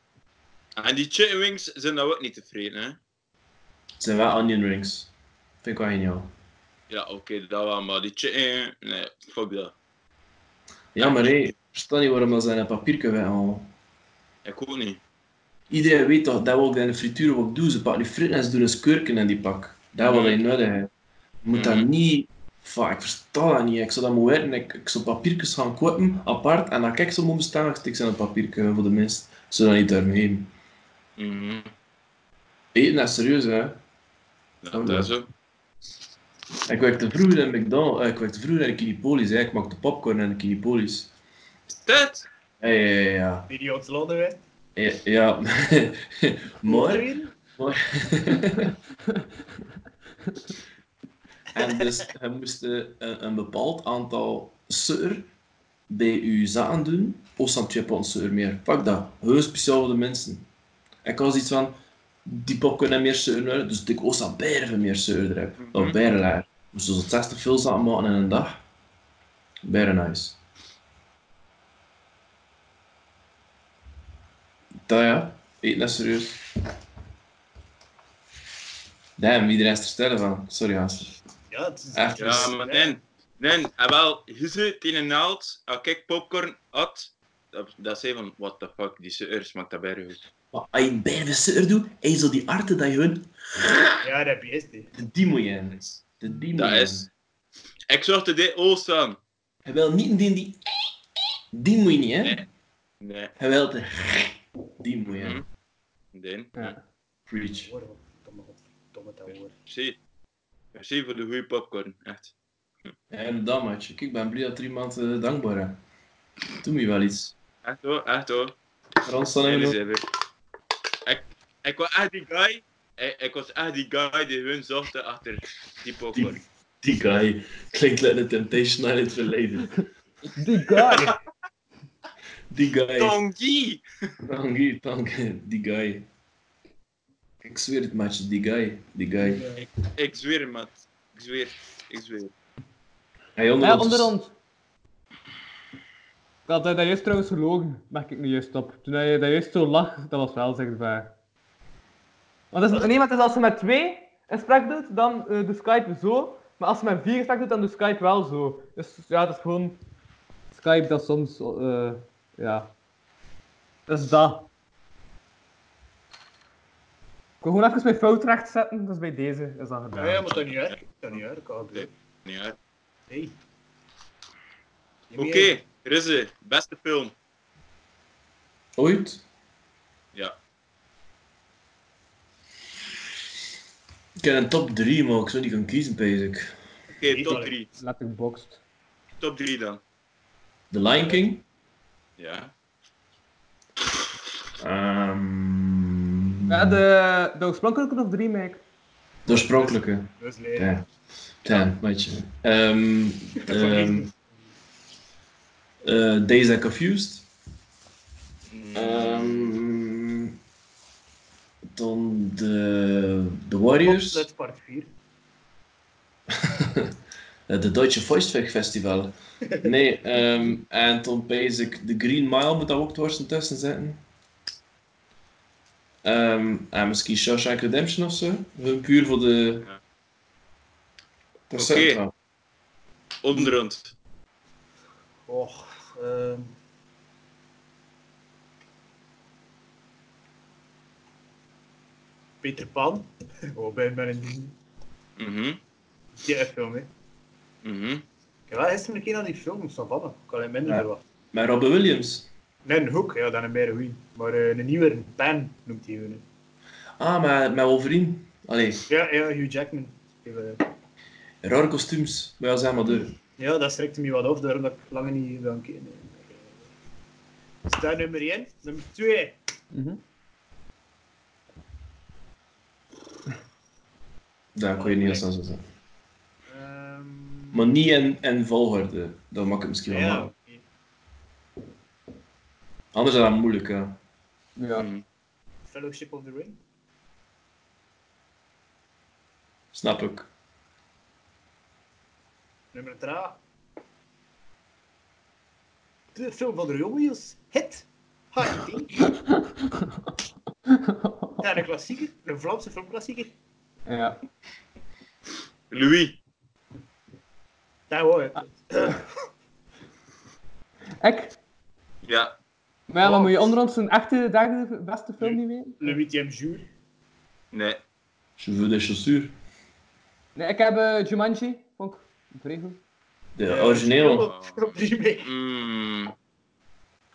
En die chicken wings zijn daar ook niet tevreden, hè?
Het zijn wel onion rings. Vind ik wel geniaal.
Ja, oké, dat wel, maar die chicken... Nee, fuck dat.
Ja, maar hé, ik versta niet waarom dat ze in een oh. papiertje weghalen.
Ik ook niet.
Iedereen weet toch dat we ook in de frituur wat doen. Ze pakken die frieten en ze doen een skurken in die pak. Dat wil je nodig hebben. Je moet dat
Mhm.
niet... Fuck, ik versta dat niet. Ik zou dat moeten weten. Ik, ik zou papiertjes gaan kopen, apart. En dan kijk ze moeten staan, stik ze in een papiertje voor de mensen. Zodat niet daarmee
Mhm.
Eten dat is serieus, hè.
Ja,
Oh,
dat
ja.
is zo.
Ik werkte vroeger in McDonald's. eh, ik werkte vroeger in Kinipolis, hè. Ik maakte popcorn in Kinipolis.
Is dat?
Ja, ja, ja, ja.
Die die ons landen wij.
Ja, ja. maar... en dus hij moest eh, een, een bepaald aantal suur bij uw zaken doen. Of dan twee pond suur meer. Pak dat. Heel speciaal voor de mensen. Ik was iets van, die pop kunnen meer suur nodig, dus ik was dan bijna meer suur erop.
Mhm.
Dat bijna laag. Moest zo'n 60 veel zaken maken in een dag. Bijna nice. Dat ja, eet dat serieus. Damn, iedereen is er sterren van. Sorry, Hans.
Ja, het is...
Echt.
Ja, maar nee. Nee, en wel, je zit in een naald. Als ik popcorn had, dat, dat zei van, what the fuck, die zeur smaakt dat bijna goed.
Maar als je bij de zeur doet, hij zo die arten dat je hun...
Ja, dat is die.
Die moet je hebben. dus. De die moet
Dat
je
is-
hebben.
Ik zorg dat dit oog staan.
Hij wil niet een die die... Die moet je niet, hè.
Nee. Mhm. Nee,
Hij wil de... Die moet je hebben.
nee.
Ja.
Preach.
Waarom? Domme godverdomme dat woord.
Merci. Merci voor de goede popcorn, echt.
Ja, inderdaad, maatje. Kijk, ik ben blij dat er iemand eh, dankbaar is. Doe me wel iets.
Echt hoor, echt hoor.
Frans dan
Jullie
even...
zijn weer. Ik, ik was echt die guy. eh, Ik, ik was echt die guy die hun zochten achter die popcorn.
Die, die guy klinkt like de Temptation Island het verleden.
Die guy!
Die guy.
Tongi!
Tangi, Tangi, die guy. Ik zweer het, maatje. Die guy. Die guy.
Ik zweer, man. Ik zweer. Ik zweer.
Hij onder
Hé,
ons.
onder ons. Dat hij dat juist trouwens gelogen, merk ik nu juist op. Toen hij dat juist zo lag, dat was wel zichtbaar. Want het is, nee, maar het is als je met twee een gesprek doet, dan eh doet Skype zo. Maar als je met vier gesprek doet, dan doet Skype wel zo. Dus ja, het is gewoon Skype dat soms, eh, ja. Dat is dat. Ik wil gewoon even mijn fout rechtzetten, dus bij deze is dat
Ah, Ja,
gedaan.
ja, maar dat niet werken. Dat niet werken, Ah, ouwe.
Nee. Niet uit.
Nee.
Oké, er is ze. Beste film.
Ooit?
Ja.
Ik heb een top 3, maar ik zou niet gaan kiezen, basic.
Oké, top 3.
Letterboxd.
Top 3 dan.
The Lion King?
Ja.
Ehm
Ja, de, de oorspronkelijke nog drie, Mike.
De oorspronkelijke.
Dus
Ja.
leren.
Ja, weet je. Ehm ehm, eh, Days Are Confused.
Mm.
Ehm dan de, de Warriors.
Dat is part 4.
Eh, de Deutsche Voiceweg Festival. Nee, ehm, en Tom Basic, de Green Mile moet daar ook dwars tussen zitten. Ehm, en misschien Shawshank Redemption of zo. Gewoon Puur voor de.
Ja.
Dat
Oké.
zit wel.
Onder ons.
Och, ehm. Peter Pan. Oh, ben ben een
Mhm.
die film, hè.
Mhm.
Ik heb wel gisteren een keer naar die film Savanne. Ik kan hem minder
Ja.
wat.
Maar Robin Williams.
Nee, een hoek, ja, dan een meer goeie. Maar eh, een nieuwe, een pen noemt hij hun. hè.
Ah, maar met Wolverine. Allee,
Ja, ja, Hugh Jackman. Even, eh,
raar kostuums. Maar ja, zeg maar door.
Ja, dat strikte me wat af, daarom dat ik lange niet dan keer. Nee. Is dat nummer 1? Nummer 2.
Daar kon je niet eens aan zo zeggen. Maar niet in, in volgorde. Dat maakt het misschien wel
Ehm, ja,
makkelijk.
oké.
Anders is dat moeilijk, hè.
Ja.
Mhm.
Fellowship of the Ring.
Snap ik.
Nummer 3. De film van de Rommeels. Het. Haiti. Ja, een klassieker. Een Vlaamse filmklassieker.
Ja.
Louis.
Daar hoor je.
Ik?
Ja.
Maar ja, dan moet je onder ons een echte derde beste film niet weten.
Louis T.M. Jure.
Nee.
Je veux des chaussures.
Nee, ik heb eh, Jumanji, vond ik vrij goed.
De origineel.
Oh.
Op die mee.
Mm.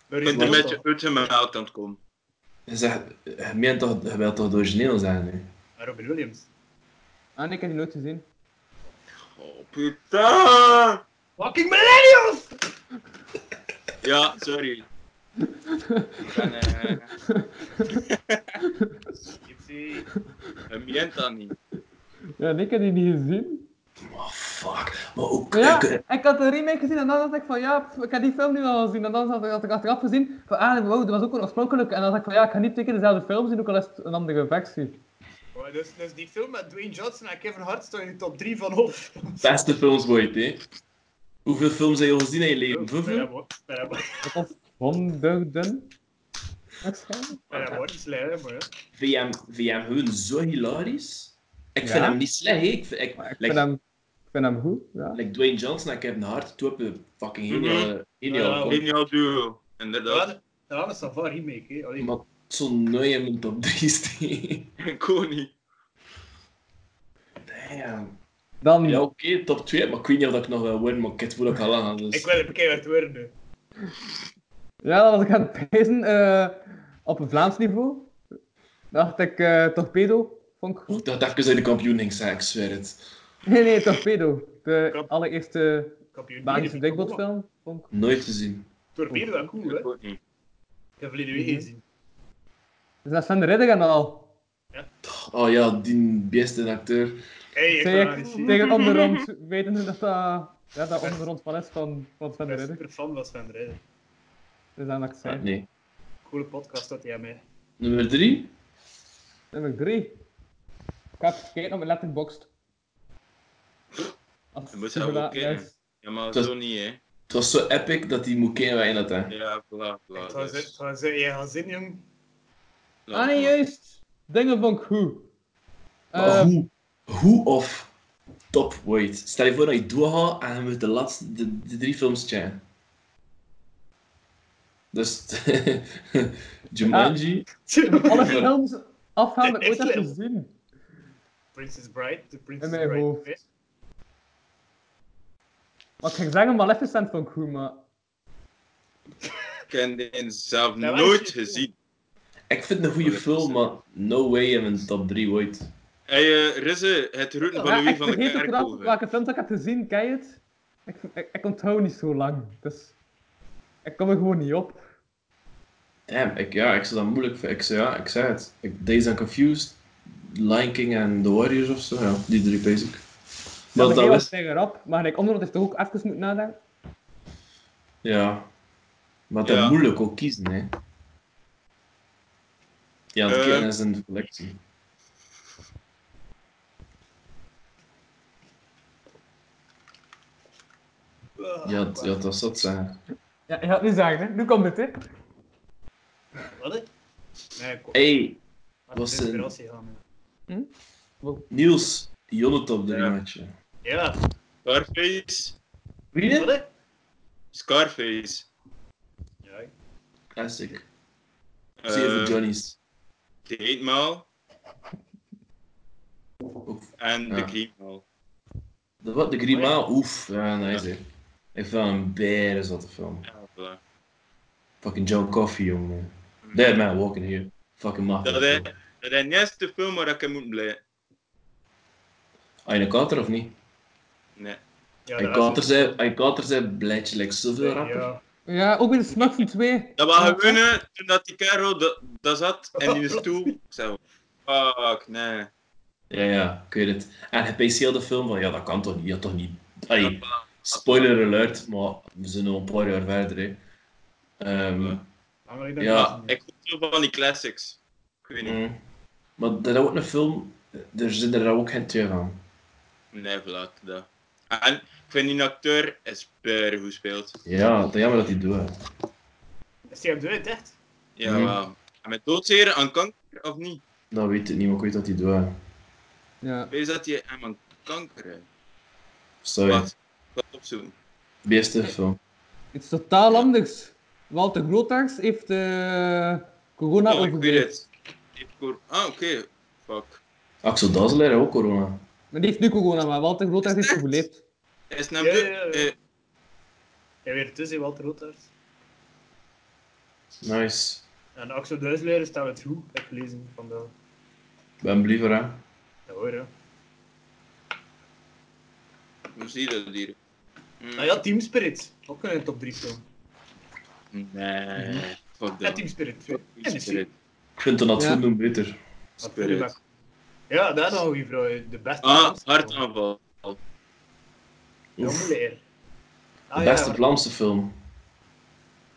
Maar
Ik
is
ben een
wel
beetje
zo.
uit mijn hout aan het komen.
Je zegt, je meent toch, je wilt toch het origineel zijn, hè?
Maar Robin Williams.
Ah nee, ik heb die nooit gezien.
Oh, putain!
Fucking millennials!
Ja, sorry. Ik ben eh,
Gypsy.
een mienta niet.
Ja, nee, ik heb die niet gezien.
Oh, fuck. Maar ook... eh,
Maar ja,
ik- ik-
ik had de remake gezien en dan dacht ik van ja, pff, ik heb die film nu al gezien. En dan had ik, had ik achteraf gezien van ah, wow, dat was ook een oorspronkelijk. En dan dacht ik van ja, ik ga niet twee keer dezelfde film zien, ook al is het een andere versie.
Oh, dus, dus die film met Dwayne Johnson en Kevin Hart staat in de top 3 van hoofd.
Beste films ooit, hè. Hoeveel films heb je al gezien in je leven?
Bijna
Hoeveel?
woord. Bijna woord.
Dat was honderden. Waarschijnlijk.
Bijna woord. Is leer, maar ja.
Vind je hem- vind je hem gewoon zo hilarisch? Ik
Ja.
vind hem niet slecht, hè. Ik, vind- ik,
Maar ik
like,
vind hem, ik vind hem goed. Ja.
Like Dwayne Johnson en Kevin Hart, twee hebben fucking
Mhm.
geniale, geniale
Ja,
combo.
Geniaal duo,
Dat
inderdaad.
waren- dat waren een Savar remake, hè. Allee,
Maar zo'n nui in mijn top 3 steen.
Koning.
Damn.
Dan,
Ja, oké, top 2, maar ik weet niet of ik nog wel win, maar ik weet hoe ik al aan. Dus...
ik wil even keihard worden, hè.
ja, dat was ik aan het prijzen op een Vlaams niveau. Dacht ik, eh, torpedo, vond ik goed.
Ik dacht even in de kampioen ging zijn, ik zweer het.
Nee, nee, torpedo. De
Krap.
allereerste
Kampioen.
Belgische dekbotfilm, vond ik.
Nooit te zien.
Torpedo, dat cool, hè.
Koning.
Ik heb verleden
Mhm.
week gezien.
Dus dat is Sven de Ridder en al.
Oh ja, die beste acteur.
Hey, ik
Zeg
ben
ik
een-
tegen onderrond, wetende dat dat, ja, dat onderrond van is van, van Sven de
Ik ben
Ridder.
super fan van Sven de Ridder.
Dus dan dat ik
Ah,
zei.
nee.
Coole podcast dat hij aan mij.
Nummer 3?
Nummer 3. Ik heb gekeken op mijn letterboxd.
Je
Als
moet
het
zelf ook
superlaat-
kennen.
juist.
Ja, maar
Dat-
zo niet, hè.
Het was zo epic dat die moet kennen waarin dat hè.
Ja, voilà, voilà.
Het was-
dus.
het was- eh, Jij gaat zin, jong.
Laat
Ah nee,
maar.
juist. Dingen vond ik goed.
Oh.
Maar
Eh,
hoe, hoe of top weight? Stel je voor dat je doorgaat en je moet de laatste de, de drie films checken. Dus Jumanji,
alle films afgaan dat ik ooit heb
Echt?
gezien.
Princess Bride, de Princess
In mijn
Bride.
hoofd.
twee.
Wat ik zeggen, Maleficent vond ik goed, maar...
Ik heb die zelf
Ja, waar
nooit
is die
gezien.
ik vind het een goede film, maar no way in mijn top 3 ooit.
Hey, eh, Rizze, het roeten van
Ja,
Louis
ik
van de
vergeet ook knap
Kerkhoven.
welke films ik heb gezien, ken je het? Ik, ik, ik onthoud niet zo lang, dus... Ik kom er gewoon niet op.
Damn, ik, ja, ik zou dat moeilijk vinden. Ik zei, ja, ik zei het. Ik, Days and Confused, Lion King en The Warriors of zo, ja, die drie basic. Maar
Maar
dat
was
was...
tegen rap, maar ik onderhand heeft toch ook even moeten nadenken.
Ja. Maar dat
Ja.
moeilijk ook kiezen, hè. Ja, het
Eh.
kennen is een collectie.
Ah,
Ja, t- ja, dat zat zijn.
Ja, je gaat het niet zeggen, hè. Nu komt het, hè.
Wat? hè? Nee, kom.
Hey,
Laat
was
de
een-
inspiratie gaan, hè.
Niels, Jonne top 3
Ja.
matje.
Ja,
Scarface.
Wie
wat? hè?
Scarface.
Ja, ik-
Classic.
Eh,
Zeven Johnny's.
De Eetmaal
Oef.
en
Ja.
de Greenmaal.
De, wat, de Grima? Oef, oh, ja, nice hè. Ik vind wel een beren zotte film.
Ja, voilà.
Fucking John Coffee, jongen.
Mhm.
Dead Man Walking Here. Fucking machtig.
Dat is- Dat is net de film waar ik in moet blijven.
Aan je kater of niet?
Nee.
ja,
Aan je
dat was
kater
het.
zei, aan je kater zei blijtje like zoveel rapper.
Ja.
Ja, ook weer de Smurfs in 2.
Dat was gewonnen toen dat die kerel da- daar zat en in de stoel. Ik zei, fuck, nee.
Ja, ja, ik weet het. En hij pees heel de film van, ja, dat kan toch niet, ja, toch niet. Ai,
Ja,
spoiler alert, maar we zijn al een paar jaar verder, hè. Ehm,
Lang geleden dat
ja,
ik-
Ah, Ik hoop zo van die classics. Ik weet niet.
mm. maar dat is ook een film, er zitten er ook geen twee van.
Nee, voilà. Dat. En ik vind die acteur is per goed speelt.
Ja, dat is jammer dat hij het doet. hè.
Is die hem dood, echt?
Ja,
Mhm.
wel. En met doodzeren aan kanker of niet?
Dat Nou weet ik niet, maar ik weet dat hij het doet. hè.
Ja.
Weet je dat hij hem aan kanker heeft?
Sorry,
Wacht, ik ga het opzoeken.
beste film.
Iets totaal anders. Walter Grootaars heeft eh, corona
Oh, ik weet
overleefd.
het. Die heeft cor- Ah, oké. Fuck.
Axel Dazzler, hè, ook corona.
Maar die heeft nu corona, maar Walter Grootaars heeft overleefd.
Hij is naar
Ja, ja, ja.
eh,
Ja, weer tussen, Walter Rotaars.
Nice.
En Axel Duizeleer staat het goed, heb ik gelezen vandaag.
Ik ben bliever, hè.
Ja hoor,
Ah,
ja.
Eh, Hoe zie je dat hier? Mm.
Ah ja, Team Spirit. Ook een top 3 film.
Nee. Fuck
Ja,
dat.
Team Spirit 2.
Spirit. Spirit.
Ik vind de
Ja.
Natsoen doen beter.
Ja, daar nog een vrouw. De beste
Ah,
Vlaamse film.
hartaanval.
Ja,
Oef.
moeilijk, hè. Ah,
De
ja,
beste
ja.
Vlaamse film.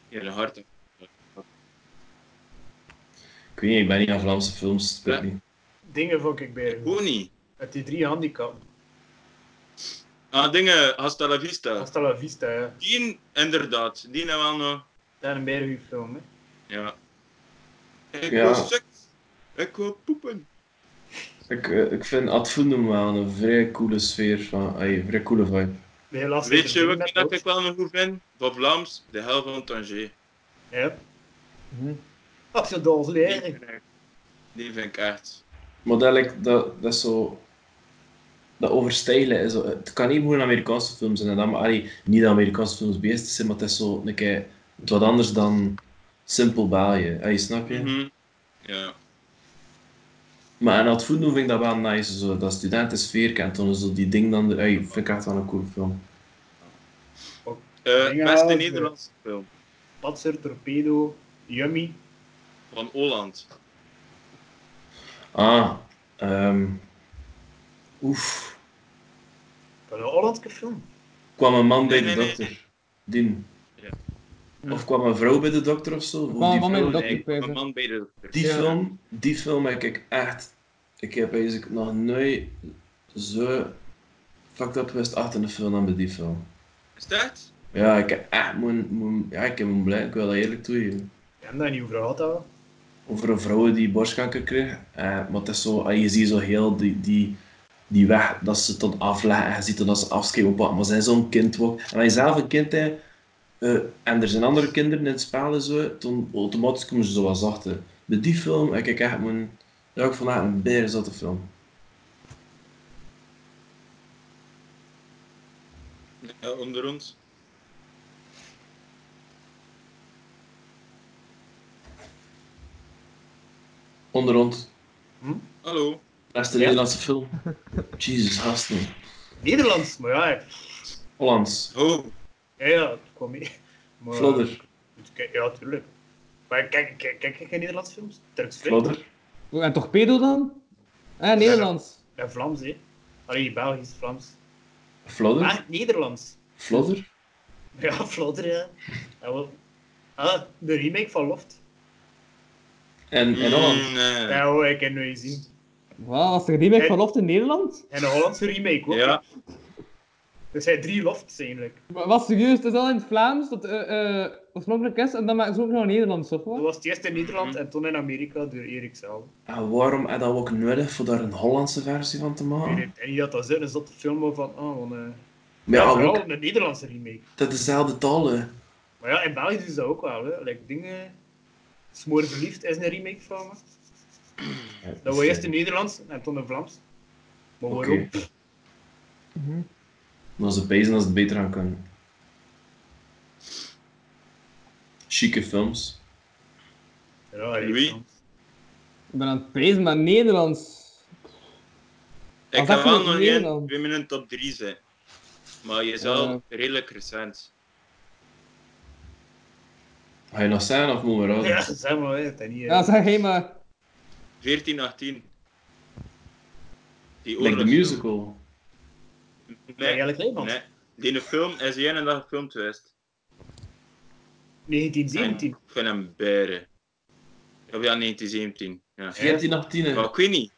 Ja, een hartaanval.
Ik weet niet, ik ben niet aan Vlaamse films. Ik weet
Ja.
niet.
Dingen vond ik bij.
Hoe niet?
Met die drie handicap.
Ah, dingen, hasta la vista.
Hasta la vista, ja.
Die, inderdaad. Die nou wel nog.
Daar een berg film, hè.
Ja. Ik
Ja.
wil seks. Ik wil poepen.
Ik, eh, ik vind Ad Fundum wel een vrij coole sfeer, van, ay, een vrij coole vibe.
Heel lastig
Weet je
te
wat
doen met
ik- dat
dat.
ik wel nog goed vind? Van Vlaams, de hel van Tangier.
Ja. Hm.
Mhm.
Ach, zo dol
Die
leren.
vind ik- die vind ik echt.
Maar dat, lijkt- dat, dat is zo... Dat overstijlen is... zo- Het kan niet gewoon Amerikaanse films zijn. En dan, maar, allee, niet dat Amerikaanse films beest zijn, maar het is zo een keer het wat anders dan simpel baaien. Allee, snap je?
Mhm. Ja.
Maar aan het voeden vind ik dat wel nice. Zo, dat studentensfeer kent toen zo die ding dan... Allee, vind ik echt wel een cool film.
Eh,
Dingen
beste
wel, eh.
Nederlandse film
Patser, torpedo, yummy.
van Oland.
Ah. ehm oef.
Van een Hollandse film.
Kwam een man bij
Nee,
de
nee,
dokter.
nee.
Dien.
Ja.
Of kwam een vrouw bij de dokter of zo? Of
kwam
die
een man bij de
vrouw-
dokter.
Nee,
Peter.
van Man bij de Dokter.
Die
Ja.
film, die film heb ik echt. Ik heb eigenlijk nog nooit zo fucked up geweest achter de film dan bij die film.
Is dat?
Ja, ik heb echt mijn, mijn- ja, ik heb mijn blij, ik wil dat eerlijk toegeven.
Ik heb daar niet over gehad, hè.
Over een vrouw die borstkanker kreeg. Eh, maar het is zo, ah, je ziet zo heel die, die, die weg dat ze tot afleggen. En je ziet dan dat ze afscheid op maar zijn zo'n kind wordt. En wij zelf een kind hè, eh, en er zijn andere kinderen in het spel en zo, toen automatisch komen ze zo wat zachter. Bij die film heb ik echt mijn, ja, ik vond dat een berenzotte film.
Ja, onder ons.
Onder ons.
Hm?
Hallo.
Dat is de Nederlandse film. Jezus, gasten.
Nederlands, maar ja, ik-
Hollands.
Ho.
ja, ja, ik kwam mee. Maar,
Flodder.
Kijk, Ja, tuurlijk. Maar kijk, kijk, kijk, kijk geen Nederlandse films? Turks film.
Flodder.
Oh, en torpedo dan? Eh, Nederlands.
En Vlaams, hè. Allee, Belgisch, Vlaams.
Flodder.
Maar Nederlands.
Flodder.
Ja, Flodder, ja. Ah, wel. Ah, de remake van Loft.
En, en Holland.
Mm, nee.
Ja, hoor, ik heb het nooit gezien.
Wauw, was er die mee
Eh.
van Loft in Nederland?
En een Hollandse remake, hoor.
Ja.
Er zijn drie Lofts, eigenlijk.
Wa- Was serieus, het is al in het Vlaams, dat eh, eh, oorspronkelijk is, en dan maken ze ook nog een Nederlands, toch?
Dat
hoor?
was het eerst in Nederland en toen in Amerika door Erik zelf.
En waarom had dat ook nodig voor daar een Hollandse versie van te
Ik
maken?
weet En niet dat dat zin is dat de film van, ah, want, eh,
Maar ja,
vooral
ook,
een Nederlandse remake.
dat is dezelfde talen.
Maar ja, in België doen ze dat ook wel, hè. Like, dingen... Smoor verliefd is een remake van, hè. Dat
dus,
was
eh,
eerst in Nederlands en toen in Vlaams. Maar
Oké.
waarom?
Maar ze bezig als ze het beter aan kunnen. Chique films.
Ja, hey,
Louis?
Frans.
Ik ben aan het pezen, maar Nederlands.
Ik
Als dat
heb wel
van
nog
Nederland.
één twee minuten top 3 zijn. Maar je is wel redelijk recent.
Ga je nog zijn of moet we raden?
Ja, zeg maar, hè, het is niet... eh,
Ja, zeg hé, maar.
14, 18. Die
Like the
oorlogsfilm.
musical.
bij
Nee,
Jelle Kleeman.
nee. Die film is die ene dag gefilmd geweest.
1917.
En Ik vind hem beren. Of ja, 1917. Ja.
14, 18.
Maar ik weet niet.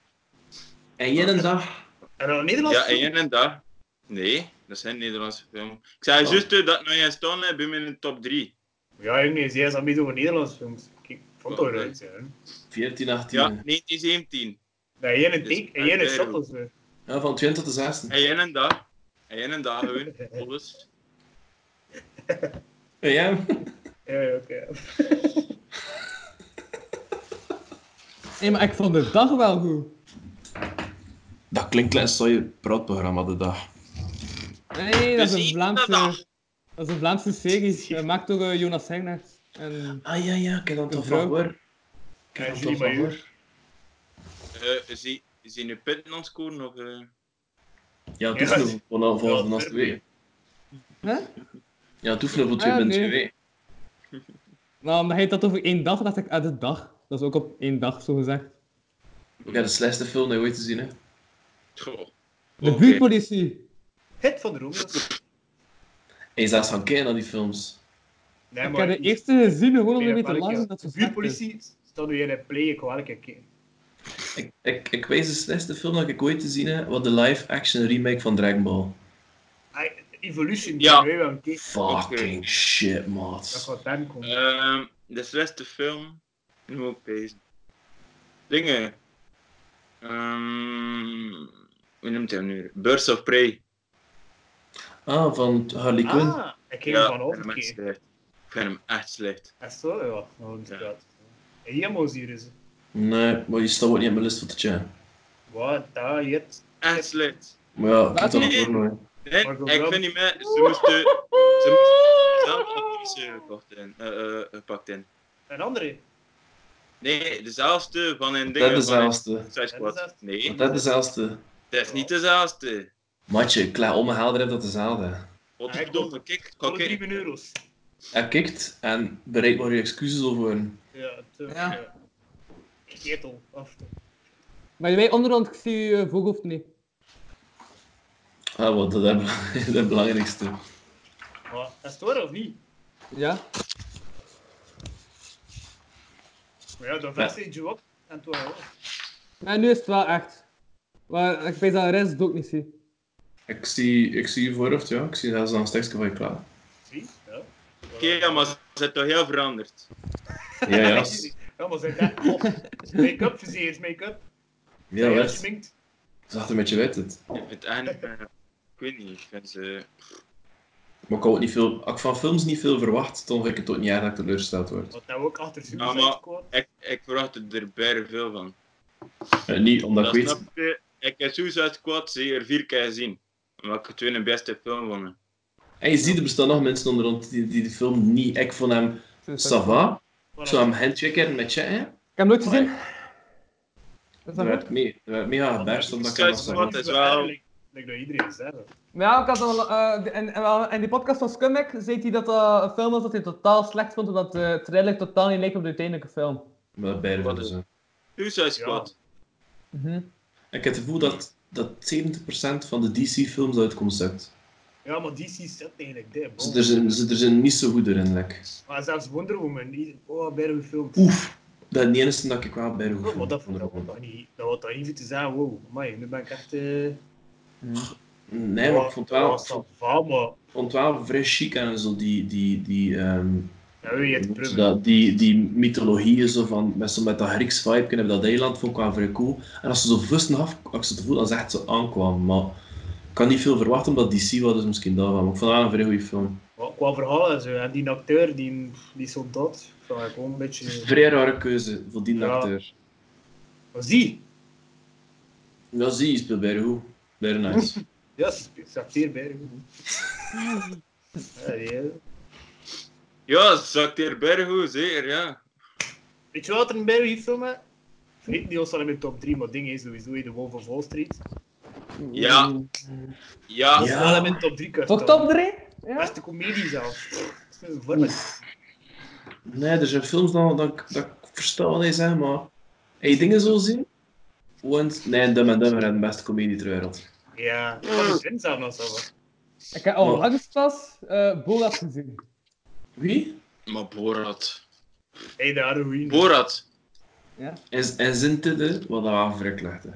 En jij een dag.
En dan Nederlands?
Ja, en jij en dat? Nee, dat zijn Nederlandse films. Ik zei
Oh.
juist dat nog eens staan bij mijn top 3.
Ja, jongen, zij is al mee over Nederlandse films. Ik vond het wel
Oké.
leuk, hè.
14, 18.
Ja, 1917.
Nee, jij een
Dus
take en jij een
Artero.
shot of zo.
Ja, van 20 tot 16.
En jij en dat? En jij en dat gewoon. Alles.
Ja.
Ja, ja, oké.
Hé, maar ik vond de dag wel goed.
Dat klinkt als zou je praatprogramma de dag.
Nee, dat
Dus
is een
iedere
Vlaamse.
dag.
Dat is een Vlaamse serie, eh, gemaakt door eh, Jonas Hegnaert. En
Ah ja, ja, ik heb dat
Een
toch
vrouw.
van hoor. Ik
Ja,
heb dat
Julie
toch van
Majeur.
hoor.
Eh, zie, zie je nu punten aan het scoren? Of, eh?
Ja, het hoeft
Ja.
nog voor vanaf
Ja,
vanaf
ver-
twee.
Hè?
Ja, het hoeft nog voor
Ah,
2.2.
nee. Maar nou, omdat hij dat over één dag, dacht ik, uit de dag. Dat is ook op één dag, zo gezegd.
Ik heb de slechtste film die ooit te zien hè.
Goh.
De
Oké.
buurtpolitie.
Hit van de Romeo's.
En je zelfs gaan kijken naar die films.
Nee,
ik heb de eerste gezien, gewoon om
Nee,
ermee te
welke?
lachen. Dat ze slecht is.
Buurtpolitie, staat nu in een play, ik wou een keer.
Ik, ik, ik wijs de slechtste film dat ik ooit te zien heb, wat de live-action remake van Dragon Ball.
Ai, Evolution,
Ja.
ja. wij wel een keer.
Fucking shit, maat.
Dat gaat dan komen.
Ehm, de slechtste film. Nu moet ik bezig. Dingen. Ehm, Ehm, hoe noemt hij hem nu? Birds of Prey.
Ah, van Harley Quinn.
Ah, ik ging ervan
ik
af.
vind
oké.
hem echt slecht. Ik vind hem echt slecht.
Echt zo? Ja, nou inderdaad. Ja. Emo's hier is.
Nee, maar je staat ook niet op mijn list van te checken.
Wat, daar, hier.
Echt slecht.
Maar ja, ik heb dat
nee.
ook nog. hè.
Nee,
Margot
ik
Robbie.
vind niet meer. Ze moesten ze moesten zelf actrice gekocht in, eh, eh, gepakt in.
Een andere.
Nee, dezelfde van een ding.
Dat is dezelfde.
Suicide Squad.
Dezelfde.
Nee,
Dat is dezelfde.
dat is niet dezelfde.
Matje, ik laat omhelder heb dat dezelfde.
Godverdomme, kijk.
Voor
kijk,
drie
kijk.
miljoen euro's.
Hij kikt en bereidt maar je excuses over.
Ja, te,
Ja.
ja. Ketel. Of,
Maar jij onderhand, ik zie je voorhoofd niet.
Ah, wat, dat is het belangrijkste.
maar, dat is het waar of niet?
Ja?
Maar ja, dan versie je op. En toen wel.
Maar nu is het wel echt. Maar ik weet dat de rest het ook niet zie.
Ik zie, ik zie je voorhoofd, ja. Ik zie zelfs dan een stukje van je klaar.
Zie? Ja.
Oké, ja, maar ze zijn toch heel veranderd.
Ja, ja.
Ja, maar zijn dat... Oh, Make-up, zie eens make-up.
Ja,
je
wet.
schminkt.
Zag er met je wet het.
Ik vind het echt. eh, Ik weet niet. Ik vind ze.
Maar ik had ook niet veel, als ik van films niet veel verwacht, dan vind ik het ook niet erg dat ik teleurgesteld word.
Wat nou ook achter
Ja,
Suicide
maar-
Squad.
Ik, ik verwacht er bijna veel van.
Eh, niet omdat ik
Dat
weet...
snap je. Ik heb Suicide Squad zeker vier keer gezien. Omdat ik het een beste film vond.
En je ziet, er bestaan nog mensen onder ons die, die de film niet... Ik vond hem... Sava.
Voilà.
Ik zou hem handchecken met je, hè.
Dus, eh, Ik heb hem nooit gezien. Is
Daar
dat
werd
goed?
mee. Daar werd mee aangeberst, omdat ik hem
Suicide
nog
Squad
zag.
is
Zo
wel-
erg, Like dat iedereen zegt. hè.
Maar ja, ik had al, eh, de- en, en, wel- in die podcast van Scumbag zei hij dat dat een film was dat hij totaal slecht vond, omdat de trailer totaal niet leek op de uiteindelijke film.
Maar dat beide
Wat
vinden
is-
ze.
Suicide Squad.
Mhm.
Ik heb het gevoel dat, dat 70% van de DC-films uit het concept.
Ja, maar DC zet eigenlijk dit.
Ze er zijn, ze er zijn niet zo goed erin, lek.
Maar zelfs Wonder Woman, die- oh, bij de film.
Oef. Dat is de enige dat ik wel bij
Oh, maar
hoef.
dat dat wordt toch niet. Dat wordt toch even te zeggen, wow, amai, nu ben ik echt. eh
Nee, maar ik vond het wel, ik vond-
Van, maar.
ik vond het wel vrij chic en zo, die, die, die, ehm,
Ja, weet je,
hoe
het
noemt ze
prummen.
dat, die, die mythologieën zo van, met, zo met dat Grieks vibe hebben dat eiland, vond ik wel vrij cool. En als ze zo vlusten af, als ze het voel, dan zegt ze aankwamen, maar ik kan niet veel verwachten, omdat DC was dus misschien daarvan, maar ik vond het wel een vrij goede film.
Maar Qua verhaal en zo. En die acteur, die, die soldaat, vond ik gewoon een beetje.
Vrij rare keuze voor die
Ja.
acteur.
Maar zie,
Ja, zie je, speelt bij goed. Bij nice.
ja, ze spe- ze acteert bij. Ja, die-
Ja, ze acteert bijna goed, zeker, ja.
Weet je wat er een Barry film is? Vergeet niet ons al in mijn top 3, maar ding is sowieso hè, de Wolf of Wall Street.
Ja. Ja.
Dat is wel in mijn top 3
Toch top 3? Ja?
Beste comedie zelf. Dat is een vorm.
Nee, er zijn films dan, dat, ik- dat ik versta wat hij zegt, maar... Heb je dingen zo zien? Want, nee, Dumb and Dumber en de beste comedie ter wereld.
Ja, ik had het zin zelf nog zo. wat.
Ik heb al langs pas eh Borat gezien.
Wie?
Maar Borat.
Hey, de Halloween.
Borat.
En, en Zinte de, wat dat wel vrij slecht, hè.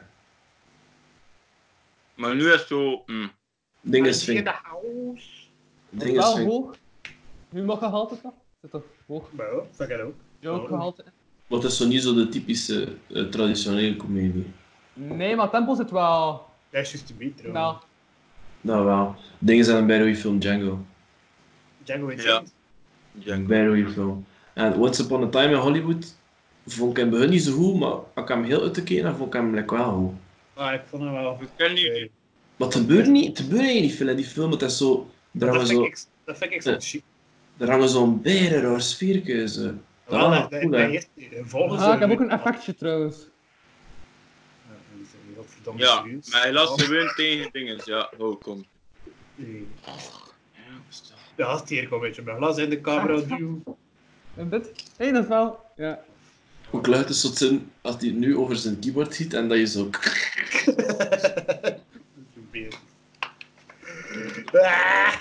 Maar nu is het zo... hm.
Ding
Hij
is
is in
fijn.
de house.
Ding is
wel
fijn.
hoog. Nu mag gehalte toch? Zit toch hoog?
Maar ja, dat kan ook.
Joke gehalte.
Want het is zo niet zo de typische, eh, traditionele comedie.
Nee, maar het tempo zit wel.
Dat is juist te beat, trouwens.
Nou,
Dat wel. Ding is aan een bijna goeie film, Django.
Django weet
Ja.
niet.
Een bijna goeie film. En Once Upon a Time in Hollywood vond ik hem bij hun niet zo goed, maar als ik hem heel uit te keren, vond ik hem like, wel goed.
Maar ik vond hem wel... Eh,
We kunnen nu...
Nee.
Maar het gebeurt niet, het gebeurt eigenlijk niet veel in die film. Het is zo, er hangen
Dat vind
zo,
ik ex- dat vind ik echt zo chic.
er hangen zo'n beren raar sfeerkeuze. Dat
Wel,
was
dat-
cool,
dat
hè.
heeft- volgens
ah, ik heb
eh,
ook een effectje trouwens.
Ja, die zijn godverdamme
Ja,
serieus.
maar helaas, ze wint tegen dingen. Ja, oh, kom.
Nee. De gast hier komt een beetje mijn glas in de
Ah.
camera duwen.
En dit? Hé, dat is wel. Ja.
Ook luidt het zo zin als hij nu over zijn keyboard ziet en dat je zo...
Ah!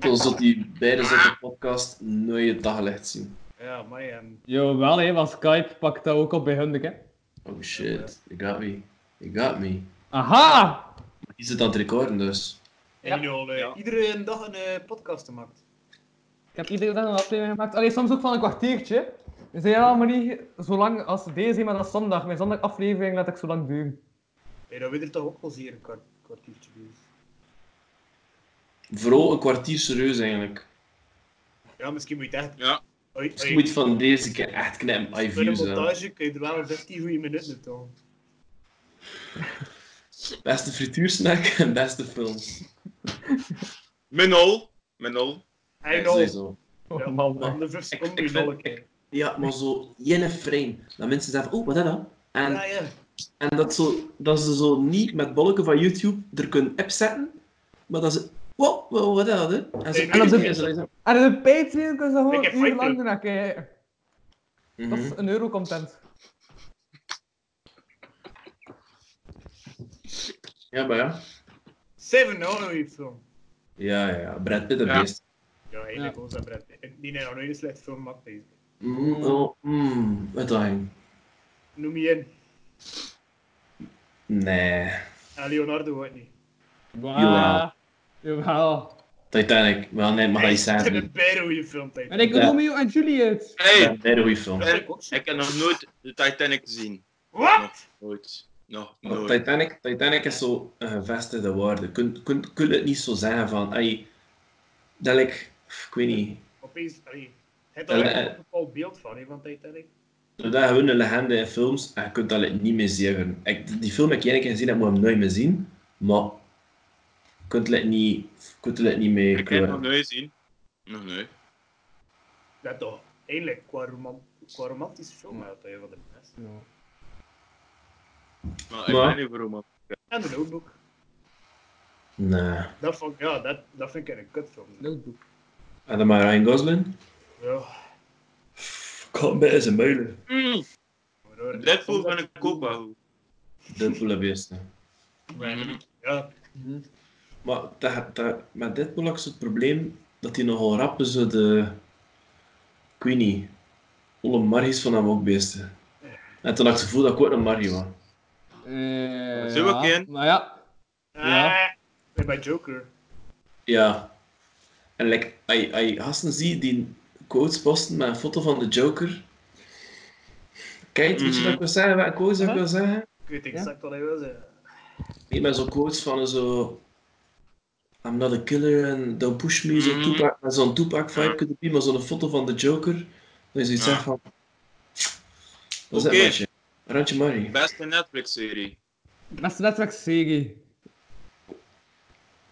Zodat die beiden zo op de podcast nooit het daglicht zien.
Ja, maar en
Jawel, hé, want Skype pakt dat ook op bij hun, hè?
Oh shit, you got me. You got me.
Aha!
Die zit aan het recorden dus.
en jullie al eh,
Ja.
iedere dag een eh, podcast gemaakt.
Ik heb iedere dag een aflevering gemaakt. Allee, soms ook van een kwartiertje. We zijn allemaal niet zo lang als deze, maar dat is zondag. Mijn zondagaflevering laat ik zo lang duren.
Hey, dat weet er toch ook wel zeer een kwart- kwartiertje bij.
Vooral een kwartier serieus eigenlijk.
Ja, misschien moet je het echt...
Ja.
Oei,
Dus je
oei,
moet van deze keer echt knippen. I
Voor de
views wel.
montage kun je er wel een 15 goede minuten op doen.
Beste frituursnack en beste films.
Minol. Minol.
Hij
Ja,
nog.
sowieso.
Oh
Ja.
man, man.
Om de 15
Ik- ik
seconden
vind-
zal ik-
Ja, maar zo ene frame. Dat mensen zeggen, oh, wat is dat? En,
Ja, ja.
en dat, zo, dat ze zo niet met bolken van YouTube er kunnen opzetten, maar dat ze, wow, wow, wat is dat? Hè? En ze
En dan
ze-
en ze lezen.
En in de Patreon kunnen ze
Ik
gewoon
heb
een uur
Fight
lang
Club.
doen naar kijken. Dat
Mhm.
is een euro content.
Ja, maar ja.
Seven Hour je film.
Ja, ja, Brad Pitt het
Ja.
best.
Ja, eigenlijk ook zijn Brad Pitt. Die heeft nog nooit een slechte film gemaakt. deze.
Mm, oh, mm, uitdaging.
Noem je in.
Nee.
En Leonardo wordt niet.
Wauw. Jawel.
Titanic. Wel, nee, maar hij is
Het is
samen.
een bijna goede film. Tijd.
En ik
Ja.
Romeo en Juliet.
Hey,
Een hele goede film.
Dat vind ik ook zo.
ik heb nog nooit de Titanic gezien.
Wat?
Nooit. Nog
Want
nooit.
Titanic, Titanic is zo een gevestigde waarde. Kun, kun, kun je het niet zo zeggen van, hey, dat ik, ik weet niet,
Opeens, allee. Het
Ja,
had
eh.
er een bepaald beeld van, hè, van Titanic.
dat is gewoon een legende in films en je kunt dat niet meer zeggen. Ik, die film heb ik één keer gezien, ik moet hem nooit meer zien, maar je kunt het niet, je kunt het niet meer
Ik heb nog
kleuren.
nooit gezien. Nog nooit.
Dat toch. Eindelijk, qua, roman- qua romantische film, had hij van de beste.
Maar ik
Maar-
ben niet voor roman.
En de notebook.
Nee.
Dat, vond, ik- ja, dat, dat vind ik een kutfilm.
Notebook.
En dan maar Ryan Gosling?
Ja,
Kom bij zijn muilen.
Mm,
maar hoor.
Deadpool
Soms
ben ik ook wel goed.
Dat voel ik best. hè.
Ja,
Mhm.
Maar dat, dat, met dit boek is het probleem dat hij nogal rappen zo de. Ik weet niet. Alle margies van hem ook beesten. En toen had ik het gevoel dat ik ook een margie was.
Eh,
Zullen we
ja.
ook in?
Maar ja. Ja.
Ah, en bij Joker.
Ja. En like, als als je gasten ziet die quotes posten met een foto van de Joker. Kijk, weet je
Mhm.
wat ik wil zeggen? Welke quotes dat ik wil zeggen?
Ik weet exact wat hij wil zeggen.
Nee, maar zo'n quotes van zo... I'm not a killer en don't push me, zo'n
Mhm.
Tupac, met zo'n Tupac vibe kunnen zien, maar zo'n foto van de Joker, dat je iets
Ja.
zegt van... Dat is
Oké.
het randje. Randje Marie.
Beste Netflix-serie.
Beste Netflix-serie.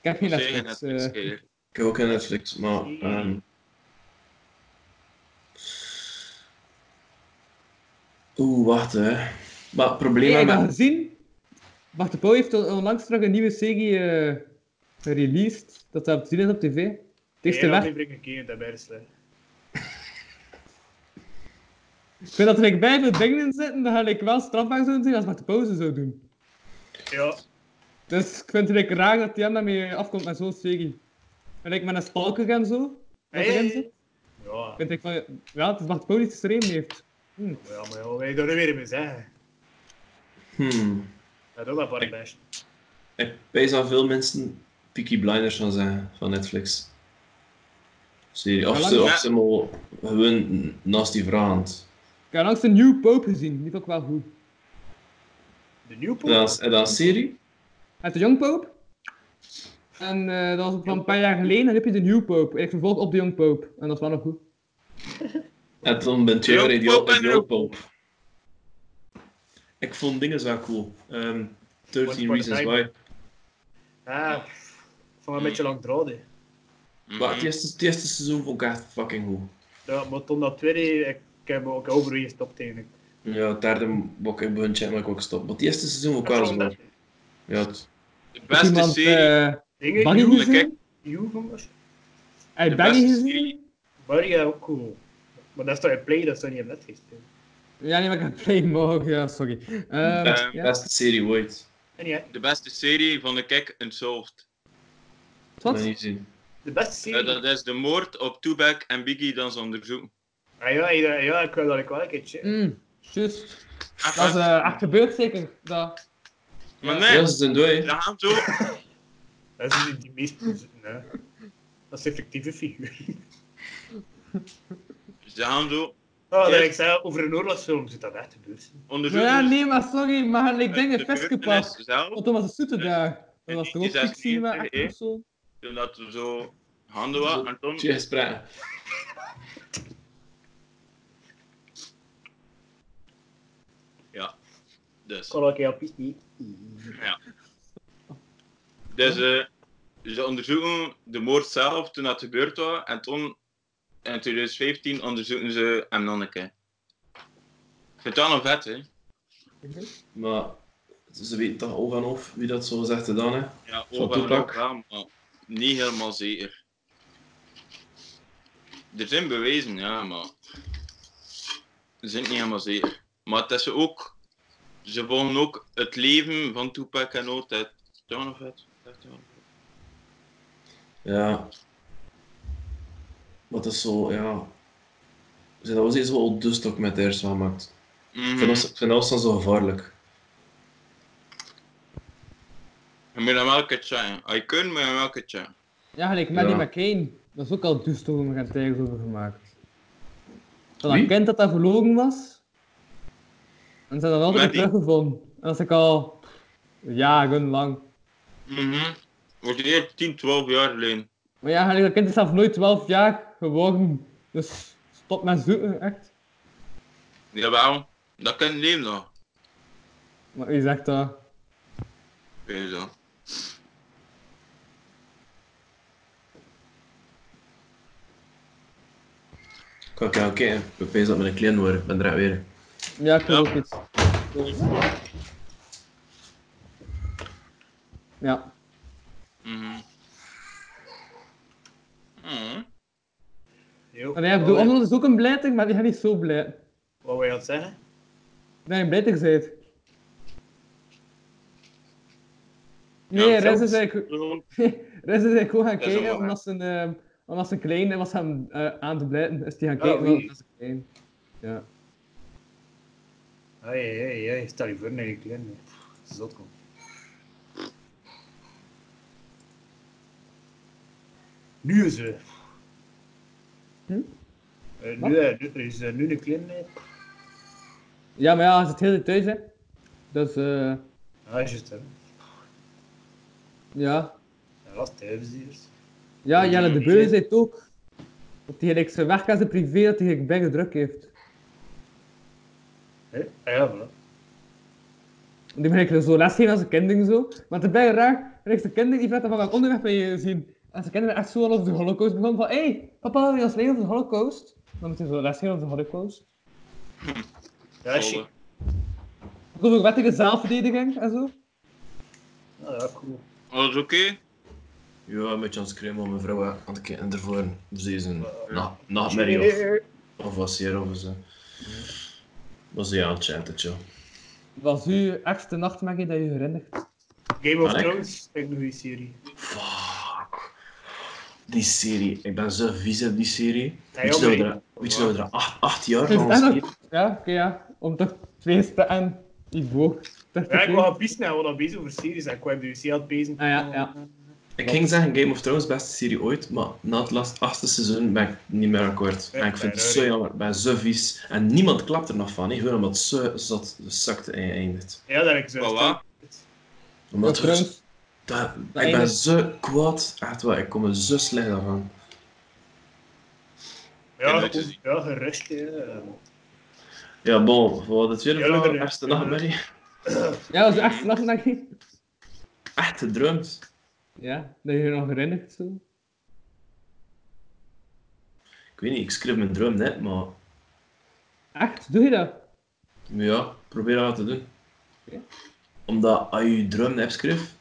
Ik heb geen
Zeker
Netflix. eh.
Netflix-serie.
Ik heb ook een Netflix, maar... ehm, Oeh, wacht hè. Maar het probleem
Hey, ik heb
met...
gezien. Bart de Pauw heeft onlangs terug een nieuwe serie eh, gereleased. Dat hij op te zien is op tv. Het eerste
Eén
weg.
aflevering gekeken, dat bij de slecht.
Ik vind dat er like, bij veel dingen in zitten, dan ga ik wel strafbaar zou zijn als Bart de Pauw ze zou doen.
Ja,
Dus ik vind het like, raar dat hij hem daarmee afkomt met zo'n serie. En like, met een stalker en zo. Dat
Hey.
erin zit.
ja.
Vind ik van, ja, het is Bart de Pauw die het geschreven heeft. Hm.
Ja, maar ja, wij daar weer mee zeggen.
Hmm.
Dat is ook wel voor het best.
Ik wijs aan veel mensen Peaky Blinders van zeggen, van Netflix. Serie. Of
Hoe
ze,
lang-
of ze maar gewoon naast die vraag.
Ik heb langs een New Pope gezien, die vond ik wel goed.
De Newport?
En dan- en dan serie?
Met de Young Pope. En eh, dat was van een paar jaar geleden. En dan heb je de New Pope. En ik vervolg op de Young Pope. En dat is wel nog goed.
En dan ben je
Heel
weer die
pop en heel
ook pop. Ik vond dingen wel cool. Ehm 13
One
Reasons
Point
Why.
Ah, pff, ik vond het een beetje lang draden.
Maar
Mhm.
het eerste, het eerste seizoen vond ik echt fucking goed.
Ja, maar toen dat tweede, ik heb ook over je gestopt eigenlijk.
Ja, het derde wou ik begin checken, maar ik ook stop. Maar het eerste seizoen vond ik wel
Dat
eens
vond
wel.
ik-
Ja, het-
De beste
Iemand,
serie.
eh,
Dingen,
Barry
Joe-
Joe, kijk.
gezien?
Joe van ons?
Hij
De
Barry
beste
gezien?
serie.
Barry, ja, ook cool. Maar dat is toch in Play, dat is toch niet in Netflix? hè?
Ja, nee, maar ik heb Play mogen. Ja, sorry. Ehm,
best-
Ehm,
ja.
beste serie ooit.
En ja,
De beste serie van de Kijk Unsolved.
Wat?
Wat?
niet zien.
de beste serie.
Eh, dat is de moord op Tupac en Biggie dan ze onderzoeken.
Ah ja, ja, ja, ik wil dat ik wel een keertje.
Mm, juist.
Ah,
Dat is eh, echt gebeurd zeker. Dat.
Maar
Ja,
nee,
ze zijn dood. hè.
ze gaan zo.
Dat is niet die meest... Nee. Dat is een fictieve figuur.
Ze gaan zo
Oh, dat
Eerst-
ik zei, over een oorlogsfilm zit dat echt gebeurd.
Maar
Onderzoek
ja, nee, maar sorry, maar ik denk
de
een Veske
gebeurtenis
pas.
zelf,
Want toen was het zoete daar. Dat was toch ook
Die
fictie met
96,
echt of zo?
toen dat we zo handen waren, en toen...
Tjie, spraak.
Dus,
Kon ik jou niet.
dus eh, ze onderzoeken de moord zelf toen dat gebeurd was, en toen, in 2015, onderzoeken ze hem nog een keer. Ik vind dat nog vet, hè?
Maar ze weten toch oog aan of wie dat zo zegt dan, hè?
Ja,
Van
overal
Tupac.
wel, maar niet helemaal zeker. Er zijn bewijzen, ja, maar ze zijn niet helemaal zeker. Maar het is ook, ze volgen ook het leven van Tupac en ook dat toch nog vet. Dat is toch nog vet.
Ja. Maar dat is zo, ja. Er zijn al eens wel dus documentaires van gemaakt. Ik vind
Mhm.
dat- ik vind dat dan zo gevaarlijk.
Je moet hem wel ketchen. Als Ah, je kunt, moet je hem wel ketchen.
Ja, gelijk Maddie
Ja.
McCain. Dat is ook al duister over gaan tijgers over gemaakt. Dat
Wie?
een kind dat daar verloren was. En ze hebben dat altijd weer
Maddie?
teruggevonden. En dat is ik al jaren lang.
Mhm. Wordt hier 10, 12 jaar geleden.
Maar ja, gelijk, dat kind is zelf nooit 12 jaar geworden. Dus stop met zoeken, echt.
Jawel, dat kan leven nog.
Maar wie zegt dat?
Weet je zo.
Ik ga kijken, oké, we pees dat met een klein worden. Ik ben er echt weer.
Ja, ik
Ja.
wil ook iets. Ja.
Mhm. Mhm.
En hij heeft oh, is ook een blijter, maar die gaat niet zo blij.
Wat wil je aan het zeggen?
Dat je een blijter bent. Nee,
Ja,
Rez
zelfs-
is eigenlijk...
Gewoon
Rez is eigenlijk gewoon gaan
Dat is wel
kijken,
waar.
omdat zijn, ehm, omdat zijn kleine was hem eh, aan te blijten. Is die gaan
Ah,
kijken,
wie?
want dat is een klein. Ja.
Ai, ai, ai, stel je voor naar je klein. hè. Zot kom. Nu is er.
Hm?
Eh,
Wat?
nu, eh, nu- er is eh, nu een klein. hè.
ja, maar ja, hij zit heel de tijd thuis, hè. Dus, eh,
Ah, juist hem.
ja.
Dat was thuisdiers.
Ja, Jelle de Beuze zei het ook. Dat hij gelijk zijn werk aan zijn privé, dat hij gelijk bijna druk heeft.
Hè? Ah ja, voilà.
Want die ben ik zo lesgeven aan zijn kinderen zo. Maar het is bijna raar, en ik zijn kinderen die vragen van welk onderwerp wil je zien. En zijn kinderen echt zo al over de holocaust begonnen van hé, hey, papa wil je ons leren over de holocaust? Dan moet je zo lesgeven over de holocaust.
Ja, is chic.
Ook over wettige zelfverdediging en zo.
Ah, ja, cool.
Alles oké?
Ja, een beetje aan het schreeuwen, maar mijn vrouw had een keer in ervoor. Dus die is een na- nachtmerrie of,
Cheer.
of was hier of zo. Was die aan het chatten, joh.
Was uw ergste nachtmerrie dat je je herinnert?
Game of
Alec?
Thrones, kijk nog die serie.
Fuck. Die serie, ik ben zo vies op die serie.
Ja,
Weet je dat we
jammer.
er- weet je dat we er acht, acht jaar
Is
van
het echt
ons
nog- Ja, oké ja. Om toch twee te en iets boog.
Ja, ik wou gaan pissen en we hadden bezig over series en ik kwam de UC aan het pezen.
Ah, ja, ja.
Ik ging zeggen Game of Thrones, beste serie ooit, maar na het laatste achtste seizoen ben ik niet meer akkoord. En ik vind het zo jammer, ik ben zo vies. En niemand klapt er nog van, hè, gewoon omdat het zo zat zakte en eindigt.
Ja, dat heb ik zo.
Voilà.
Ja,
Omdat het-
trouwens,
dat-
dat
ik ben
eindigt-
zo kwaad, echt waar, ik kom er zo slecht aan.
Ja,
Leuk te
goed.
zien.
ja, gerust. hè.
Ja, bon, voor de tweede
Ja,
vraag,
inderdaad.
eerste nachtmerrie.
Ja, was uw ergste nachtmerrie?
Echt gedroomd.
Ja, dat je je nog herinnert zo.
Ik weet niet, ik schreef mijn droom net, maar
Echt? Doe je dat?
ja, probeer dat te doen.
Oké.
Omdat als je je droom net schreef,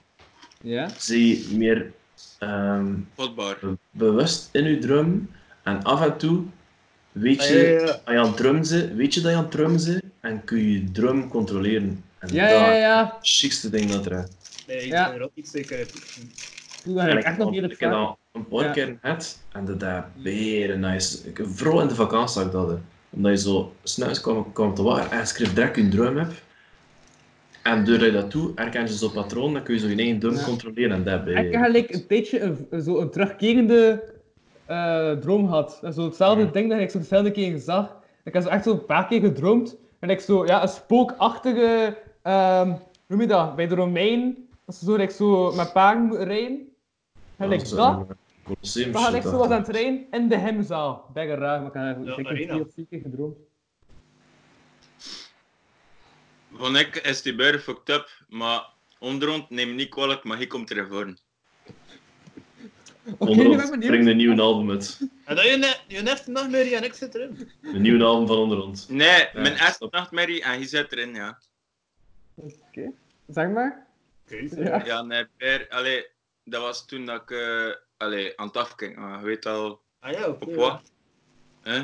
Ja.
zie je meer... ehm,
Potbaar.
be- bewust in je drum en af en toe weet je,
Ah, ja, ja, ja.
Als je aan het drum zit, weet je dat je aan het drum zit en kun je je drum controleren. En
Ja,
dat
ja,
is
ja.
het chicste ding dat er is.
Nee, ik
Ja.
ben er ook iets zeker uit. Hm.
Doe dat
En
heb ik echt nog niet
ik
het
heb
vaak.
dat een paar
Ja.
keer gehad en dat is beren nice. Ik, vooral in de vakantie zag ik dat. hè. Omdat je zo snel kwam, kwam te waar en je schreef direct je drum hebt. En doordat je dat doet, herken je zo'n patroon, dan kun je zo je eigen drum
Ja.
controleren en dat
Ik heb
bij.
eigenlijk een tijdje een, een- zo een terugkerende eh, droom gehad. En Zo hetzelfde
Ja.
ding dat ik zo dezelfde keer zag. Ik heb zo echt zo een paar keer gedroomd. En ik zo, ja, een spookachtige, ehm, hoe noem je dat, bij de Romein. Dat ze zo, like, zo met paarden moeten rijden. En like, dat.
Colosseum
We gaan
eh, shit,
echt zo
dat.
wat aan het rijden in de hemzaal. Ben geraakt, maar ik heb
Ja,
zeker
arena.
drie of vier keer gedroomd.
Van ik is die buur fucked up, maar onderhand neem niet kwalijk, maar hij komt ervoor.
Oké, nu ben ik
Onderhand brengt
benieuwd.
een nieuw album uit.
En dat je, ne- je neft nachtmerrie en ik zit erin.
Een nieuw album van Onderhand.
Nee, mijn
stop.
eerste nachtmerrie en hij zit erin, ja.
Zeg maar.
Oké.
Ja.
Ja, nee, per, allee, dat was toen dat ik eh, allee, aan het afkijken was. Je weet al
Ah ja, oké.
op
ja.
wat. Hè?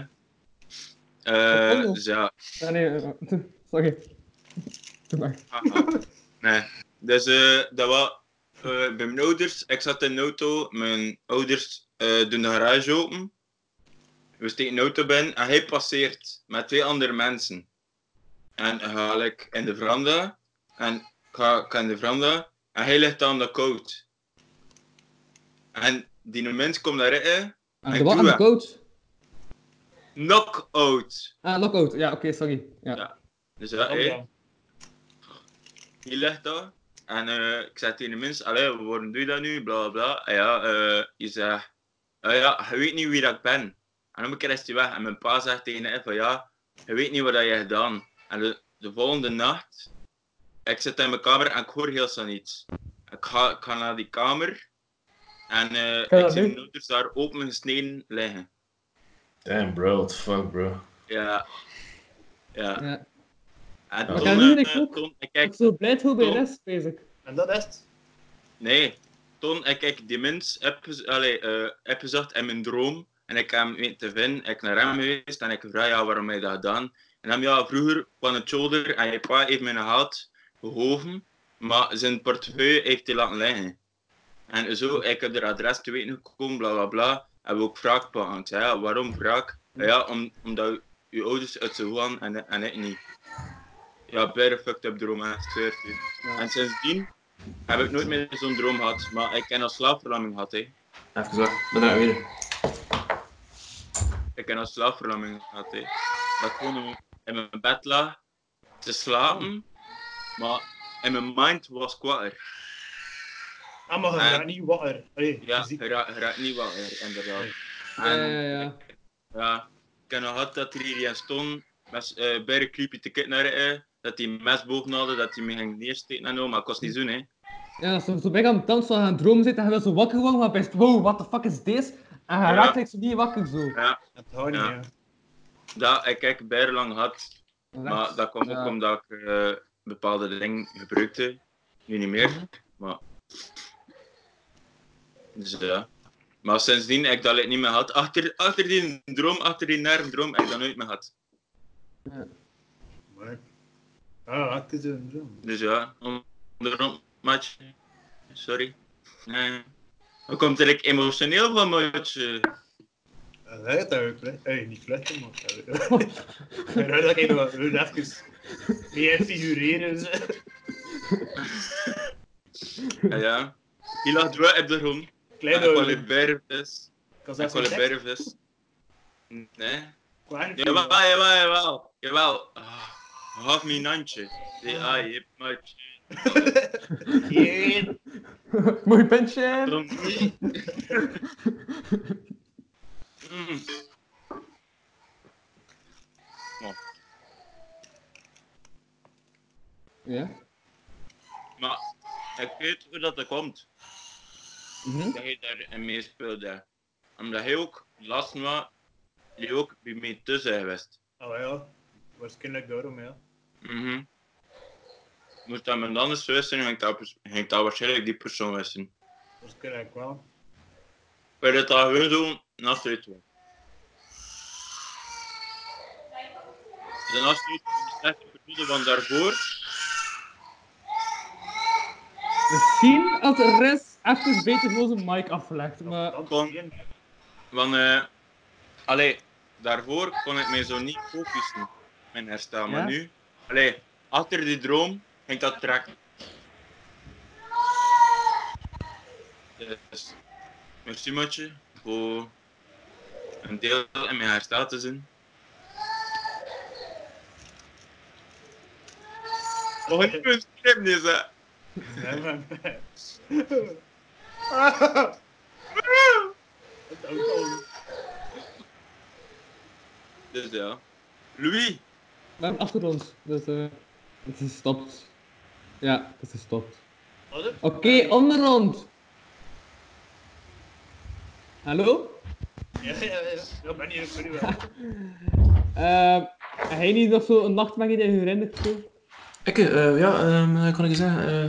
Eh,
Op wat?
dus ja,
Ah, nee, eh, sorry. Doe maar.
haha. nee. Dus eh, dat was eh, bij mijn ouders. Ik zat in de auto, mijn ouders eh, doen de garage open. We steken de auto binnen en hij passeert met twee andere mensen. En dan ga ik in de veranda en ik ga, ik ga in de veranda en hij ligt aan de koud. En die mens komt daarin,
Ah,
Ik
de wat aan
doe
de coach?
knock-out.
Ah, lockout. Ja, oké, sorry. Ja.
Ja. Dus ja,
Oh,
hé.
ja.
die ligt daar. En eh, ik zei tegen de mensen, allee, waarom doe je dat nu? Bla bla bla. En ja, eh, je zegt, "Ah ja, je weet niet wie dat ik ben. En dan keer is hij weg. En mijn pa zegt tegen hem van ja, je weet niet wat dat je hebt gedaan. En de, de volgende nacht, ik zit in mijn kamer en ik hoor heel snel niets. Ik ga, ik ga naar die kamer en eh,
Kan
ik
dat
zie
nu?
mijn ouders daar opengesneden liggen.
Damn bro, what the fuck bro.
Ja. Ja.
Ja.
En
Maar
toen,
kan nu
eh,
niet ook?
toen- ik
Ik
kijk,
ben zo blij hoe bij
Tom?
les bezig.
En dat is het.
Nee, toen ik, ik die mens heb, gez- allee, eh, heb gezegd in mijn droom en ik heb hem weten te vinden, ik naar hem geweest en ik vraag ja, waarom heb je dat gedaan? En hem ja, vroeger kwam het shoulder en je pa heeft mij gehaald, gehoven, maar zijn portefeuille heeft hij laten liggen. En zo, ik heb er adres te weten gekomen, bla bla bla, heb ook wraak behandeld. Ja, waarom wraak? Ja, om, omdat je ouders uit ze gaan en, en ik niet. Ja, bijna fucked up droom, hè, ik zweer het u. En sindsdien heb ik nooit meer zo'n droom gehad, maar ik heb een slaapverlamming gehad. Hè.
Even zo, bedankt weer.
Ik heb een slaapverlamming gehad. Hè. Dat ik gewoon in mijn bed lag te slapen, maar in mijn mind was kwaad.
Ah, maar je
En-
raakt niet wakker. Allee,
Eh. Ja,
fysiek.
je ra- je raakt niet wakker, inderdaad.
Ja,
En
ja, ja.
ja, ik heb nog gehad dat er hier in stond, met eh bij creepy te kijken naar hij, dat hij een mes boven hadden, dat hij me ging neersteken en zo, maar ik was niet zo, hè.
Ja, als je zo bij aan het dansen gaan dromen zit en je wil zo wakker worden, maar best, wow, what the fuck is dit? En je
Ja.
raakt echt zo niet wakker zo.
Dat hou niet,
Ja.
ja.
Dat ik echt bijna lang had, Maar dat kwam
Ja.
ook omdat ik eh, bepaalde dingen gebruikte. Nu niet meer, maar... Dus ja. Maar sindsdien heb ik dat niet meer gehad. Achter, achter die droom, achter die nare droom, heb ik dat nooit meer gehad.
Maar... Ah, het is een droom.
Dus ja, onderom, match. Sorry. Nee. Hoe komt er ik emotioneel van, maatje?
En hij had daar ook vlecht. Hey, niet vlechten, maar... En hij dat ik nog wel even... Meer figureren. ze.
Ja, ja. Hier lag wel op de grond. En
Klein
ik was een
houden.
bergvis.
Kan
Ik
zelfs
was
niet
een
zeggen.
bergvis. Nee.
Klein
Jawel, jawel, jawel. Jawel. Ah, Gaf me een handje. Ja, je hebt mij
Hier.
Mooi pentje!
Waarom niet? Mm.
Ja.
Maar ik weet hoe dat er komt.
Mhm.
Dat hij daarin meespeelde. Omdat hij ook last was, die ook bij mij tussen geweest.
Oh ja. Waarschijnlijk daarom, ja.
Mhm. Moest dat mijn anders wisten, ging ik dat, pers- ging ik dat waarschijnlijk die persoon wisten.
Waarschijnlijk wel.
Maar dat dat gewoon zo naast uit was. De naast uit was de slechte periode van daarvoor.
Misschien had de rest even beter voor zijn mic afgelegd, maar...
Dan
kon-
één.
Want, eh, allee, daarvoor kon ik mij zo niet focussen op mijn herstel. Maar
Ja?
nu, allee, achter die droom ging dat trekken. Dus, merci Matje, voor een deel in mijn herstel te zijn. Nog een nieuwe script is hè.
Nee, maar- Ah. Het auto.
Dus ja. Louis,
We hebben achter ons, dus eh, het is gestopt. Ja, het is gestopt.
Wat is
Oké, onderrond! Hallo?
Ja, ja, ja. Ja, ben hier, ben hier wel.
Ehm, heb jij niet nog zo een nachtmerrie dat je herinnert? zo?
Ik, eh, ja, ehm, eh, kon ik zeggen. eh,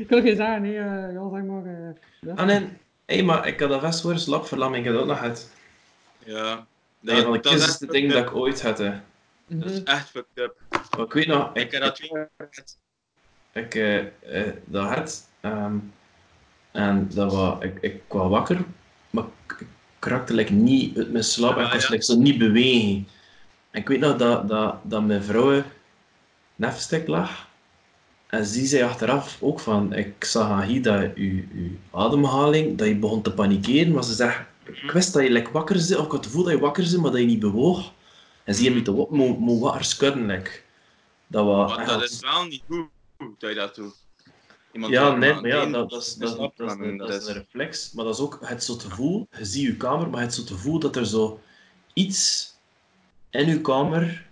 Ik kan het geen zeggen, nee, eh, ja, zeg maar. eh, ja.
ah nee, hey, maar ik had dat vast voor slapverlamming, ik heb dat ook nog gehad.
Ja.
Dat, van de
is
kist is
echt
het
fucked
ding dat
up.
ik ooit had. Hè.
Mhm.
Dat
Dus,
is echt fucked up.
Maar ik weet nog,
Ik
ik,
heb
ik,
dat twee
ik eh, eh, dat had. ehm, en dat was, ik, ik kwam wakker, maar ik, ik raakte like, niet uit mijn slaap en ik
Ah,
kon
ja.
like, zo niet bewegen. En ik weet nog dat, dat, dat mijn vrouw naast stuk lag. En ze zei achteraf ook van, ik zag aan hier dat je, je ademhaling, dat je begon te panikeren. Maar ze zegt, ik
Mhm.
wist dat je like, wakker zit, of ik had het gevoel dat je wakker zit, maar dat je niet bewoog. En ze heeft
Mhm.
me te wat, mo, mo wakker schudden. like. Dat was
Want
echt-
dat is wel niet goed dat je dat doet. Iemand "Nou,
ja,
anders
nee,
aan
maar ja,
het
dat, dat, is, dat, dat, dat,
slapen,
is- dat is
dus.
een reflex. Maar dat is ook het soort gevoel, je ziet je kamer, maar het soort gevoel dat er zo iets in je kamer,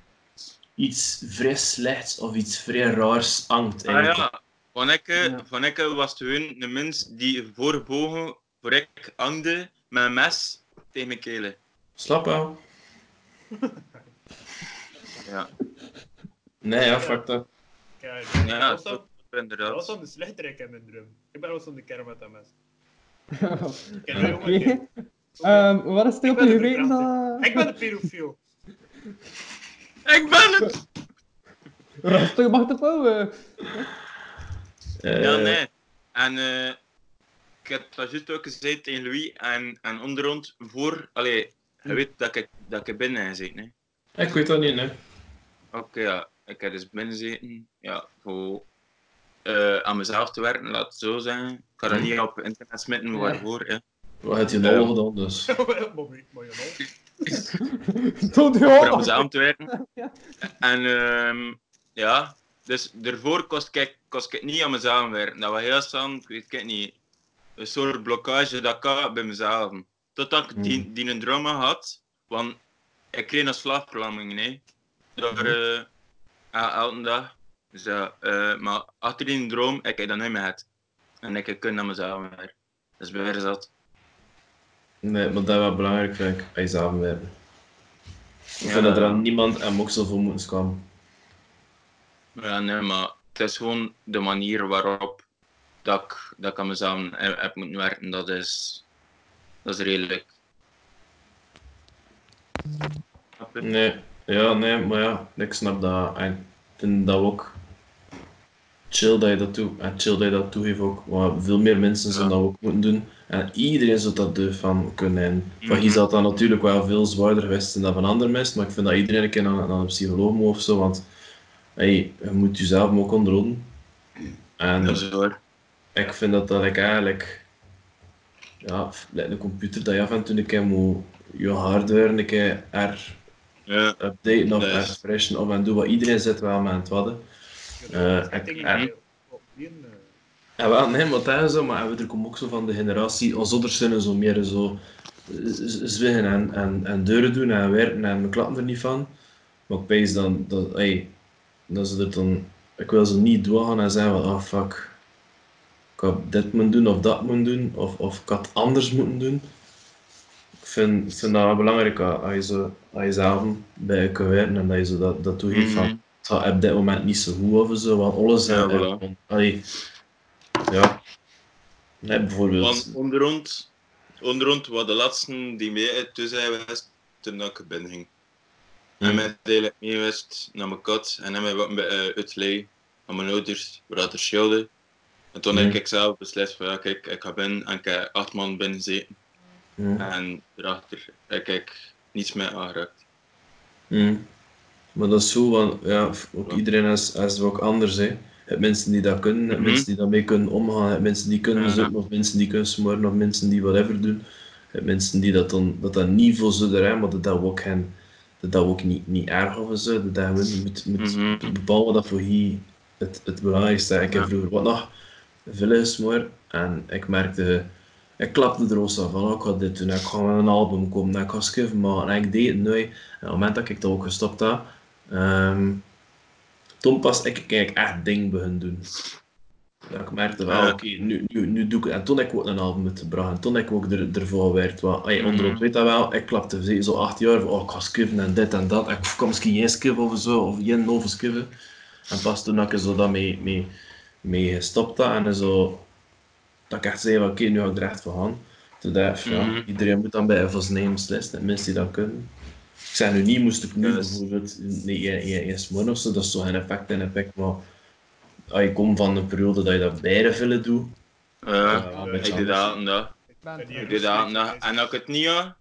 iets vrij slechts of iets vrij raars hangt.
Ah
eigenlijk.
ja, van ik, eh,
Ja.
van ik eh, was toen een mens die voorbogen voor ik hangde met een mes tegen mijn kelen.
Slap wel.
Ja.
Nee, ja, fuck dat.
Kijk,
Ja,
dat was
dat-
dan- dat was
Inderdaad.
dan de slechterik in mijn drum. Ik ben wel zo'n de kerm met dat mes. Ik ken
Ja.
die jongen,
Oké.
ik-
Ehm, wat is het heel
eh, Ik ben
veel
de
weten dat...
Ik ben de pedofiel.
Ik ben het!
Rustig, mag de pauwen.
Eh,
Ja, nee. En eh, ik heb dat juist ook gezegd tegen Louis en, en onderhand voor... Allee,
Hm.
je weet dat ik, dat ik binnen gezeten, hè.
Ik weet dat niet, nee.
Oké, ja. Ik heb dus binnen gezeten, ja, voor eh, aan mezelf te werken, laat het zo zijn. Ik kan dat niet op internet smitten, waarvoor, hè.
Wat had je
Ja.
nou gedaan, dus?
Mooi, mooi, hoor.
Tot
voor aan
joh!
samen te werken.
Ja.
En ehm, ja, dus daarvoor kost ik, kost ik niet aan mezelf werken. Dat was heel samen, ik weet het niet, een soort blokkage dat ik had bij mezelf. Totdat ik die, die een drama had, want ik kreeg een slaapverlamming, nee. Door eh, el- elke dag. Dus, ja, eh, maar achter die droom, ik heb dat niet meer gehad. En ik heb kunnen aan mezelf werken. Dus bij weer zat.
Nee, maar dat was belangrijk, vind ik, bij samen werken. Ik vind dat er aan niemand en ook zoveel moeten schamen.
Ja, nee, maar het is gewoon de manier waarop dat ik, dat ik aan mezelf heb heb moeten werken. Dat is, dat is redelijk. Snap je?
Nee, ja, nee, maar ja, ik snap dat. En ik vind dat ook chill dat je dat doet. En chill dat je dat toegeeft ook. Want veel meer mensen zouden dat ook moeten doen. En iedereen zou dat doen van kunnen. En van hier
Mhm.
zou dat natuurlijk wel veel zwaarder geweest zijn dan van ander mensen. Maar ik vind dat iedereen een keer naar, naar een psycholoog moet of zo. Want hey, je moet jezelf ook onderhouden. En
Dat is waar.
ik vind dat dat ik eigenlijk, ja, lijkt een computer dat je af en toe een keer moet je hardware een keer er
Ja.
updaten of
Nee.
refreshen of en doe wat iedereen zit wel met aan het wadden. Eh,
Ik denk
ik-
niet
eh.
veel. Oh, die, eh,
En wel, nee, maar dat is zo, maar we er komen ook zo van de generatie, ons ouders zijn zo meer zo eh, z- zwingen en, en, en deuren doen en werken en we klappen er niet van. Maar ik pees dan, dat, ey, dat ze er dan, ik wil ze niet doorgaan en zeggen van, ah fuck, ik had dit moeten doen of dat moeten doen of, of ik had het anders moeten doen. Ik vind, ik vind dat wel belangrijk dat als je, zo, als je zelf bij je kan werken en dat je zo dat, dat toegeeft
Mhm.
van, het gaat op dit moment niet zo goed of zo, want alles
Ja,
eh,
voilà.
eh, allee, ja. Nee, bijvoorbeeld.
Want onderrond, onderrond was de laatste die mee tussen zijn was toen ik binnen ging. En mij deel mee was naar mijn kat en hij mij wat eh, uitleggen aan mijn ouders, waar dat er scheelde. En toen heb
Mhm.
ik zelf beslist van ja, kijk, ik ga binnen en ik heb acht man binnen zitten.
Ja.
En daarachter heb ik niets meer aangeraakt.
Mm. Maar dat is zo, want ja, f- ook
Ja.
iedereen is, is ook anders. Hè. Je hebt mensen die dat kunnen, je hebt
Mhm.
mensen die daarmee kunnen omgaan, je hebt mensen die kunnen
Ja.
zoeken, of mensen die kunnen smoren, of mensen die whatever doen. Je hebt mensen die dat dan, dat, dat niet voor zullen zijn, maar dat dat ook hen dat dat ook niet, niet erg of zo. Dat dat gewoon moet,
Mhm.
moet bepalen wat dat voor hier het, het belangrijkste is. Ik heb vroeger wat nog veel gesmoord en ik merkte, ik klapte er ook zo van, oh, ik ga dit doen, ik ga met een album komen, ik ga schuiven maken. En ik deed het nooit. En op het moment dat ik dat ook gestopt had, ehm toen pas ik, kijk, echt ding begon doen. Dat ik merkte wel, oké, nu, nu, nu doe ik het. En toen heb ik ook een album uitgebracht. En toen heb ik ook er, ervoor werd. Want, hey,
Mm.
onderop weet dat wel, ik klapte zeker zo acht jaar van, oh, ik ga skippen en dit en dat. Ik kom misschien jij skippen of zo, of jij over skippen. En pas toen heb ik er zo dat mee, mee, mee gestopt had en zo, dat ik echt zei, van, oké, nu ga ik er echt voor gaan. Toen dacht ik, ja,
Mhm.
iedereen moet dan bij FOS nemen beslissen, de mensen die dat kunnen. Ik zeg nu niet, moest ik nu
Dus-
bijvoorbeeld, nee, je, je, je smoren of zo, dat is zo geen effect en effect, maar als je komt van een periode dat je dat beide vullen doet,
Ja,
ja,
Eh, ik doe dat en dat.
Ik ben
Ik doe dat en dat. En als ik het niet ja,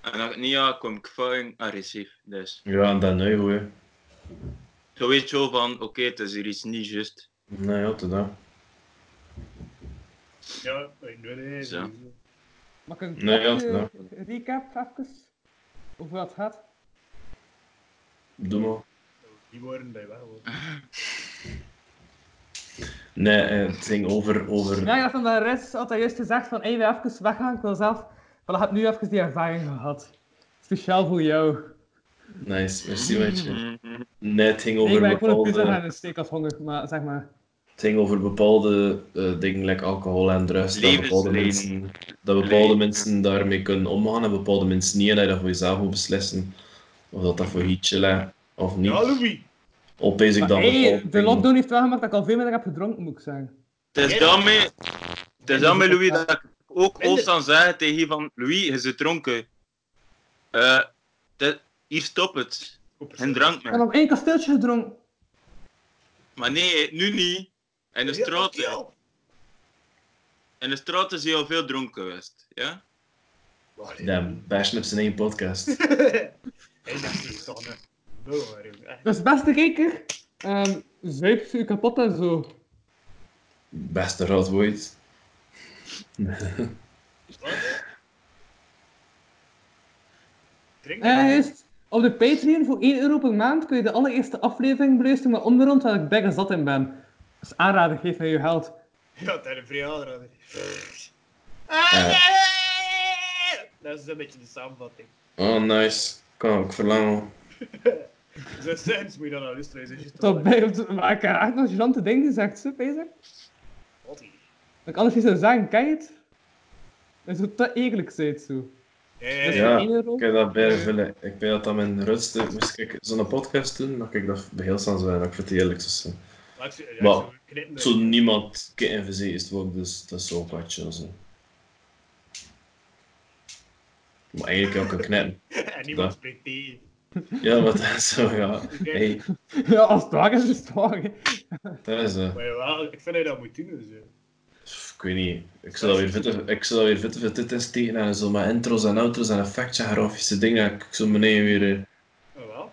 en als ik het niet ja, kom ik fucking agressief. Dus
ja, en dan nu hoor.
zo weet je wel van, oké, het is hier iets niet juist.
Nou ja, tot dan.
Ja, ik doe het.
Zo.
Mag ik een
Nee, ja,
korte
ja.
recap even? Over wat het gaat?
Doe maar.
Die worden bij wel.
Nee, eh, het ging over, over
Ja, ik dacht van de rest had hij juist gezegd van, hé, wij even weggaan, ik wil zelf... Wel, ik heb nu even die ervaring gehad. Speciaal voor jou.
Nice, merci maatje. Nee, het ging over
ik ben gewoon een pizza gaan
bepaalde,
en een steek als honger, maar zeg maar...
het ging over bepaalde eh, dingen, like alcohol en drugs, dat bepaalde,
Levensleven.
mensen, dat bepaalde
Leven.
mensen daarmee kunnen omgaan en bepaalde mensen niet, en dat je dat voor jezelf moet beslissen, of dat dat voor je chillen of niet.
Ja, Louis.
Opeens ik
Maar
dan
hey,
bepaalde
de
dingen-
lockdown heeft wel gemaakt dat ik al veel minder heb gedronken, moet ik zeggen.
Het is dan mee, het is dan mee Louis, dat ik ook constant zeg tegen je van, Louis, je zit dronken. Eh, dit- hier stop het. Geen drank
Ik
meer.
heb nog één kasteeltje gedronken.
Maar nee, nu niet. In de straat,
Ja.
in de straat is hij al veel dronken geweest. Ja?
Damn, bashen op zijn één podcast.
Hij dacht niet toch een burger. Echt.
Dus beste kijker, ehm zuip ze u kapot en zo.
Beste rad ooit.
Drink
Eh, juist, op de Patreon voor 1 euro per maand kun je de allereerste aflevering beluisteren met onderrond waar ik bijna zat in ben. Dus aanraden, geef mij je geld.
Ja, daar een verjaardag.
Eh,
Dat is een beetje de samenvatting.
oh, nice. Kan ik verlangen.
Zo sens moet je dan al luisteren. Dat is juist
Tot
wel-
bij ons, maar ik heb echt nog gênante dingen gezegd, zo, bezig.
Wat hier?
Dat ik anders niet zou zeggen, ken je het? Dat je zo te eigenlijk bent, zo.
Eh,
Dus
Ja.
voor 1 euro.
Ik heb dat bij vullen. Ik weet dat dat mijn rutste. Moest ik zo'n podcast doen, dan kan ik dat heel snel zijn. Ik vind het eerlijk te zijn.
laat ik ze- ja,
Wel,
zo knippen.
Zo niemand KNVZ is het ook, dus dat is ook wat chill. Zo. Maar eigenlijk ook een knip.
En niemand
dat.
spreekt tegen.
Ja, wat dat is zo, ja. Hey,
Ja, als het waar is, is het waar. hè.
dat is eh,
Maar jawel, ik vind dat je dat moet doen. Dus, eh.
pff, Ik weet niet. Ik zou dat weer vette, ik zou dat weer vette veel titels tegen en zo, maar intro's en outros en effectjes en grafische dingen. Ik zo beneden weer. eh,
Maar wel.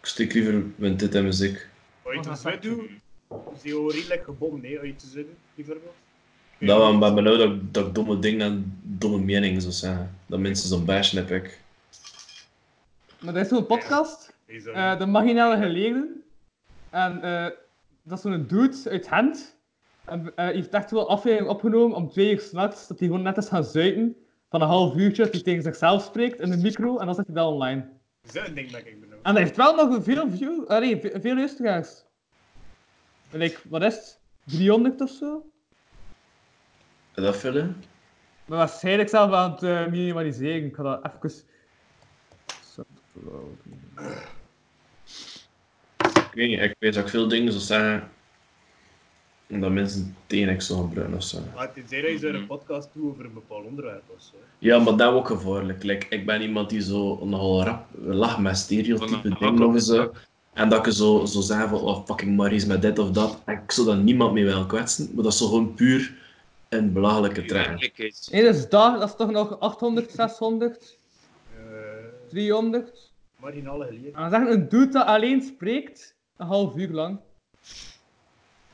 Ik stik liever mijn dit en muziek.
Als je het
Wat
te
gaat
zwet doet, is je al redelijk gebomd, nee, als je het te zwet doet, bijvoorbeeld.
Dat wel, maar benauwd dat, ik- dat ik domme dingen en domme meningen zou zeggen. Dat mensen zo'n bashen heb ik.
Maar dat is zo'n podcast,
Is dat-
eh, de marginale geleerden. En eh, dat is zo'n dude uit Gent. En eh, heeft echt wel aflevering opgenomen om twee uur s'nachts, dat hij gewoon net is gaan zuipen. Van een half uurtje, dat hij tegen zichzelf spreekt in de micro, en dan zet hij dat online.
is dat een ding dat ik benoem?
En hij heeft wel nog veel view, ah, nee, ve- veel luisteraars. En ik, wat is het? 300 of zo?
Is dat vullen?
Maar waarschijnlijk zelf aan het eh, minimaliseren. Ik ga dat even. Soundcloud.
Ik weet niet, ik weet dat ik veel dingen zou zeggen. En dat mensen tegen ik zou gebruiken of zo.
Maar het is dat je
Mhm.
zo'n podcast doet over een bepaald onderwerp of zo.
Ja, maar dat is ook gevaarlijk. Like, ik ben iemand die zo nogal rap lacht met
Van een
stereotypen dingen
hak op
of
de
zo. En dat ik zo, zo zeg van, oh, fucking Maries met dit of dat. En ik zou dan niemand mee willen kwetsen. Maar dat is zo gewoon puur een belachelijke trein.
Eerlijkheid.
Nee, dus daar, dat is toch nog 800, 600,
Eh,
300.
marginale geleerd.
En dan zeggen een dude dat alleen spreekt, een half uur lang.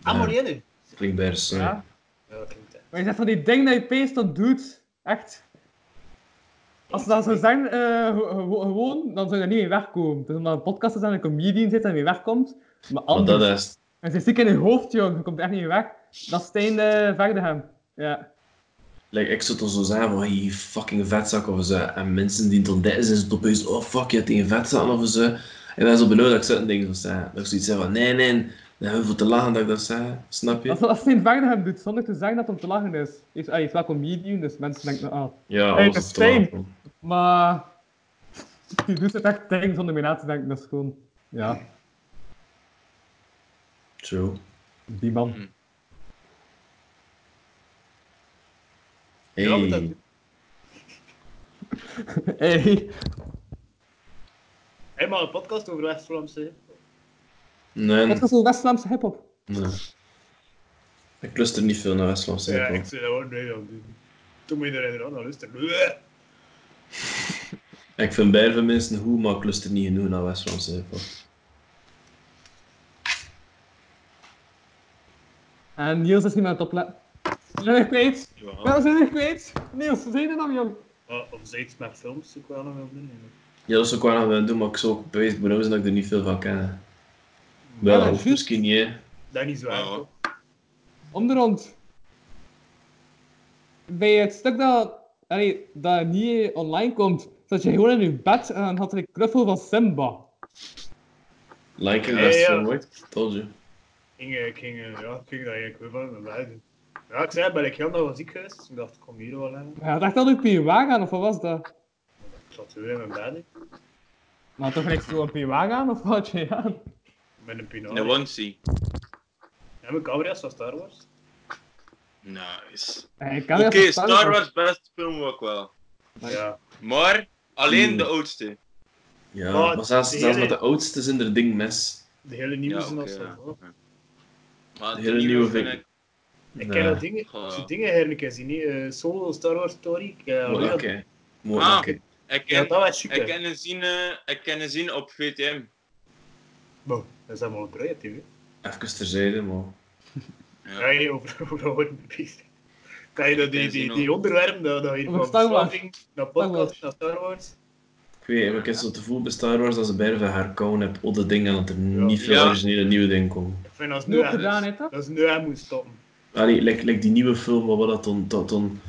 Ah, Marianne!
Klinkt bij de zon.
Ja.
Ja, dat klinkt hè.
Maar je zegt van die ding dat je peest, dat doet. Echt. Als ze dat zo zeggen, eh, gewo- gewo- gewoon, dan zou je er niet mee wegkomen. Het is omdat een podcaster en een comedian zit en mee wegkomt. Maar eh,
Maar
anders...
dat is...
En ze is ziek in je hoofd, jong. Je komt er echt niet meer weg. Dat is Stijn eh Verdehem. Ja.
Like, ik zou dan zo zeggen van, hey, fucking vetzak of zo. En mensen die dan dit is, is het opeens, oh fuck, je hebt tegen vetzak of zo. En dan is het benauwd dat ik zo'n ding zou zeggen. Dat ik zoiets zeg van, nee, nee, dan hebben we voor te lachen dat ik dat zeg. Snap je?
Dat is wat Stijn Verdehem doet, zonder te zeggen dat het om te lachen is. Hij is, hij is wel comedian, dus mensen denken, ah...
Ja,
Hey,
alles
dat
is
is
te
fijn.
lachen.
Maar... Die doet het echt tegen zonder meer na te denken, dat is gewoon... Ja,
True.
die man.
Hey.
Ja, maar dat-
Hey.
Helemaal een podcast over West-Vlaamse.
Nee,
Het is een West-Vlaamse hiphop.
nee. Ik luister niet veel naar West-Vlaamse
Ja,
hiphop.
ik zei dat ook nee, dan doen. Toen moet je er inderdaad naar luisteren. Eh, Bleh.
Ik vind beide mensen goed, maar ik luister niet genoeg naar West-Vlaamse hiphop.
En Niels is niet meer aan het opletten. Ze zijn er kwijt. Ja,
Ja.
ze zijn er kwijt. Niels, ze zijn er nog, jong.
Ah, Of zoiets met films, ik wel nog wel doen. ja.
Ja, dat zou ik wel aan willen doen, maar ik zou ook bewezen benauwd zijn dat ik er niet veel van ken. Wel,
Ja,
dat hoeft
juist.
misschien niet, hè.
Dat is niet zo erg.
Ja.
toch?
Om de rond. Bij het stuk dat, allee, dat niet online komt, zat je gewoon in je bed en dan had er een knuffel van Simba.
Like
Ja,
en West
ja.
van White, told you.
ging, eh, ik ging, eh, ja, ik ging dat eigenlijk weer van mijn bed doen. Ja, ik zei, ben ik heel nog wel ziek geweest, dus ik dacht, ik kom hier wel aan.
Maar je had echt al een PWA gaan, of wat was dat?
Ik zat weer in mijn bed, hè,
Maar toch niks door een PWA gaan, of wat had je aan?
met een
Een
pinot.
onesie.
En mijn camera's van Star Wars.
Nice.
Eh, Ik kan
Oké,
niet verstaan,
Star
maar-
Wars best film ook wel.
Ja.
Maar alleen
Hmm.
de oudste.
Ja,
Maar
maar zelfs,
de
zelfs
hele-
met de oudste zijn er ding mis.
De hele nieuwe zijn
oké,
als
ja,
zo. Oh.
oké. Maar
De
de
hele
nieuwe
nieuwe
vind
vind
ik...
Ik
Nee.
ken dat dingen,
Goh.
die dingen eigenlijk eens niet. eh, solo Star Wars Story. Ik, eh,
Mooi
alleen dat-
lakken. Mooi
Ah.
lakken.
Ik
ja,
ken,
dat was super.
Oh, ik ken een zien, eh, ik ken een zien op VTM.
Wow, dat is allemaal een project, hè.
Even terzijde, maar...
Ga je over over horen bezig. Kan je dat, die,
Ik ken
die,
ze
die onderwerpen dat, dat je
Over
van
Star Wars.
verslaving naar podcast
Wars.
naar Star Wars.
Ik weet, ik heb zo te voelen bij Star Wars dat ze bijna van herkauwen hebben op dat ding en dat er
Ja.
niet veel
Ja.
originele nieuwe dingen komen.
Ik vind dat is
Nu
nu
ook
echt-
gedaan, hè, toch?
dat is nu aan moet stoppen.
Allee, like, like die nieuwe film waar we dat dan, dat dan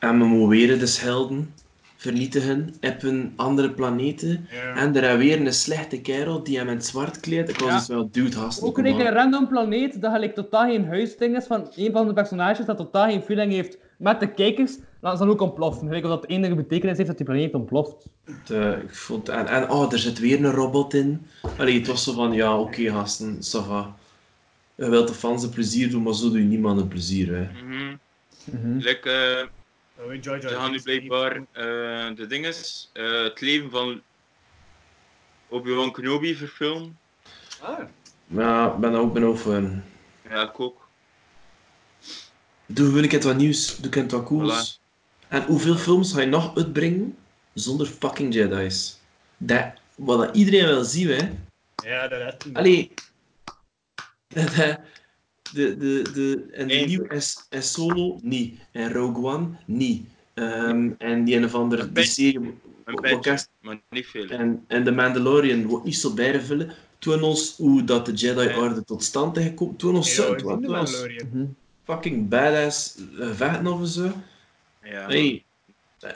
MMO'eren dus helden vernietigen op een andere planeten.
Ja.
En er is weer een slechte kerel die hem in het zwart kleedt. Ik was
Ja.
dus wel dude haast.
Ook een keer een random planeet dat gelijk totaal geen huisding is van een van de personages dat totaal geen feeling heeft met de kijkers, laten ze dan ook ontploffen. Gelijk of dat de enige betekenis heeft dat die planeet ontploft.
Eh, ik vond, en, en oh, er zit weer een robot in. Allee, het was zo van, ja, oké gasten, ça va. Je wilt de fans een plezier doen, maar zo doe je niemand een plezier, hè.
Mhm.
Mhm.
Like, eh,
Dan weet Jar Jar
ze gaan nu
Binks
blijkbaar
niet.
eh, de dinges, eh, het leven van Obi-Wan Kenobi verfilmen.
Ah,
Maar ja, ik ben daar ook benieuwd voor.
Ja, ik ook.
Doe wil ik het wat nieuws, doe ik het wat cools. En hoeveel films ga je nog uitbrengen zonder fucking Jedi's? Dat, wat dat iedereen wil zien, hè.
ja, dat heeft hem.
Allee. Dat, eh, De, de, de, en de
Eén.
nieuwe en- en Solo, niet. En Rogue One, niet. Ehm, en die een of andere
Een
die
beetje.
serie...
Een
Wat
beetje,
cast-
maar niet veel.
En, en The Mandalorian wordt niet zo bijvullen. Toen ons hoe dat de Jedi Orde tot stand is gekomen. Toen ons
Ja,
zo.
ik zie de
Toen ons
Mandalorian.
Mhm.
fucking badass eh, vechten of zo.
Ja.
Hey,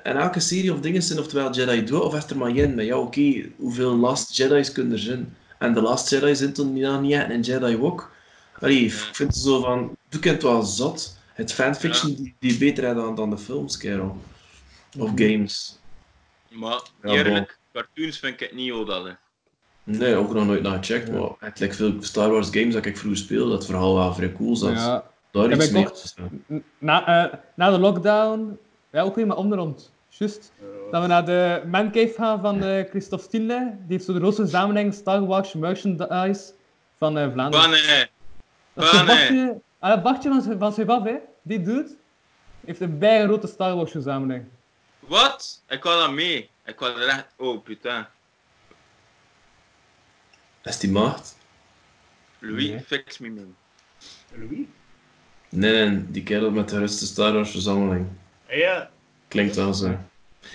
en elke serie of dingen zijn oftewel Jedi dood of is er maar één. Maar ja, oké, hoeveel Last Jedi's kunnen er zijn? En de Last Jedi zijn toen niet aan niet echt een Jedi Walk. Allee, ik vind het zo van, doe kent wel zot. Het fanfiction die, die beter is dan, dan de films, kerel. Of games.
Maar
Ja,
eerlijk, cartoons vind ik het niet al hè.
Nee, ook nog nooit naar gecheckt, maar het lijkt veel Star Wars games dat ik vroeger speelde, dat verhaal wel vrij cool zat.
Ja,
Daar
Ja,
iets
ik
mee.
ook. N- Na, eh, na de lockdown, ja, ook weer maar onder ons. Juist. Dat we naar de mancave gaan van eh, Christophe Stille. Die heeft zo de grootste samenleving Star Wars merchandise van eh, Vlaanderen.
Banne!
Dat is zo'n
Banne.
Bartje, ah, dat Bartje van, Z- van Sebab, hè? Die doet. Heeft een bijgrote Star Wars verzameling.
Wat? Ik kan dat mee. Ik was er echt... Oh, putain.
Is die maagd?
Louis,
Nee.
fix me man.
Louis?
Nee, nee, die kerel met de rustige Star Wars verzameling.
Ah, ja,
Klinkt wel zo.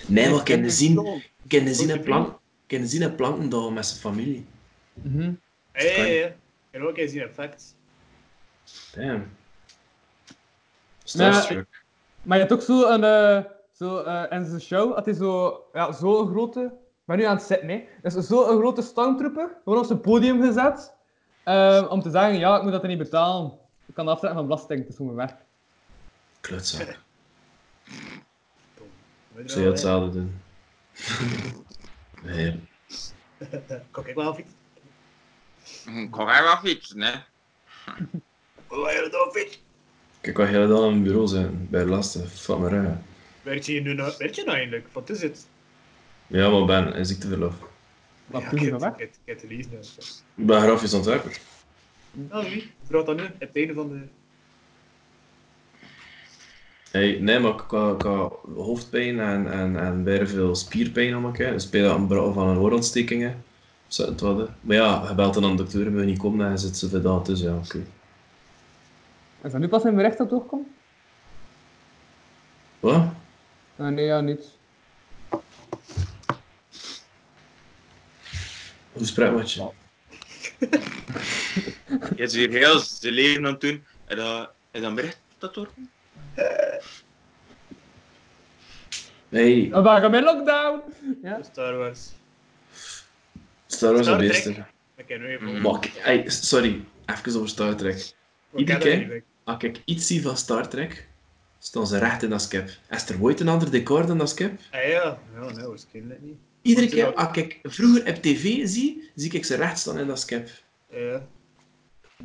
Nee, maar kennen zien, kennen zien en plank, kennen zien en planken dat met zijn familie.
Mhm.
Hey, hey, hey. En ook eens in effect.
Damn.
Nee,
Starstruck.
Maar je hebt ook zo een. eh, zo, eh, in zijn show had hij zo. Ja, zo'n grote. Ik ben nu aan het zitten, hè. Dus zo'n grote stormtrooper. Gewoon op zijn podium gezet. eh, om te zeggen: ja, ik moet dat er niet betalen. Ik kan aftrekken van belasting, het is voor mijn weg.
Klootzak.
Weet
Ik
je
zou
wel,
hetzelfde doen. Nee.
hè. Kijk, ik wel af iets.
Hm, Kon hij wel fietsen, hè?
Hoe ga je Oh, dat af iets?
Kijk, wat jij dan aan het bureau zijn bij de laatste. Fuck me raar.
Werd je hier nu nou, werd je nou eindelijk? Wat is het?
Ja, maar Ben, in ziekteverlof.
Maar
Ja,
toen is
ik
nou,
hij weg.
heb- Ik heb te lezen.
Ik ben grafisch ontwerper.
Nou, wie? Vraag dat nu. Het einde van de...
Hey, nee, maar ik had, ik had hoofdpijn en, en, en bijna veel spierpijn om elkaar. Dus bij dat aanbrouwen van een oorontstekingen. Zou het wat, hè. Maar ja, je belt dan aan de dokter, maar niet komen en hij zit ze verdaad tussen. Ja, oké.
Is dat nu pas in bericht dat doorkomt?
Wat?
Eh, nee, ja, niet.
Hoe spreekt wat je?
Je is hier heel zijn leven aan het doen. En dan, en dan bericht dat door.
Oh.
Hey,
We waren bij lockdown! Ja.
Star Wars.
Star Wars
Star
en
Trek.
beesten.
Dat ken je
Mhm.
even.
Maar, ik- hey, sorry, even over Star Trek.
Ik ken
Iedeke.
dat niet, hè.
Als ik iets zie van Star Trek, staan ze recht in dat skip. Is er ooit een ander decor dan dat skip?
Ah ja, ja, nee, waarschijnlijk niet.
Iedere
Want ze
keer als ik vroeger op tv zie, zie ik ze recht staan in dat skip.
Ja.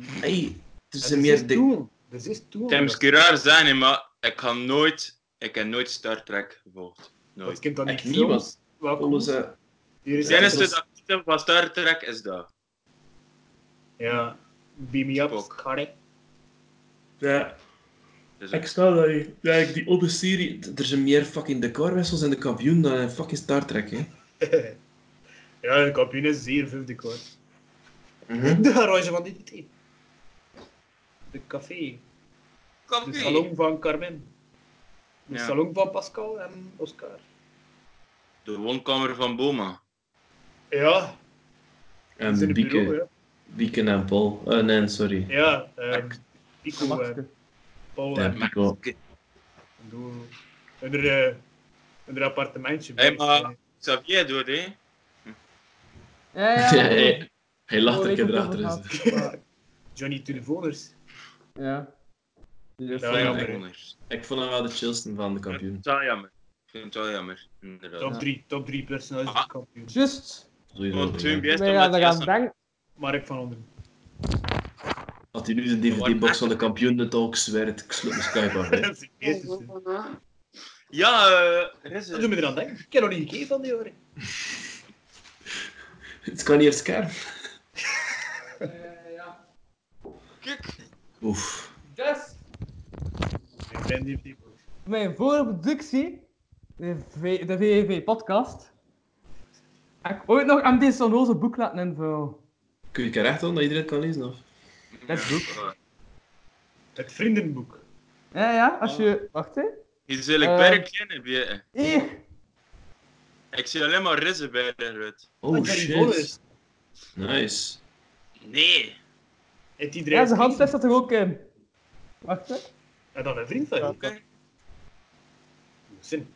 Hey, er
Dat
zijn meer
is
de...
toen. Dat is toen.
Het misschien raar zijn, hè, maar ik kan nooit, ik heb nooit Star Trek gevolgd.
Dat
Nooit.
kent dat niet.
Ik niet,
films.
want-
Welkom.
Alles, eh,
Hier is
Het
Ja,
enige
dat
dat
is-
ik niet heb van Star Trek is dat.
Ja. Beam me up,
Spock.
Scarlet.
Ja,
Dus
ik sta daar. hier. Ja, ik- die oude serie. d- Er zijn meer fucking decorwissels in de kampioen dan in fucking Star Trek, hè.
ja, de kampioen is zeer veel decor.
Mhm.
De garage van DDT. De café.
dus
De salon van Carmen. De
Ja.
salon van Pascal en Oscar.
De woonkamer van Boma.
Ja,
En
zijn bureau,
Bieke,
ja.
Bieke en Paul. Eh, nee, sorry.
Ja, ehm,
Een
Pico
masker.
en Paul
Ja,
en
Pico.
Doel. In haar, eh, in haar appartementje.
Hé, maar Xavier doet, hè?
Ja, ja.
eh. Ja, hij, hij lacht
Oh,
er
ik
een keer
heb
erachter.
het
is.
over gehad.
Eh, Johnny Telefoners.
Ja.
Ik
Ja,
Dat is
vond
jammer.
hem-
anders.
Ik vond hem wel de chillsten van de
Ik vind
kampioen.
het wel jammer. Ik vind het wel jammer, inderdaad.
Top 3, top 3 personages van
Ah.
de kampioen.
Just.
Sowieso.
Want toen
ja.
best
Nee, ja,
omdat hij
dat gaan
als
we
een-
denken.
Mark van Onderen.
Had hij nu de DVD-box van de kampioen net ook zwerkt, ik sloot mijn Skype af. hè.
Dat is het eerste.
Ja, eh, er is
Dat doet
een...
me eraan denken. Ik heb nog niet gekeken van die horen.
Het kan niet op het scherm.
Eh, ja.
Kijk,
Oef.
Dus,
Ik ben die people.
mijn voorproductie, de, v- de VVV-podcast, heb ik ooit nog aan deze onnoze boek laten invullen.
Kun je het recht doen dat iedereen het kan lezen? Of?
Dat is goed.
eh,
Het vriendenboek.
Ja, ja, als je... Wacht, hè.
Hier zal ik
Eh.
bijna kennen, bij-
Hier.
Ik zie alleen maar Rizzen bij eruit.
Oh
Johnny
shit.
Voners.
Nice.
Nee.
Het iedereen.
Ja, zijn handschrift staat er ook in. Wacht, hè.
En dan een vriend van je.
Oké.
Zin.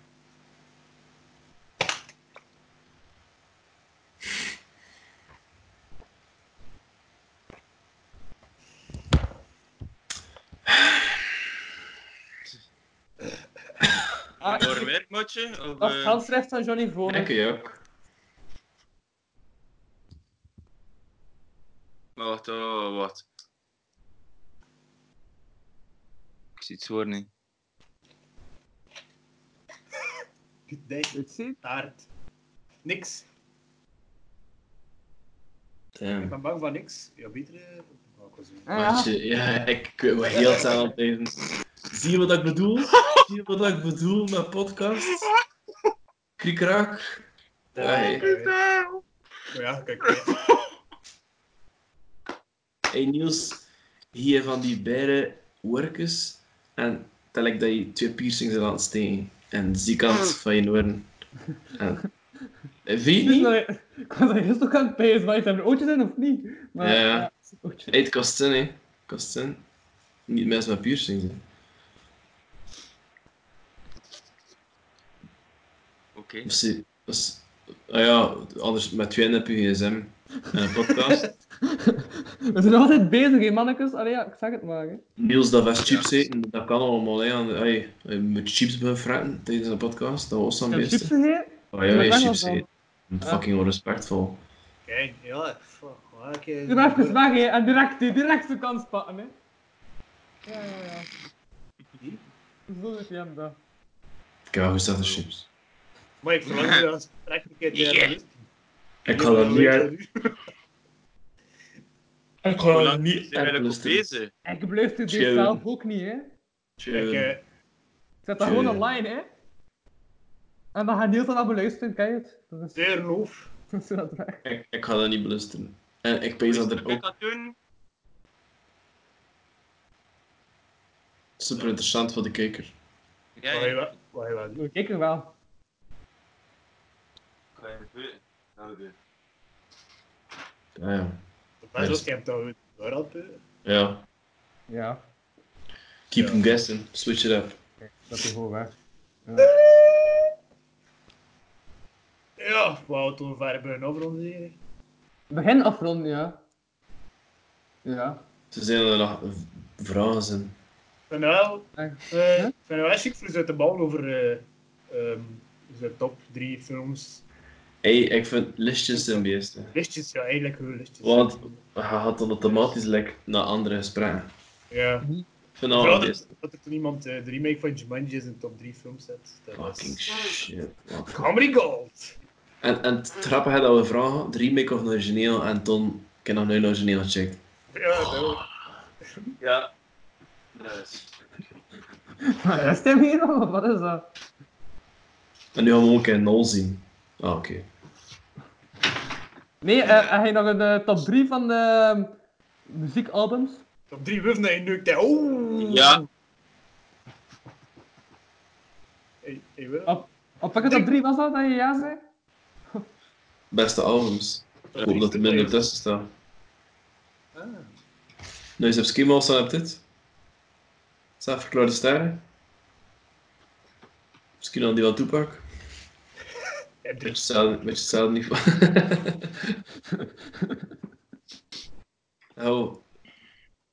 Ah,
Voor een werkmatje? Of,
dat is
eh,
het handschrift van Johnny Vrolijk.
Dank je ook.
Maar wacht, oh, wat? Ik zie het woord niet.
Dijk.
Weet je?
Taart. Niks. Ik
Damn.
ben bang van niks. Ja, beter. eh, wat ik wil zeggen.
Ah, ja.
Maatje, ja, ik ik weet wel heel snel aan het lezen. Zie je wat ik bedoel? Zie je wat ik bedoel met podcast? Kriekrak. Ja, hey.
Maar ja, kijk. eh,
hey Niels, hier van die beide workers en tel ik dat je twee piercings hebt aan het steken. En ziekant van je noorden. Eh, Vind je
Dus
het niet?
nou, ik was daar gisteren ook aan het pezen, maar het hebben oortjes in of niet? Maar,
Ja, ja.
het is een oortje.
Hey, het kost zin, hè. Het kost zin. Niet mensen met piercings, hè.
Oké.
Of ze... of ze- Ah ja, anders met twee op je gsm. En een podcast.
We zijn nog altijd bezig, hè, mannetjes. Allee, ja, ik zeg het maar. Hè.
Niels, dat was chips eten. Dat kan allemaal, hè. En, hey, je moet chips bevragen tijdens een podcast. Dat was dan
Heb je chips
best.
gegeten?
Oh
Ik
ja,
ben
ja,
weg
chips
al van.
eten. Fucking onrespectvol.
Kijk, ja, fuck. waar ik, eh,
Doe maar even weg, hè. En direct, hè. Direct de kans pakken, hè. Ja, ja, ja.
Wie?
Zo doet hij hem dat.
Kijk, hoe staat de chips?
Maar ik verlang nu als trek een keer de
Ja.
rust.
Ik ga dat niet uit.
uit.
Ik
Hoe
ga dat
lang zijn
niet
we eigenlijk op
uit.
deze?
Ik blijf dit
Tjoe.
zelf ook niet, hè.
Kijk, eh,
Ik zet dat gewoon
Tjoe.
online, hè. En dan gaat Niels dat beluisteren, kijk het. Dat is
zeer loof.
dat is dat weg.
Ik, ik ga dat niet belusteren. En ik pees dat er
Moet ik
ook
dat doen?
super interessant voor de kijker.
Ja,
Wat je
ja.
wel- wat je wel doet.
Ik kijk er wel.
Kan je het weten? Ja, dat doe ik.
Ah, ja.
Maar zoals je hebt dat we door al doen.
ja.
Ja,
Keep
Ja.
them guessing. Switch it up.
dat is gewoon weg.
Ja, wauw, toen ver bij een over ons hier.
Begin afronden, ja. Ja.
Ze zijn er nog v- vragen zijn.
En nou,
Echt.
eh,
Ja?
ik vind het wel chic voor uit de bal over eh, ehm, zijn top drie films.
Hey, ik vind listjes zijn beste.
Listjes, ja, eigenlijk hun listjes.
Want- Je gaat dan automatisch like, naar andere gesprekken.
Ja.
Ik vind dat wel
Vooral
het
dat,
beste.
dat er toen iemand eh, de remake van Jumanji is in de top 3 films zet. Dat was-
Fucking shit. man.
Comedy Gold!
En, en het grappige dat we vragen, de remake of een origineel, en Ton, ik heb nog nooit een origineel gecheckt.
Ja, dat ook.
Ja. Dat is...
Maar rest hem hier nog? of Wat is dat?
En nu gaan we ook een nul zien. Ah, oké.
Nee, eh, heb je nog een eh, top 3 van de eh, muziekalbums?
Top 3 wuf naar je neukt. hè. Oeh!
Ja.
Hey, hey, Willem.
Op, op welke top 3 was dat dat je ja zei?
Beste albums. Ik hoop dat er minder tussen staan.
Ah.
Nou, je hebt Skimo staan op dit. Zelfverklaarde sterren. Misschien al die wel toepak.
Heb
Weet je
drie.
hetzelfde- weet je hetzelfde niveau. oh.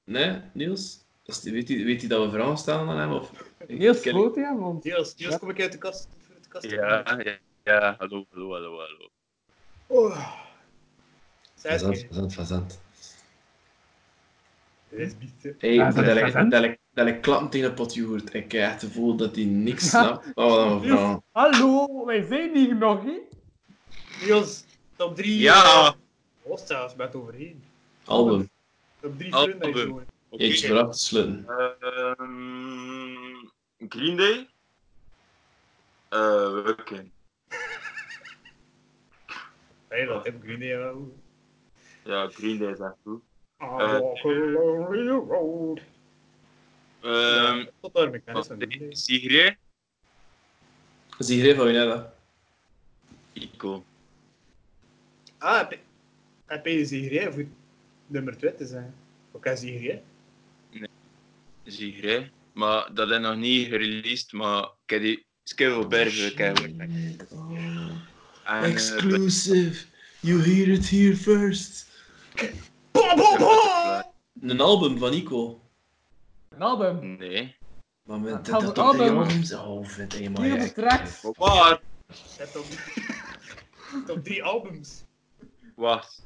Nee, Niels? Is die- weet hij weet die dat we vragen stellen aan hem? Of...
Heel
Ken ik-
sloot, ja, want...
Niels, Niels,
Ja.
kom ik uit de kast. Uit de kast.
Ja, ja. Ja, hallo, hallo, hallo, hallo.
Oh. Zes
Fazant,
keer.
fazant, fazant.
Dit is biet, hè.
Hey,
Fazant,
dat ik-
fazant.
dat ik- dat ik klappen tegen een pot joert. Ik heb echt het gevoel dat hij niks snapt. Oh, wat een
Niels,
vraag.
hallo, wij zijn hier nog, hè?
Niels, top 3.
Ja!
Oh, zelfs met overheen.
Album.
Top 3
Album.
films naar je neukt.
Oké.
Eentje voor af te sluiten.
Ehm, Green Day? Eh, Weekend.
Hey, dat heb ik niet jou.
Ja, Green Day is echt goed.
I walk a lonely road.
Ehm,
Ja, Tot daar mijn kennis van.
um, Sigrid?
Dat is die greep van Winella.
Ico.
Ah, heb je- heb je Zigré voor nummer 2 te zijn? Ook aan Zigré?
Sigrid. Maar dat is nog niet gereleased, maar ik heb die Skevel Bergen eh, kijken.
Exclusive. You hear it here first. Een album van Nico.
Een album.
Nee.
Maar met
Een
dat dat op
album.
drie albums. Oh, vind ik maar.
Hier op
ja,
de
ik-
tracks.
Oh. Wat?
Zet op. Top 3 albums.
Wacht.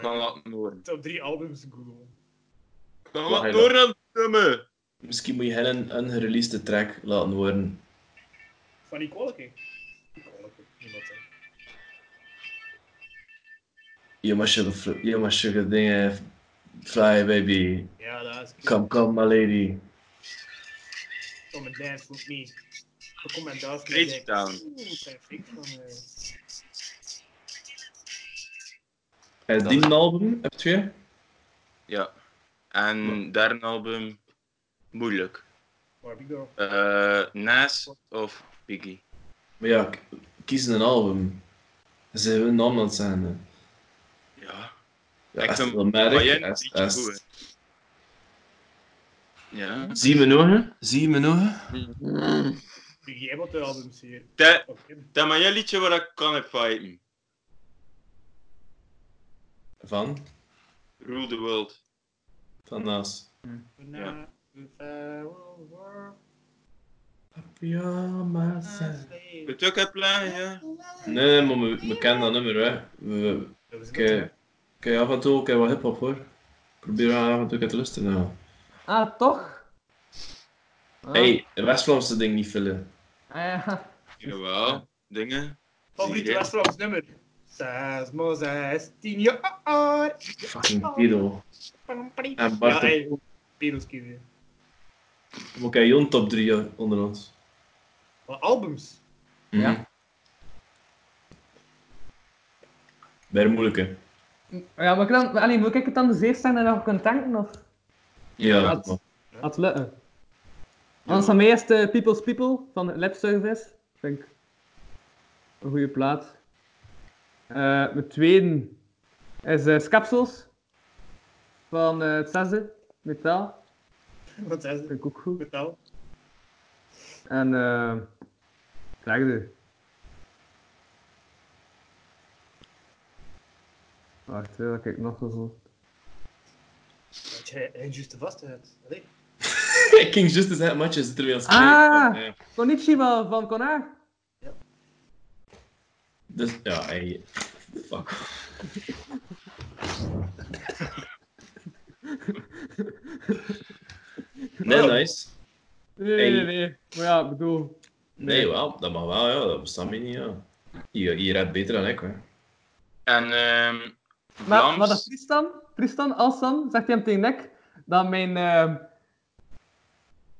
Kan dat horen.
Top 3 albums, Google.
Kan
Wacht,
dat
hij dan.
horen, domme?
Misschien moet je hen een ungereleased track laten worden.
Van die kwalke. Die kwalke, niemand zegt.
You must sugar, fl- you must sugar dingen. Fly baby.
Ja, dat is
Come, come, my lady.
Kom en dance with me. Kom en dance
Crazy
met mij.
Town.
Oeh, ik ben flink van. eh.
Is die een album? Heb je?
Ja. En derde album, moeilijk.
Barbie Girl.
Eh Nas of Biggie?
Maar ja, k- kiezen een album. Dat zijn we een naam aan het zijn. hè.
Ja.
Ja,
Ik
als
vind
het een merk,
Bayern
als-
niet
als-
goed, Ja.
Zie je me nog, hè? Zie je me nog, hè?
Doe jij wat de albums hier?
Dat,
Oké.
dat Maya liedje waar ik kan heb fighten.
Van?
Rule the world.
Van Naas.
Now, if I will work
Ja, maar... ze-
slave.
Kunt je ook hebben plaatje, ja?
Nee, maar we, we kennen dat nummer, hè. We,
Dat is het, hè.
Kijk, kijk af en toe ook wat hip-hop hoor. Probeer aan af en toe wat te luisteren. Nou.
Ah, toch? Ah,
Hey, een West-Vlaamse ding niet vullen.
ah, ja.
Jawel. Dingen.
Favoriet
Zie je?
West-Vlaams nummer? Zes, maar zes, tien jaar.
Fucking Pido. En
oh. Ja,
Bart,
hij ook. Perels kiezen.
we kijken Jon top 3 onder ons.
Wat albums?
Ja.
Mhm. Bij de moeilijke.
Ja, maar ik dan, allee, moet ik het dan de zeer staan en dan kunnen tanken of
Ja,
dat-
maar-
wat lukken? Anders van mij is de People's People van Lab Service. Vind ik een goede plaat. Eh, mijn tweede is eh Scapsels van eh, het zesde, Metaal.
Wat is het?
Vind ik ook goed.
Vertel.
En eh. Vlegde. Wacht, hè, dat kijk ik nog zo.
Dat jij hij juist de vastheid. Allee.
Ik ging juist zeggen, matje zit er weer aan het
Ah!
spelen. Ja.
Konnichiwa van Konar.
Dus, ja, hey. Fuck. Nee, nice.
Nee,
Hey.
nee, nee. Maar ja, ik bedoel.
Nee, wel, dat mag wel, ja. Dat bestaat mij niet, ja. Hier, hier hebt beter dan ik, hè.
En ehm
Maar, maar dat
Vlaams.
Tristan, Tristan, als dan, zegt hij hem tegen Nick, dat mijn... ehm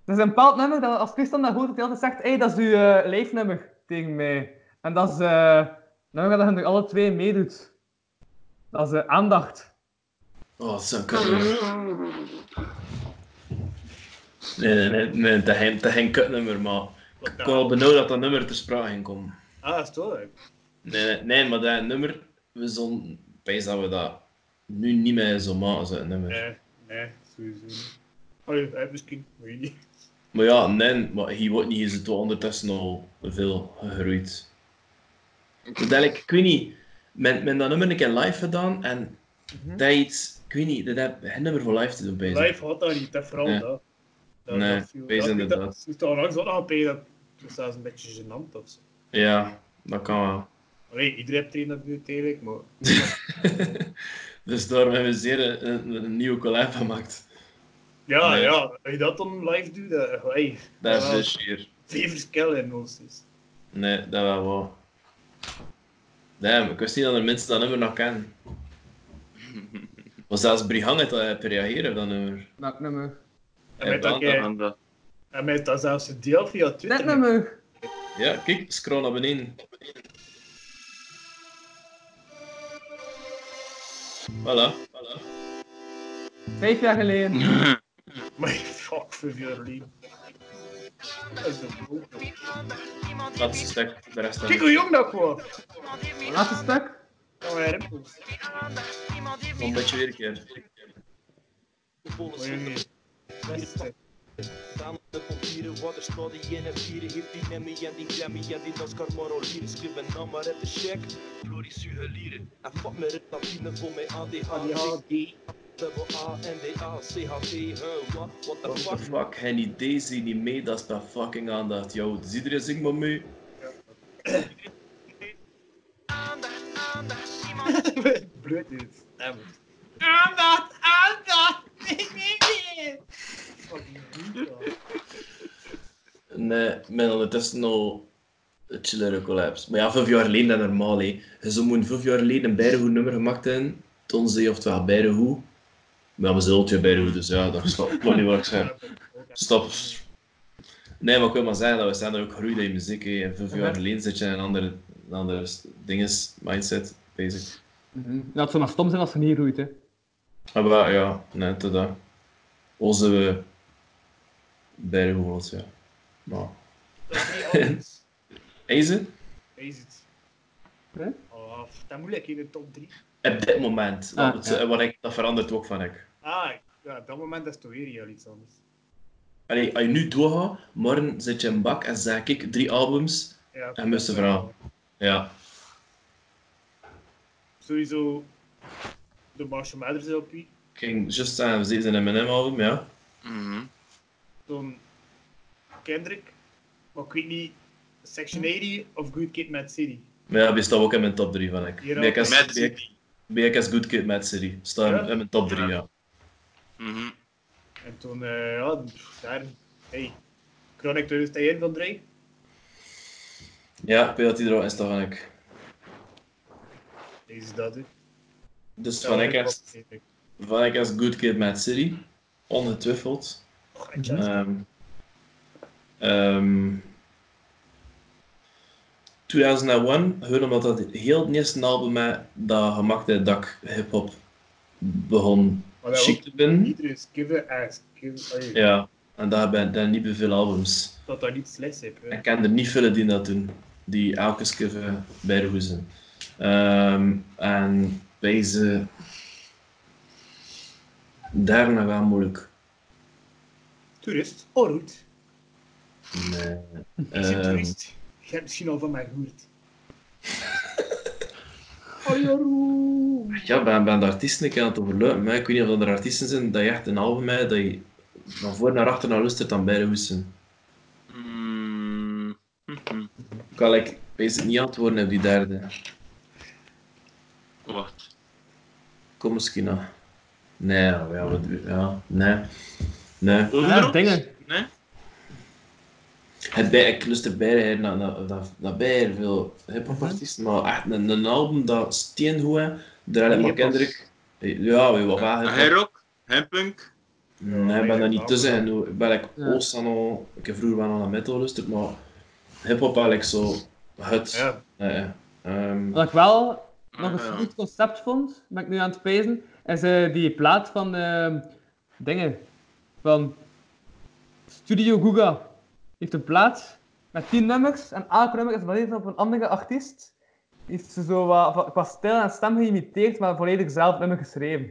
dat is een bepaald nummer, dat als Tristan dat hoort, dat hij altijd zegt, hey, dat is uw eh leefnummer tegen mij. En dat is eh, een nummer dat je nu alle twee meedoet. Dat is eh, aandacht.
Oh, zo kut. Nee, nee, nee, nee dat is geen kutnummer, maar
Wat
ik
dan?
was al benauwd dat dat nummer ter sprake ging komen.
Ah, is toch?
Nee, nee, nee, maar dat nummer, we zullen, bijs dat we dat nu niet meer zo maken, zo'n nummer.
Nee, nee, sowieso niet. Allee, hij misschien, weet je niet.
Maar ja, nee, maar hier wordt niet, is het wel ondertussen al veel gegroeid. Uiteindelijk, ik weet niet, men, men dat nummer een keer live gedaan en dat iets, ik weet niet, dat heb geen nummer voor live te doen bezig.
Live had dat niet, dat vooral
Nee.
dat.
Nee,
viel-
wees
dat-
inderdaad.
Dat is toch langs ook nog een beetje dat dat is zelfs een beetje gênant of zo.
Ja, dat kan wel.
Allee, iedereen heeft er een natuurlijk, eigenlijk, maar...
dus daarom hebben we zeer een, een- een nieuwe collab gemaakt.
Ja,
Nee.
ja, als je dat dan live doet, dat... Hey,
Dat is
wel
dus hier.
Twee verschillen in emoties.
Nee, dat wel wel. Damn, ik wist niet dat er mensen dat nummer nog kennen. Maar zelfs Brihang het al heeft eh, reageren op dat nummer.
Dat nummer.
En met dat
dan-
jij-
aan dat.
en met dat zelfs een deel via
Dat
Twitter.
nummer.
Ja, kijk, scroll naar beneden. Voilà, voilà.
Vijf jaar geleden.
Maar fuck, Vivian Dat is de boel.
Laatste stuk, de rest
Kijk
hebben
hoe jong dat kwam.
Laatste stuk.
Ja, maar rimpels.
we. Een beetje weer een keer.
Maar jongen, beste.
de papieren, water staat die in en vieren. Heeft die Nemmy en die Demi en die Nascar maar al hier. Schrijf een naam maar even check. Glorie suhelieren. En fuck me het natine voor mijn
Oh,
ADHD. Double A, N, D, A, C, H, T. Huh, what, what the
What the
fuck?
fuck, geen idee, zie niet mee, dat is bij fucking aandacht. Yo, dus iedereen zingt maar mee.
Bloed in het stem.
Nee, men ondertussen al chillere collabs. Maar ja, vijf jaar geleden dat normaal, hé. Je zou moeten vijf jaar geleden een bijna goed nummer gemaakt hebben. Toen zei oftewel bijna goed. Maar ja, we zijn al twee bijna goed, dus ja, dat stop. Klopt niet wat ik zeg. Stop. Nee, maar ik wil maar zeggen dat we zijn er ook groeid in muziek, hé. En vijf jaar geleden zit je in een andere, een andere s- dinges, mindset, bezig.
Ja, Mhm. het zou maar stom zijn als ze niet roeit, hè.
Maar wel, ja, nee, tot dat. Onze uh, bijna goed, ja. Maar...
Dat is niet alles.
Eise,
Is het?
Huh?
Oh, dat moeilijk in de top 3.
op dit moment,
Ah,
dat,
ja.
wat ik, dat verandert ook van ik.
Ah, ja, op dat moment is het toch weer heel iets anders.
Allee, als je nu doorgaat, morgen zit je in een bak en zeg ik drie albums.
Ja,
En met zijn verhaal. Ja.
Sowieso de Marshall Mathers LP.
Ik ging just zeggen, we zitten in een M&M-album, ja.
Mhm.
Dan Kendrick. Maar ik weet niet, Section 80 of Good Kid Mad City.
Maar ja, die staat ook in mijn top 3 van ik.
Hier
BKS,
ook.
Mad City.
BKS Good Kid, Mad City. Staat
Ja?
in mijn top 3, ja.
Mhm.
En toen, eh, ja, pff, daar. Hey, Chronic 2001 van Dre.
Ja, ik weet dat die er al in staat van ik.
Deze is dat, hè.
Dus van ik is, van ik is Good Kid, Mad City. Ongetwijfeld.
Och, en Chance.
Ehm ehm 2001, gewoon omdat dat heel het eerste album met dat gemaakte dak hip-hop begon
Maar dat
chic
ook
te binnen.
iedereen is give a ass. Give, allee,
Ja, en daar ben daar niet veel albums.
Dat dat niet slechts is. hè.
Ik ken er niet veel die dat doen, die elke keer eh, bij de hoes zijn. Ehm, en deze. Daarna wel moeilijk.
Toerist, oh goed.
Nee.
Ik zit
Ehm,
toerist. Je hebt misschien al van mij gehoord. Oh, Jeroen.
Ja, ben, ben de artiesten een keer aan het overlopen. Maar ik weet niet of dat er artiesten zijn dat je echt een album hebt dat je van voor naar achter naar luistert dan bij de hoesten.
Mm. Mhm.
Kan ik wees het niet antwoorden op die derde.
Wat?
Kom misschien nog. Nee, ja, wat, ja, nee. Nee.
Ja, dingen.
Nee?
Het bij, ik luister bij naar, naar, naar, naar bij veel hip-hop artiesten,
Mhm.
maar echt een, een album dat steengoed is. Daar heb ik maar
Hip-hop.
Kendrick. Ja, we wat wel.
En
hip-hop.
Ah, hij rock? Hij punk?
Nee, ik ben daar niet tussen. En hoe- ben ik
Ja.
oost dan al, ik heb vroeger wel aan de metal geluisterd, maar hip-hop eigenlijk zo het.
Ja,
Nee, ehm,
Wat ik wel nog
Ah,
een
ja.
goed concept vond, ben ik nu aan het pezen, is eh, die plaat van ehm, dingen. Van Studio Guga. heeft een plaat met 10 nummers en elk nummer is gebaseerd op een andere artiest. Die heeft ze zo wat, van- qua stijl en stem geïmiteerd, maar volledig zelf nummer geschreven.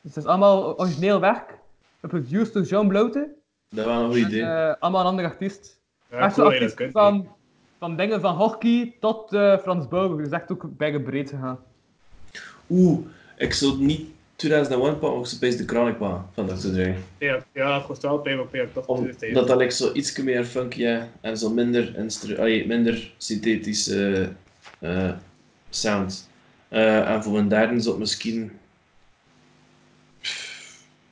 Dus het is allemaal origineel werk, geproduceerd door Jean Blouten.
dat was een goed
En,
idee.
eh, allemaal een andere artiest.
ja
Echt zo
cool dat je dat
actief
kunt. hè.
van, van dingen van hockey tot eh, Frans Bouwer. Dus echt ook bij breed gegaan.
Oeh, ik zou niet 2001 pakken, maar ik zou best de Chronic pakken van Dr. Dre.
Ja, ja, kost wel pijn, maar pijn, toch toerist. hè.
Omdat dat like, zo iets meer funky is en zo minder, instru- allee, minder synthetische eh, eh, sound. Eh, en voor een derde zou het misschien... Pff,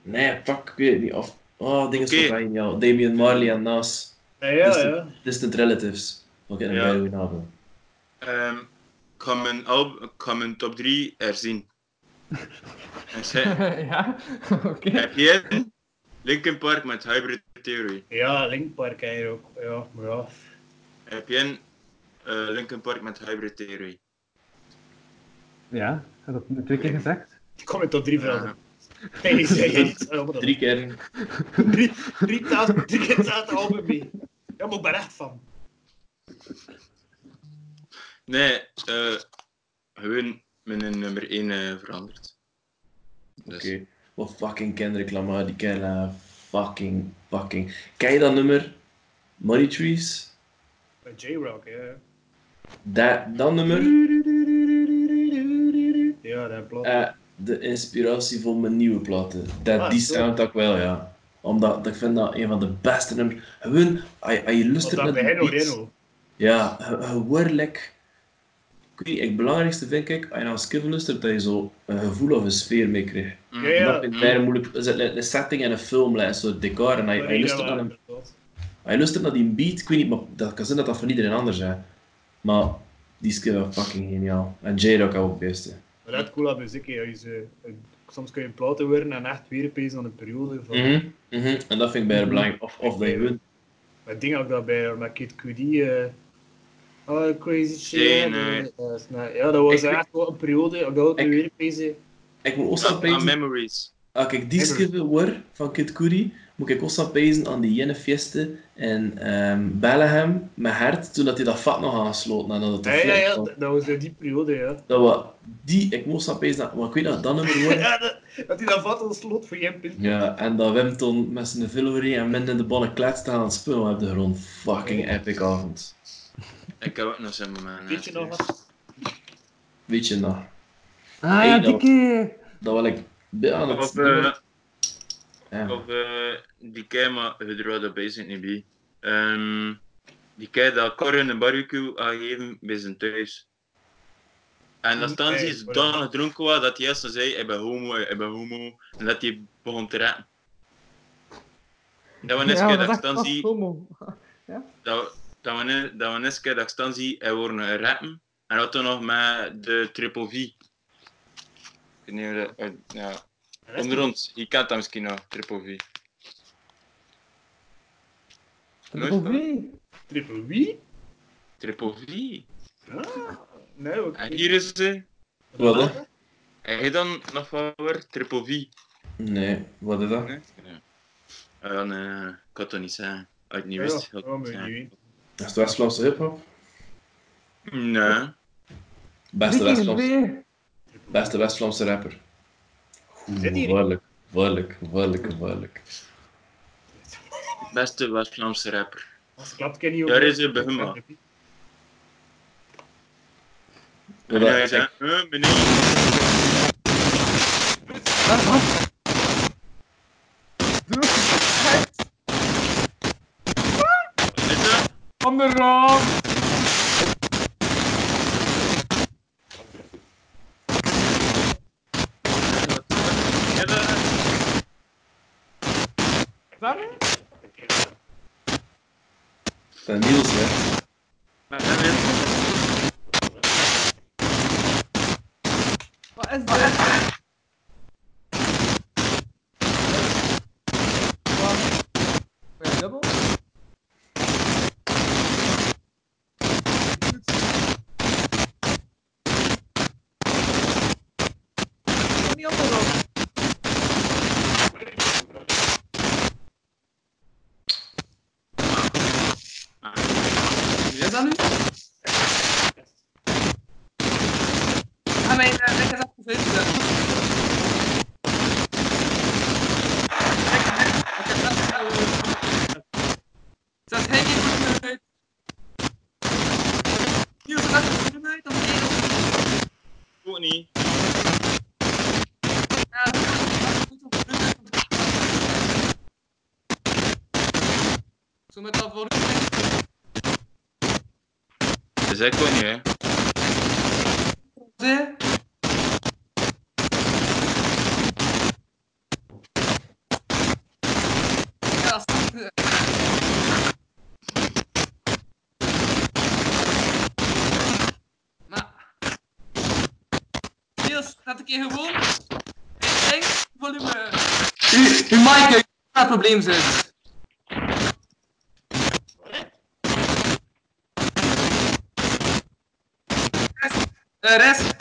Nee, fuck, ik weet het niet. Of, oh, dingen
Oké.
is van jou. Damian Marley en Nas.
Ja, ja,
Dus-
ja.
Distant Relatives. Ook in een
Ja.
ja. goede album.
Ehm, ik ga mijn, al- ik ga mijn top 3 herzien. en zij,
ja, oké.
heb je een? Linkin Park met Hybrid Theory?
Ja, Link Park eigenlijk ook. Ja, maar ja.
Heb je een eh, Linkin Park met Hybrid Theory?
Ja, dat heb ik twee keer gezegd.
Ik kom in tot drie
Ah.
veranderen. Nee, zei je niet. Oh, maar dat-
Drie keer.
drie, drie, taas, drie keer staat het album mee. Ja, maar ik ben echt van.
Nee, eh, gewoon mijn nummer 1 veranderd. Dus,
Oké. Wat fucking Kendrick Lamar, die ken eh, fucking, fucking. Ken je dat nummer? Money Trees?
Bij J-Rock, ja.
Dat, dat nummer?
Ja, dat klopt.
eh, de inspiratie voor mijn nieuwe platen. Dat,
Ah,
die
zo.
sound ook wel, ja. Omdat dat- ik vind dat een van de beste nummers. Gewoon, als je- als je
Want
luistert
dat
naar
bij
de
Heno
beats,
Reno.
Ja, ge- gewoordelijk. Ik weet niet, het belangrijkste vind ik, als je naar Skiffle luistert, dat je zo een gevoel of een sfeer mee krijgt.
mm.
Ja, ja.
Ah, Dat vind ik bijna moeilijk. Is het een setting en een film, like, een soort decor. En hij, hij, luistert naar een, hij luistert naar die beat. Ik weet niet, maar dat kan zijn dat dat van iedereen anders is. Maar die is wel fucking geniaal. En J-Rock ook best. hè.
Maar dat cool aan muziek, hè. Is, eh, een- soms kun je platen worden en echt weer opeens aan een periode van...
Mhm, mhm. En dat vind ik bijna belangrijk. Of, of dat je wint.
Maar dingen ook daarbij, met Kid Cudi. eh oh, crazy shit.
Nee, nee.
eh, dat is nou- ja, dat was
Ik-
echt wel een periode. Ik dat we
Ik-
weer eh, bezig.
Ik moet ook
Ah,
staan prijzen
Memories.
Ah, kijk, die schrijven War van Kid Cudi moet ik constant pezen aan die Jenne Fieste in ehm Bellingham met Hert, toen dat hij dat vat nog aansloot nadat het
Ja,
een
ja,
flirt
ja,
kwam.
dat was in die periode, ja.
Dat we die, ik moest dat pezen, dat- want ik weet dat dat nummer wordt.
Ja, dat, dat hij dat vat als slot voor Jim Pin.
Ja, en dat Wim toen met zijn Villery en min in de ballen kletste aan het spullen op de grond. Fucking epic avond.
Ik heb ook nog zo'n moment. eh.
Weet je nog wat?
Weet je nog?
Ah
Hey,
ja,
dat-
die keer.
Dat wil ik bij aan het
Of, eh,
Ja.
of eh, die kei, maar je draait dat bij zijn niet bij. Ehm, die kei dat Corin een barbecue aangeven bij zijn thuis. En dat staan
Nee,
ze
voilà.
dan gedronken was dat hij eerst zo zei: Ik ben homo, ik ben homo. En dat hij begon te rappen. Dat we eens
Ja,
keer
dat
dat
is echt
staan
vast
zien
homo.
dat, dat we dat we eens keer dat ik staan zie en worden rappen. En dat toen nog met de triple V. Ik weet niet hoe dat- eh, ja. Onder ons, je kent dat misschien nog, triple V.
Dat is
Triple wie?
Triple V.
Ah, nee, oké.
En hier is ze.
Wat, hè?
En jij dan nog van weer? Triple V?
Nee, wat is dat?
Nee? Ja. Ah ja, nee, nee, nee. ik had dat niet zeggen. Als je het niet
Ja,
wist,
ja,
had ik het niet
maar
zeggen.
je weet.
Dat is de West-Vlaamse hip-hop.
Nee.
Beste West-Vlaamse beste West-Vlaamse rapper. Oeh,
Zit hier?
Waarlijk, waarlijk, waarlijk, waarlijk.
Beste West-Vlaamse rapper.
Als klapt ken je ook.
Daar is ze bij hem, man. En hij zei, eh, meneer. Wat is dat?
Van de raam.
Ja, dat-
Sorry?
Dat Niels, hè.
Maar dat is-
Wat is dat? Wat? Ben je dubbel? Niet andersom.
Ja, dat nu?
Ah, mijn eh, link is afgezet. Zet hij geen groen uit? Niels, zet hij groen uit? Dan ben je nog-
Ook niet.
Ja, zet hij groen uit, dan ben je nog- Zo met dat voor.
Dus ik kon niet, hè.
Ze. Ja, dat is- Maar... Niels, dat ik hier gewoon... Ik denk, volume... U, uw mic, eh, gaat probleem zijn. Rest, eh, rest.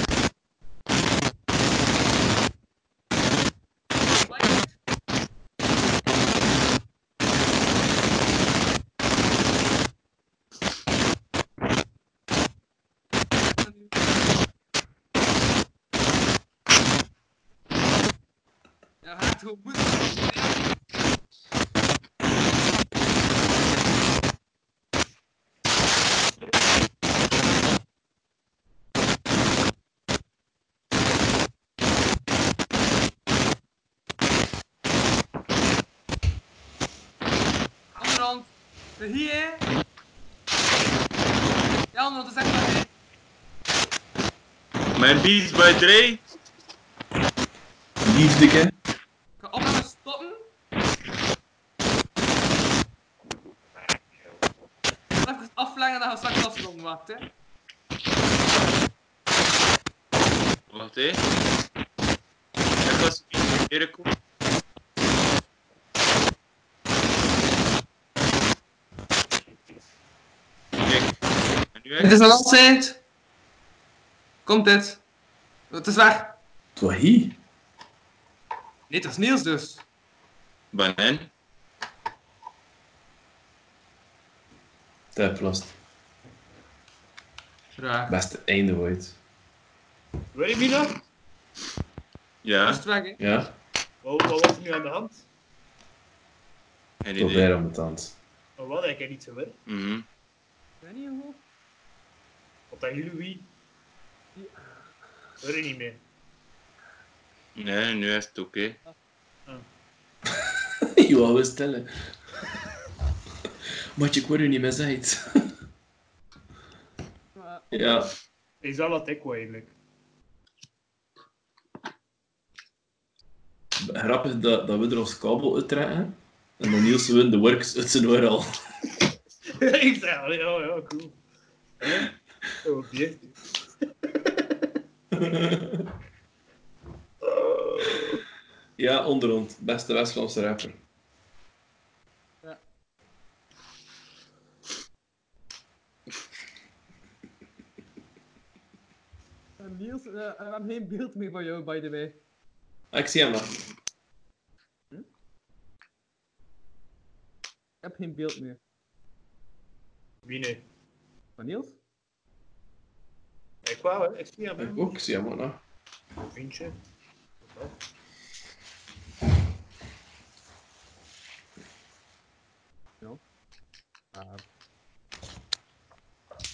Ja, hij heeft gewoon moeite. Anderhand. De hier. Ja, anderhand, dat is echt maar
Mijn beats bij Dre.
Liefdeke.
Ik ga op en stoppen. Ik ga even afleggen dat je straks afstand maakt, hè.
Wacht, hè. Ik was niet meer komen. Kijk. En nu
Het
echt?
is nog altijd. Komt dit. Het is weg.
Twahi.
Nee, dat is Niels dus.
Banijn.
Tijplast.
Raar.
Beste einde ooit.
Weet je, Mina?
Dat is
Ja,
het weg, hè?
Ja?
Wat, wat was er nu aan de hand?
geen
Tot
idee.
bij mutant.
Maar wat, ik heb niet zo Oh, wel.
Mhm.
Weet niet hoe.
Wat dat jullie wie? Weet ik niet meer.
Nee, nu is het oké.
Je wou wel stellen. Maatje, ik word er niet meer zijt. Ja.
Is dat wat ik wou eigenlijk?
Grappig dat, dat we er ons kabel uittrekken. En dan Niels win de works uit zijn oor al.
ik zei, allee, ja, ja, cool. Hè? Oh, object.
Ja, onderhand. Beste West-Vlaamse rapper.
Eh, Niels, eh, we hebben geen beeld meer van jou, by the way.
Ah, ik zie hem nog.
Ik heb geen beeld meer.
Wie nee?
Van Niels?
Ik wou, hè. Ik zie hem, hè.
Ik ook, ik zie hem ook nog.
Vriendje.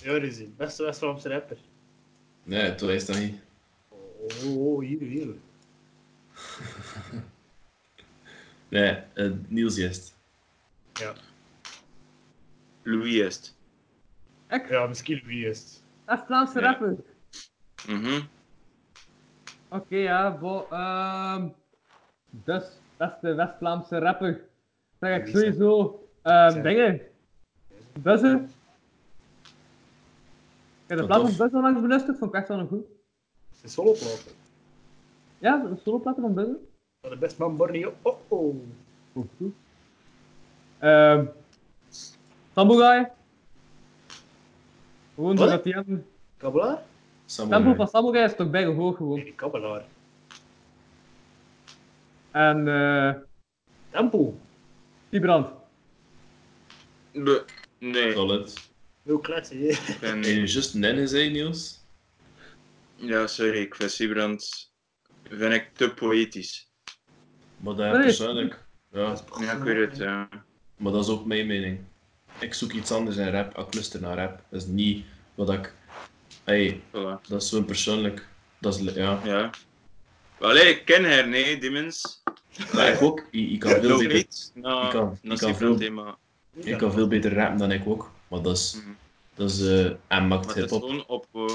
Ja, dat is het. Beste West-Vlaamse rapper.
Nee, toen is dat niet.
Oh, oh, oh, hier, hier.
Nee, eh, Niels juist.
Ja,
Louis is het.
ja misschien wie is het.
Dat is Vlaamse
Ja.
rapper.
Mhm.
Oké, ja, bo. ehm dus, beste West-Vlaamse rapper. Zeg ik
Wie zijn-
sowieso ehm
zijn-
dingen. Buzzen. Ik heb de
Wat
plaat
tof.
van Buzzen onlangs beluisterd, vond ik echt wel een goed.
Het is soloplaten.
Ja, de soloplaten van Buzzen.
Dat de best man Borneo. Oh, oh.
Goed, goed. Ehm Sambugai. Gewoon
Wat?
doordat die hem...
Kabbelaar?
Tempo
Samurai.
van Sambugai is toch bijna hoog gewoon.
Nee, kabbelaar.
En eh...
Tempo.
Vibrant.
Be- Nee,
Solid.
Heel kletsen, hè.
ik ben...
En je juist nennen zei, Niels?
Ja, sorry, ik vind Siebrand... Vind ik te poëtisch.
Maar dat
Nee.
persoonlijk. Ja,
Ja, ik weet het, eh, ja.
maar dat is ook mijn mening. Ik zoek iets anders in rap. Ik luister naar rap. Dat is niet wat ik... Hey,
Voilà.
dat is zo'n persoonlijk... Dat is... li- Ja.
Ja. Allee, ik ken haar, nee, die mens.
Maar ik ook. Ik, ik kan veel
Nog
beter...
niet. Nou,
Ik kan-
nog
ik kan
niet
veel-
veel thema.
Ik kan veel beter rappen dan ik ook. Maar dat is...
Mhm.
Dat is... eh en maakt
Maar het is
hip-hop.
gewoon op, eh,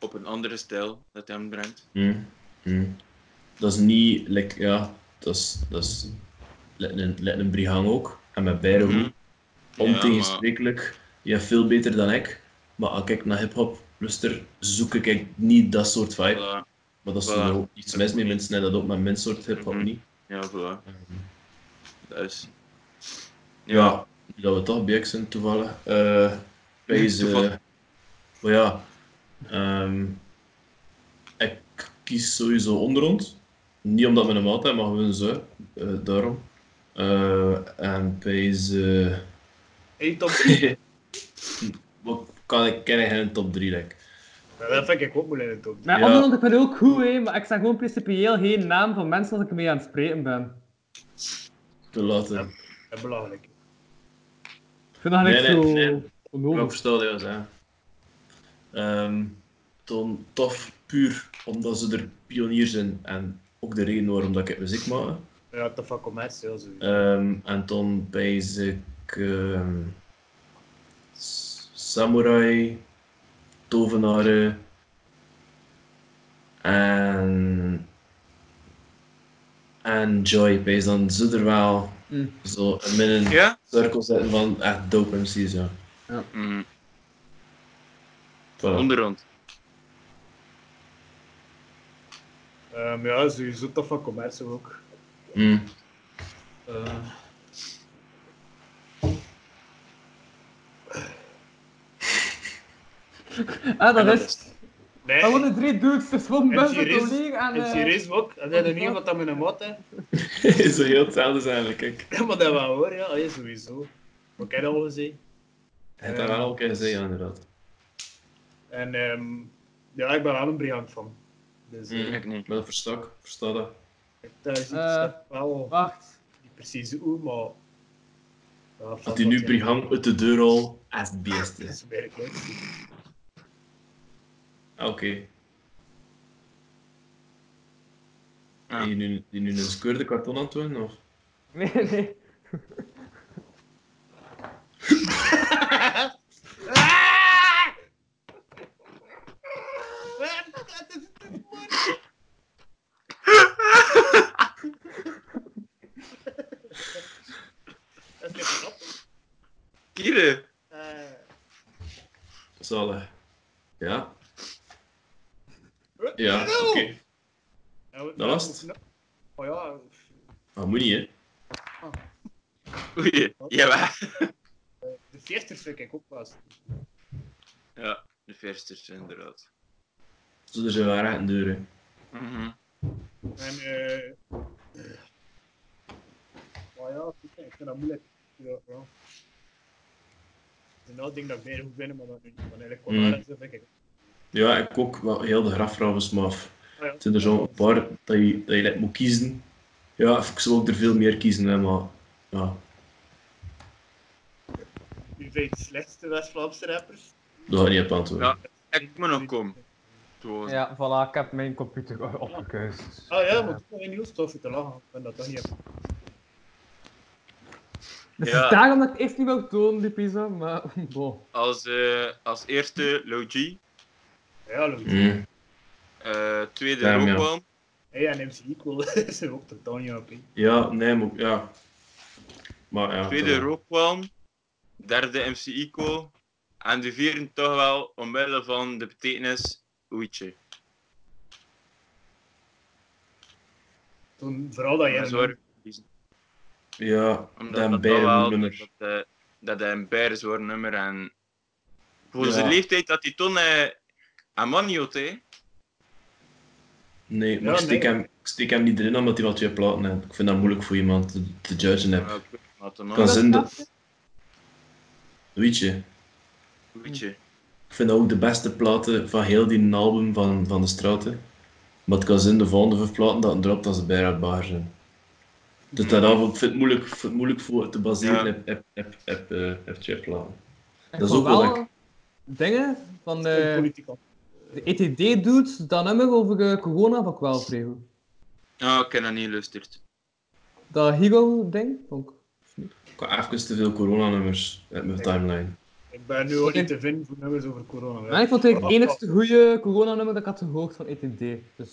op een andere stijl dat hij hem brengt.
Mm. Mm. Dat is niet, like, ja, dat is, dat is let een, let een brihang ook. En met beide
Mhm.
goed. Ontegensprekelijk. Je hebt veel beter dan ik. Maar als ik naar hip-hop luister, zoek ik niet dat soort vibe.
Voilà.
Maar dat is
Voilà.
wel iets mis met mensen die dat ook met mijn soort hip-hop
Mhm.
niet.
Ja, voilà. Dat is... Ja,
Ja, nu dat we toch bezig zijn toevallig. eh wij is, eh,
Toevallig.
maar ja, ehm, ik kies sowieso onder ons. Niet omdat we hem altijd, maar gewoon zo. eh, daarom. Eh, en bij ze.
Hey, top
wat kan ik kennen in de top 3? Like.
Ja, dat vind ik ook moeilijk in de top.
Mijn
Ja.
andere onderhand, ik ben ook goed, hè, maar ik zeg gewoon principieel geen naam van mensen als ik mee aan het spreken ben.
Te laten.
Ja. Dat is belangrijk.
Ik vind dat
Nee,
eigenlijk
nee,
zo
nee. Ik
onnodig.
verstaan dat zijn. Ehm toen tof, puur omdat ze er pioniers zijn en ook de reden waarom dat ik muziek maak.
Ja, te van commercie, ja, sowieso.
Ehm, en dan basic ehm, s- samurai, tovenaren en en joy. Base dan ze er wel
Mm.
zo een midden
Ja?
cirkel zetten van echt dope MC's ja.
Mhm.
Voilà.
onderhand.
Ehm, ja, sowieso te van commercie ook.
Mm.
Eh,
Ah, dat
Ja,
is...
nee,
Ah, Dat worden drie dudes, dus gewoon
En
best
Cyrus-
collega en...
het
eh,
hier is ook. Dat is nog niet wat dat met een mot, hè.
Zo heel hetzelfde eigenlijk. Ik
Ja, maar dat wel hoor, ja, Allee, sowieso. Maar ik heb dat al gezien.
heb dat wel al een keer gezegd, inderdaad.
En ehm, ja, ik ben wel een briljant van. Dus eh,
Mm.
Ik niet.
Maar dat versta ik, versta dat.
daar is iets
Eh,
dat wel
Wacht.
niet precies hoe, maar. Ja,
Dat hij nu
ja,
brigand uit de deur al als het beest
dat
is.
is werkelijk leuk.
Ah, Oké.
Ja.
Die nu, die nu een skeurde karton aan het doen, of?
Nee, nee.
Dat is knap.
Kire.
Eh,
Zalig. eh, Ja. Ja, oké.
ja, we-
Dat was het.
nou, Oh ja,
Maar moet niet, hè.
Goeie. Jawel.
de 40 vind ik ook pas.
Ja, de versters inderdaad.
Zo, er zijn wel raar deuren.
Mhm.
En eh. Maar ja, ik vind- ik vind dat moeilijk. Ja, ja. Het is nou het ding dat ik beter goed vind, maar dat nu niet. Maar eigenlijk qua
Mm.
waarheid zo vind ik het.
Ja, ik ook wel heel de grafraven smaf.
Ah, ja.
Het zijn er zo'n paar dat je, dat je net moet kiezen. Ja, ik zou ook er veel meer kiezen, hè, maar... Ja,
Nu vind ik de slechtste West-Vlaamse rappers.
dat ga ik niet op antwoorden.
Ja. Ik moet nog komen. Gewoon.
Ja, voilà, ik heb mijn computer opgekuist.
Ah ja, maar ik heb geen nieuws stof te lachen. Ik ben dat toch niet. heb.
Het
Ja.
is daarom dat ik eerst niet wou doen, die pizza, maar bon.
Als, eh, als eerste Low G.
Ja, leuk.
Mm.
eh, tweede
Ja,
Rogue
ja.
One.
Hey, en MC Equal is er ook totaal niet op. hè.
Ja, nee, maar... Ja. Maar ja...
Tweede
dat-
Rookwalm, derde MC Eco en de vierde toch wel omwille van de betekenis Oetje.
Toen, vooral dat jij.
Dat is waar.
Ja,
Omdat
dan
dat
bij
toch wel, dat,
een nummer.
eh, dat hij een bijr zwaar nummer en voor
Ja.
zijn leeftijd dat hij toen eh aan man hield, hè.
Nee, maar
Ja,
ik, steek
nee.
hem, ik steek hem niet erin omdat hij wel twee platen heeft. Ik vind dat moeilijk voor iemand te, te judgen. Heb.
Ja, ik weet het, Ah, maar toen
kan
nog,
zijn dat... Weet je,
Oetje.
ik vind dat ook de beste platen van heel die album van, van de straten. Maar het kan zijn de volgende vijf platen dat een drop dat ze bijna uit baar zijn. Dus daarom ik vind het moeilijk, ik vind het moeilijk voor te baseren
Ja.
op, op, op, op, eh, op twee platen.
Ik
Dat is
vond
ook wel
wel
leuk.
Dingen van
Een
de,
politicus.
de E ETD-dudes, dat nummer over eh, corona vond ik wel vrij goed.
Ja, Ah, ik heb dat niet geluisterd.
Dat Higo-ding vond ik.
Ik heb even te veel coronanummers uit mijn timeline.
Ik ben nu al niet te vinden voor nummers over corona.
Maar
hè.
ik vond het eigenlijk het enigste goede corona-nummer dat ik had gehoord van ETD. Dus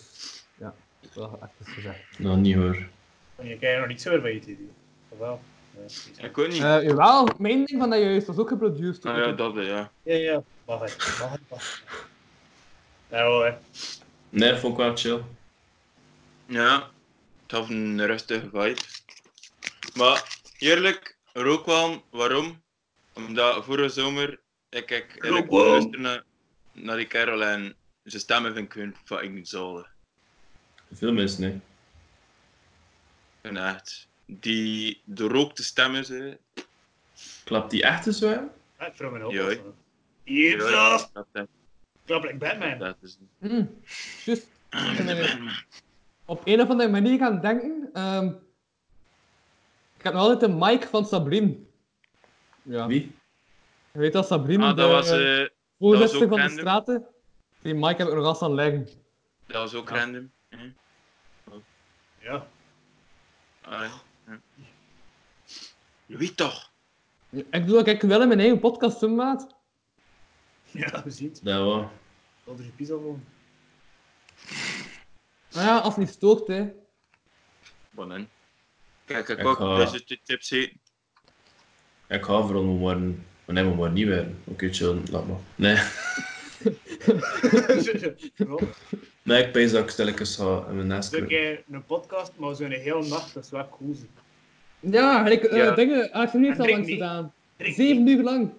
ja, wel echt gezegd.
Nou, niet hoor.
En je krijgt nog niet zo van je TD. Of wel? Ja,
Ik weet niet.
Eh jawel, mijn ding van dat juist was ook geproduced. door
Ah, ja,
ETD.
dat eh, ja.
ja, ja. Mag het. Mag het. Mag het. Ja, wel, hè.
Nee, vond ik wel chill.
Ja, het gaf een rustige vibe. Maar eerlijk, Rookwan, waarom? Omdat vorige zomer ik, ik eigenlijk
Rookwan.
luisterde naar, naar die kerel en zijn stemmen vind ik hun fucking niet zalig.
Veel mensen, nee.
En echt, die doorrookte stemmen, ze.
Klapt die echt eens wel?
Ja, Ik vroeg me ook.
Ja,
af,
hè.
man. Hier
Ja,
zelf!
dat- dat-
Klap like Batman.
dat is-
Mm, juist. Ik ben er op een of andere manier gaan denken. ehm, ik heb nog altijd de Mike van Sabrine. Ja.
Ah, Wie?
Je weet dat Sabrine,
Ah,
de
dat was,
eh,
eh,
voorzitter
ook
van de
random.
straten. Die Mike heb ik nog altijd aan liggen.
dat was ook
Ja.
random.
Ja.
Allee, Ah, ja. Wie toch?
Ja, Ik doe dat ik wel in mijn eigen podcast doen, maat.
Ja, we zien het.
Dat wel.
Dat is een pizza gewoon.
Maar ja, als het niet stoort, hè.
Bonin. Kijk, ik
Ik
ook
ga-
deze tips heen.
Ik ga vooral mijn worden. Maar nee, mijn worden niet werden. Oké, chill, laat maar. Nee.
Zo
Nee, ik pees dat ik stilletjes ga in mijn nest
een
kruipen.
keer een podcast, maar zo'n hele nacht, dat is wel cool. zeg.
Ja, ik, eh,
Ja.
dingen, Aartje heeft
En
dat
drink
langs
niet.
gedaan.
Drink
Zeven
niet.
uur lang.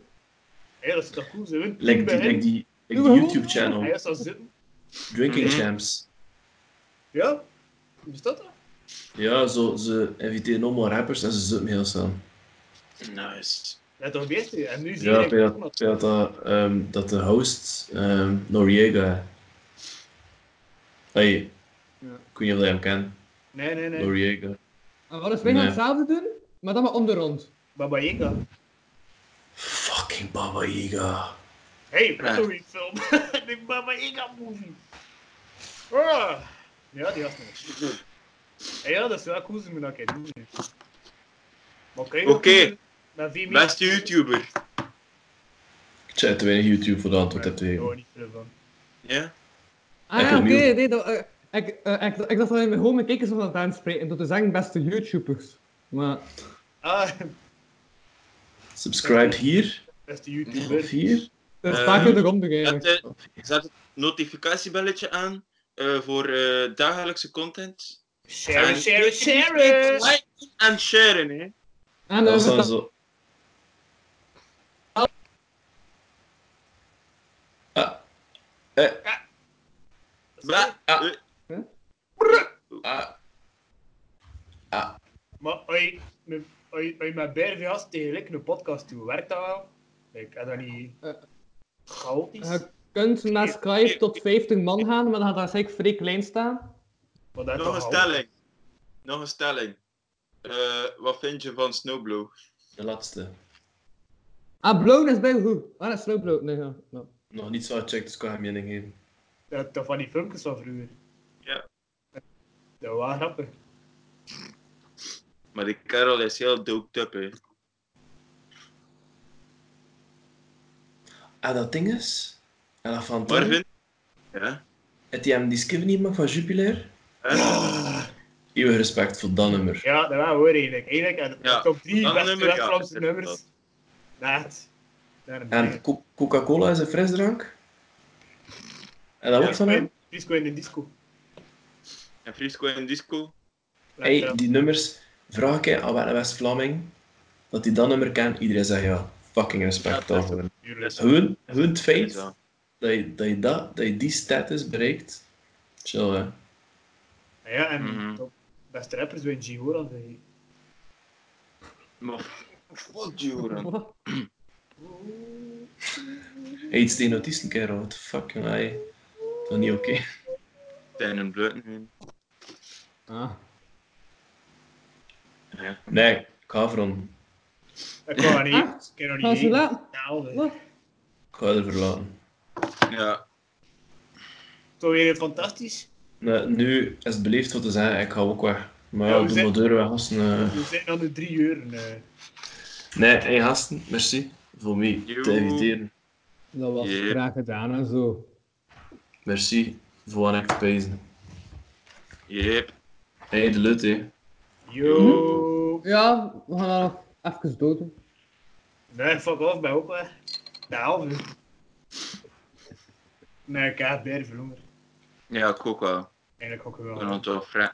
Hé, dat is toch cool, ze wint.
Like die, like die, like
Doe
die
maar.
Hij
YouTube-channel.
is al zitten.
Drinking
Mhm.
Champs.
Ja? Hoe is dat dan?
Ja, zo, ze inviteren allemaal rappers en ze zitten heel snel.
Nice.
Ja, toch weet je. En nu zie
Ja,
je
ik denk dat, ik denk dat, ehm, dat de host ehm, Noriega. Hey,
Ja.
ik weet niet of jij hem kent.
Nee, nee, nee.
Noriega.
En wat is wij gaan
Nee.
hetzelfde doen, maar dan maar om de rond.
Baba Yaga.
Fucking Baba Yaga.
Hey,
Ja.
sorry film. De Baba Yaga movie. Ah. Ja, die was nog. Hey, ja, dat is wel cool, ze moeten dat een keer doen. hè. Maar kan je nog
Oké.
doen? Met Vimeo?
Beste YouTuber.
Ik zet te weinig YouTube voor de antwoord
Ja,
heb te
Ik hoor
geven.
niet veel van.
Ja?
Ah
Ik
ja, oké,
opnieuw.
nee, dat, eh, ik, eh, ik, ik dacht dat we gewoon mijn kijkers van het aanspreken, tot de zeggen beste YouTubers. Maar,
Ah,
Subscribe hier
beste
of
YouTuber.
hier.
dat is
Eh,
Ehm,
vaak in de ronde eigenlijk.
Zet, eh, zet het notificatiebelletje aan eh, voor eh, dagelijkse content.
Share, share, share.
Like en sharen, hè.
En eh,
Dat
dan
is dan
staat
zo. Ah,
Bra-
Ah.
eh,
ah.
Ah. Maar als je met- als je- als je met beide gasten tegelijk een podcast doet, werkt dat wel? Ik heb dat niet...
Eh.
Chaotisch?
je kunt naar Skype tot 50 man gaan, maar dan gaat dat zeker vrij klein staan.
Maar dat is
nog een
toch chaotisch?
stelling. Nog een stelling. Eh, wat vind je van Snowblow?
De laatste.
Ah, Blown is bij hoe? Ah, dat is Slow Blown, nee, ja. Nou. ja.
Nog niet zo gecheckt, dus ik kan geen mening geven.
Dat, dat van die filmpjes van vroeger.
Ja.
Dat was grappig.
Maar die kerel is heel doped up, hè.
Ah, dat ding is. En dat van Tom.
Marvin? Ja?
Het die hem die skiven niet mag van Jupiler.
Hè?
Eeuwig respect voor dat nummer.
Ja, dat waren we hoor eigenlijk. Eigenlijk en
Ja,
top 3
dat
beste
nummer, ja,
West-Vlaamse
dat is
nummers. Maat. Daar een
En
beetje.
Co- Coca-Cola is een frisdrank. En dat
Ja,
ook van hem.
Disco in de disco.
En Frisco en Disco?
Hey, die nummers. Vraag ik aan Wette West-Vlaming. Dat hij dat nummer kent. Iedereen zegt ja. Fucking
Ja,
respect
dat is
daarvoor.
Dat is-
Gewoon, gewoon het
dat is
feit
wel.
dat je, dat, je dat, dat je die status bereikt. Chill, hè.
Ah, Ja, en
Mhm.
top beste rappers zijn G. Horan. zeg je.
Maar fuck Joran.
Wat?
Hey, iets tegen autisten, kerel. What the fuck, jongen. hey. Dat is niet oké.
Zijn een blunt.
Ah.
Ja.
Nee, ik ga ervan.
Ik kan dat niet.
Ah,
Ik kan er
Gaan
niet
ze
heen.
laten?
Nou, hè.
Wat?
Ik ga er verlaten.
ja.
Toch weer fantastisch.
Nee, nu is het beleefd wat te zeggen. Ik ga ook weg. Maar
Ja,
ja,
we
doe
zijn-
maar deur weg, gasten. eh.
We zijn aan de drie uur. eh.
Nee, hey gasten, merci voor mij te
Joe.
inviteren.
Dat was
Ja.
graag gedaan en zo.
Merci voor aan ik te pezen.
Yep.
Hey, de lut, hè.
Yo.
Ja, we gaan dat nog even doden.
Nee, fuck off, bij ook weg. De half uur. Nee, ik heb beide verloren.
Ja, ik ook wel.
Eigenlijk ook
Ik
wel.
ben het wel vrij.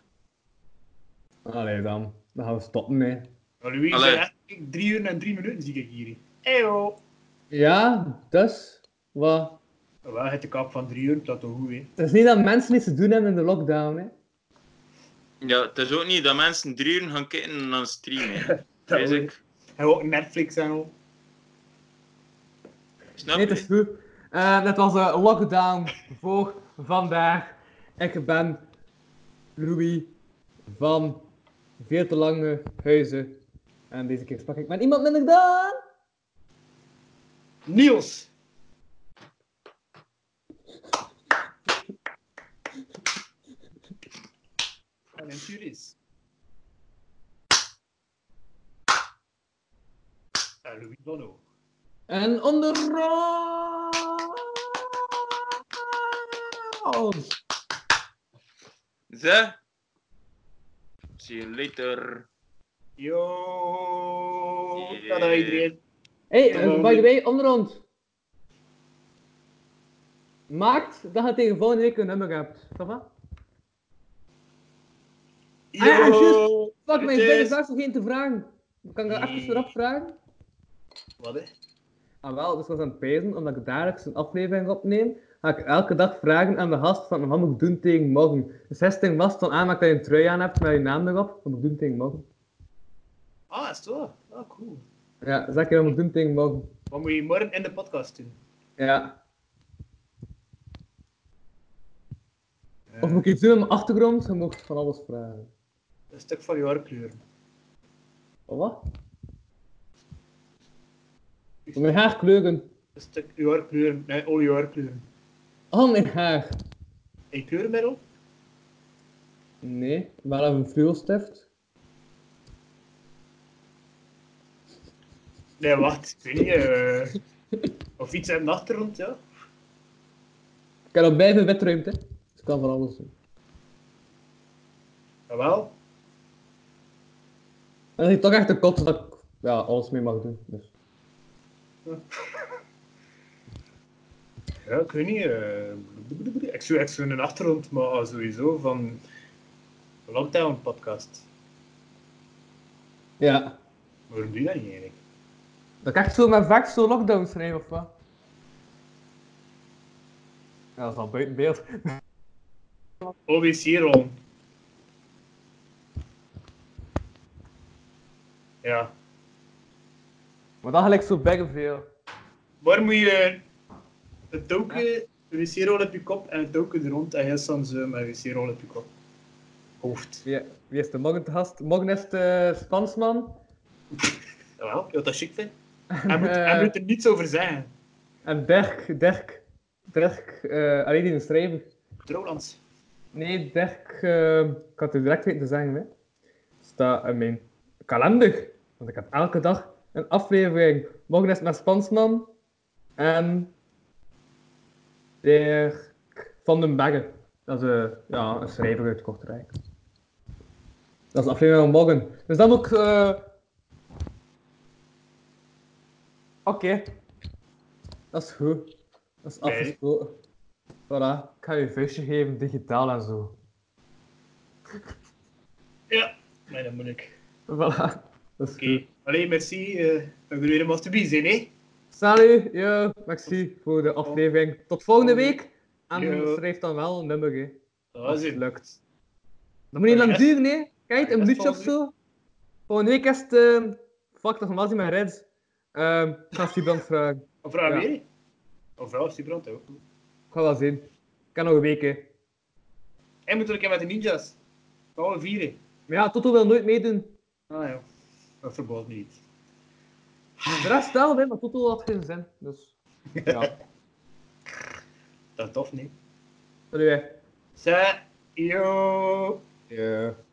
Allee dan, dan gaan we stoppen mee.
Maar Louis,
Allee.
zei echt, kijk, drie uur en drie minuten zie ik hier. Eyo.
Ja, dus, wat?
Wel, het de kap van drie uur, dat toch goed, hè?
Het is niet dat mensen niets te doen hebben in de lockdown, hè.
Ja, het is ook niet dat mensen drie uur gaan kijken naar een stream, hè.
Dat
Wees
ook.
ik.
En ook Netflix en al.
Snap
Nee, het is
je?
goed. Eh, dat was de lockdown voor vandaag. Ik ben Louis van Veel te Lange Huizen. En deze keer sprak ik met iemand minder dan...
Niels! En een Juris. En Eh, Louis van ook.
En onder round.
Ze? See you later.
Yo!
Yeah.
Tada iedereen.
Hey, eh, by the way, onder rond. Maakt dat je tegen volgende week een nummer hebt. Ça va?
Yo!
Ah, ja, juist. Fuck,
Het
mijn vingers
is-
dus daar nog geen te vragen. Kan ik daar even vooraf vragen?
Wat, hè?
Ah wel, dus ik was aan het pezen, omdat ik dagelijks een aflevering opneem, ga ik elke dag vragen aan de gast van wat moet ik doen tegen morgen. Dus hij stinkt vast dan aanmaakt dat je een trui aan hebt met je naam erop. Wat moet ik doen tegen morgen?
Ah, is het waar? Ah, cool.
Ja, zeg je wat moet ik doen tegen morgen.
Wat moet je morgen in de podcast doen?
Ja.
Eh,
Of moet ik iets doen aan mijn achtergrond? Je mag van alles vragen.
Een stuk van je haarkleur.
Van Oh, Wat? Van mijn haar kleuren.
Een stuk je haarkleur, nee, al je haarkleuren.
Al Oh, mijn haar.
Een kleurenmiddel?
Nee, wel even een vloeistift.
Nee, wacht, ik weet niet. eh, of iets in de achtergrond, ja.
Ik heb al bij mijn bedruimte. Dus ik kan van alles doen.
Jawel.
En dat is toch echt een kot dat ik ja, alles mee mag doen. Dus.
Ja, ik weet niet. eh, ik zou echt zo'n achtergrond, maar ah, sowieso van Lockdown podcast.
Ja.
Waarom doe je dat niet eigenlijk?
Dat ik echt zo met vaak zo lockdown schrijf of wat? Ja, dat is al buiten beeld.
Oh, wie is hier al? Ja.
Maar dat gelijk zo baggen veel.
Waar moet je het doken, de wc-rol op je kop en het doken er rond en jij dan zo met een wc-rol op je kop? Hoofd.
Wie, wie is de morgen te gast? Morgen is de Spansman.
Jawel, je wilt dat chic vindt. Hij moet,
Eh.
hij moet er niets over zeggen.
En Dirk, Dirk, Dirk, eh alleen die is een schrijver.
Trouwlands.
Nee, Dirk, eh, ik had het direct weten te zeggen, hè. Staat in mijn kalender. Want ik heb elke dag een aflevering. Morgen is het met Spansman en Dirk van den Bergen. Dat is eh, ja, een schrijver uit Kortrijk. Dat is de aflevering van morgen. Dus dan moet ik... eh, Oké. Dat is goed. Dat is
Nee.
afgesproken. Voilà, ik ga je een vuistje geven, digitaal en zo.
Ja. Nee, dat moet ik.
Voilà, dat is
Oké.
goed.
Allee, merci. eh dat we weer een te zijn, hè?
Salut, yo, merci voor de aflevering. Tot volgende week. En
Yo.
schrijf dan wel een nummer, hè.
Dat
Als
is
het
het.
lukt. Dat moet niet lang
Yes.
duren, hè. Kijk,
Yes,
een minuutje of
volgende
zo. Volgende week is het... ehm, fuck, dat was niet mijn reds. Ehm, ik ga Sibrand vragen.
Of vrouw
Ja.
weer? Of vrouw, is die brand ook.
Ik ga wel zien. Ik heb nog een week, hè.
Hij moet er een keer met de ninjas. Met alle vieren.
Maar ja, Toto wil nooit meedoen.
Ah ja. Dat verbaast me niet.
De rest wel, hè, maar Toto had geen zin. Dus, ja.
Dat is tof, nee.
Salut, hè.
Sa. Yo.
Ja.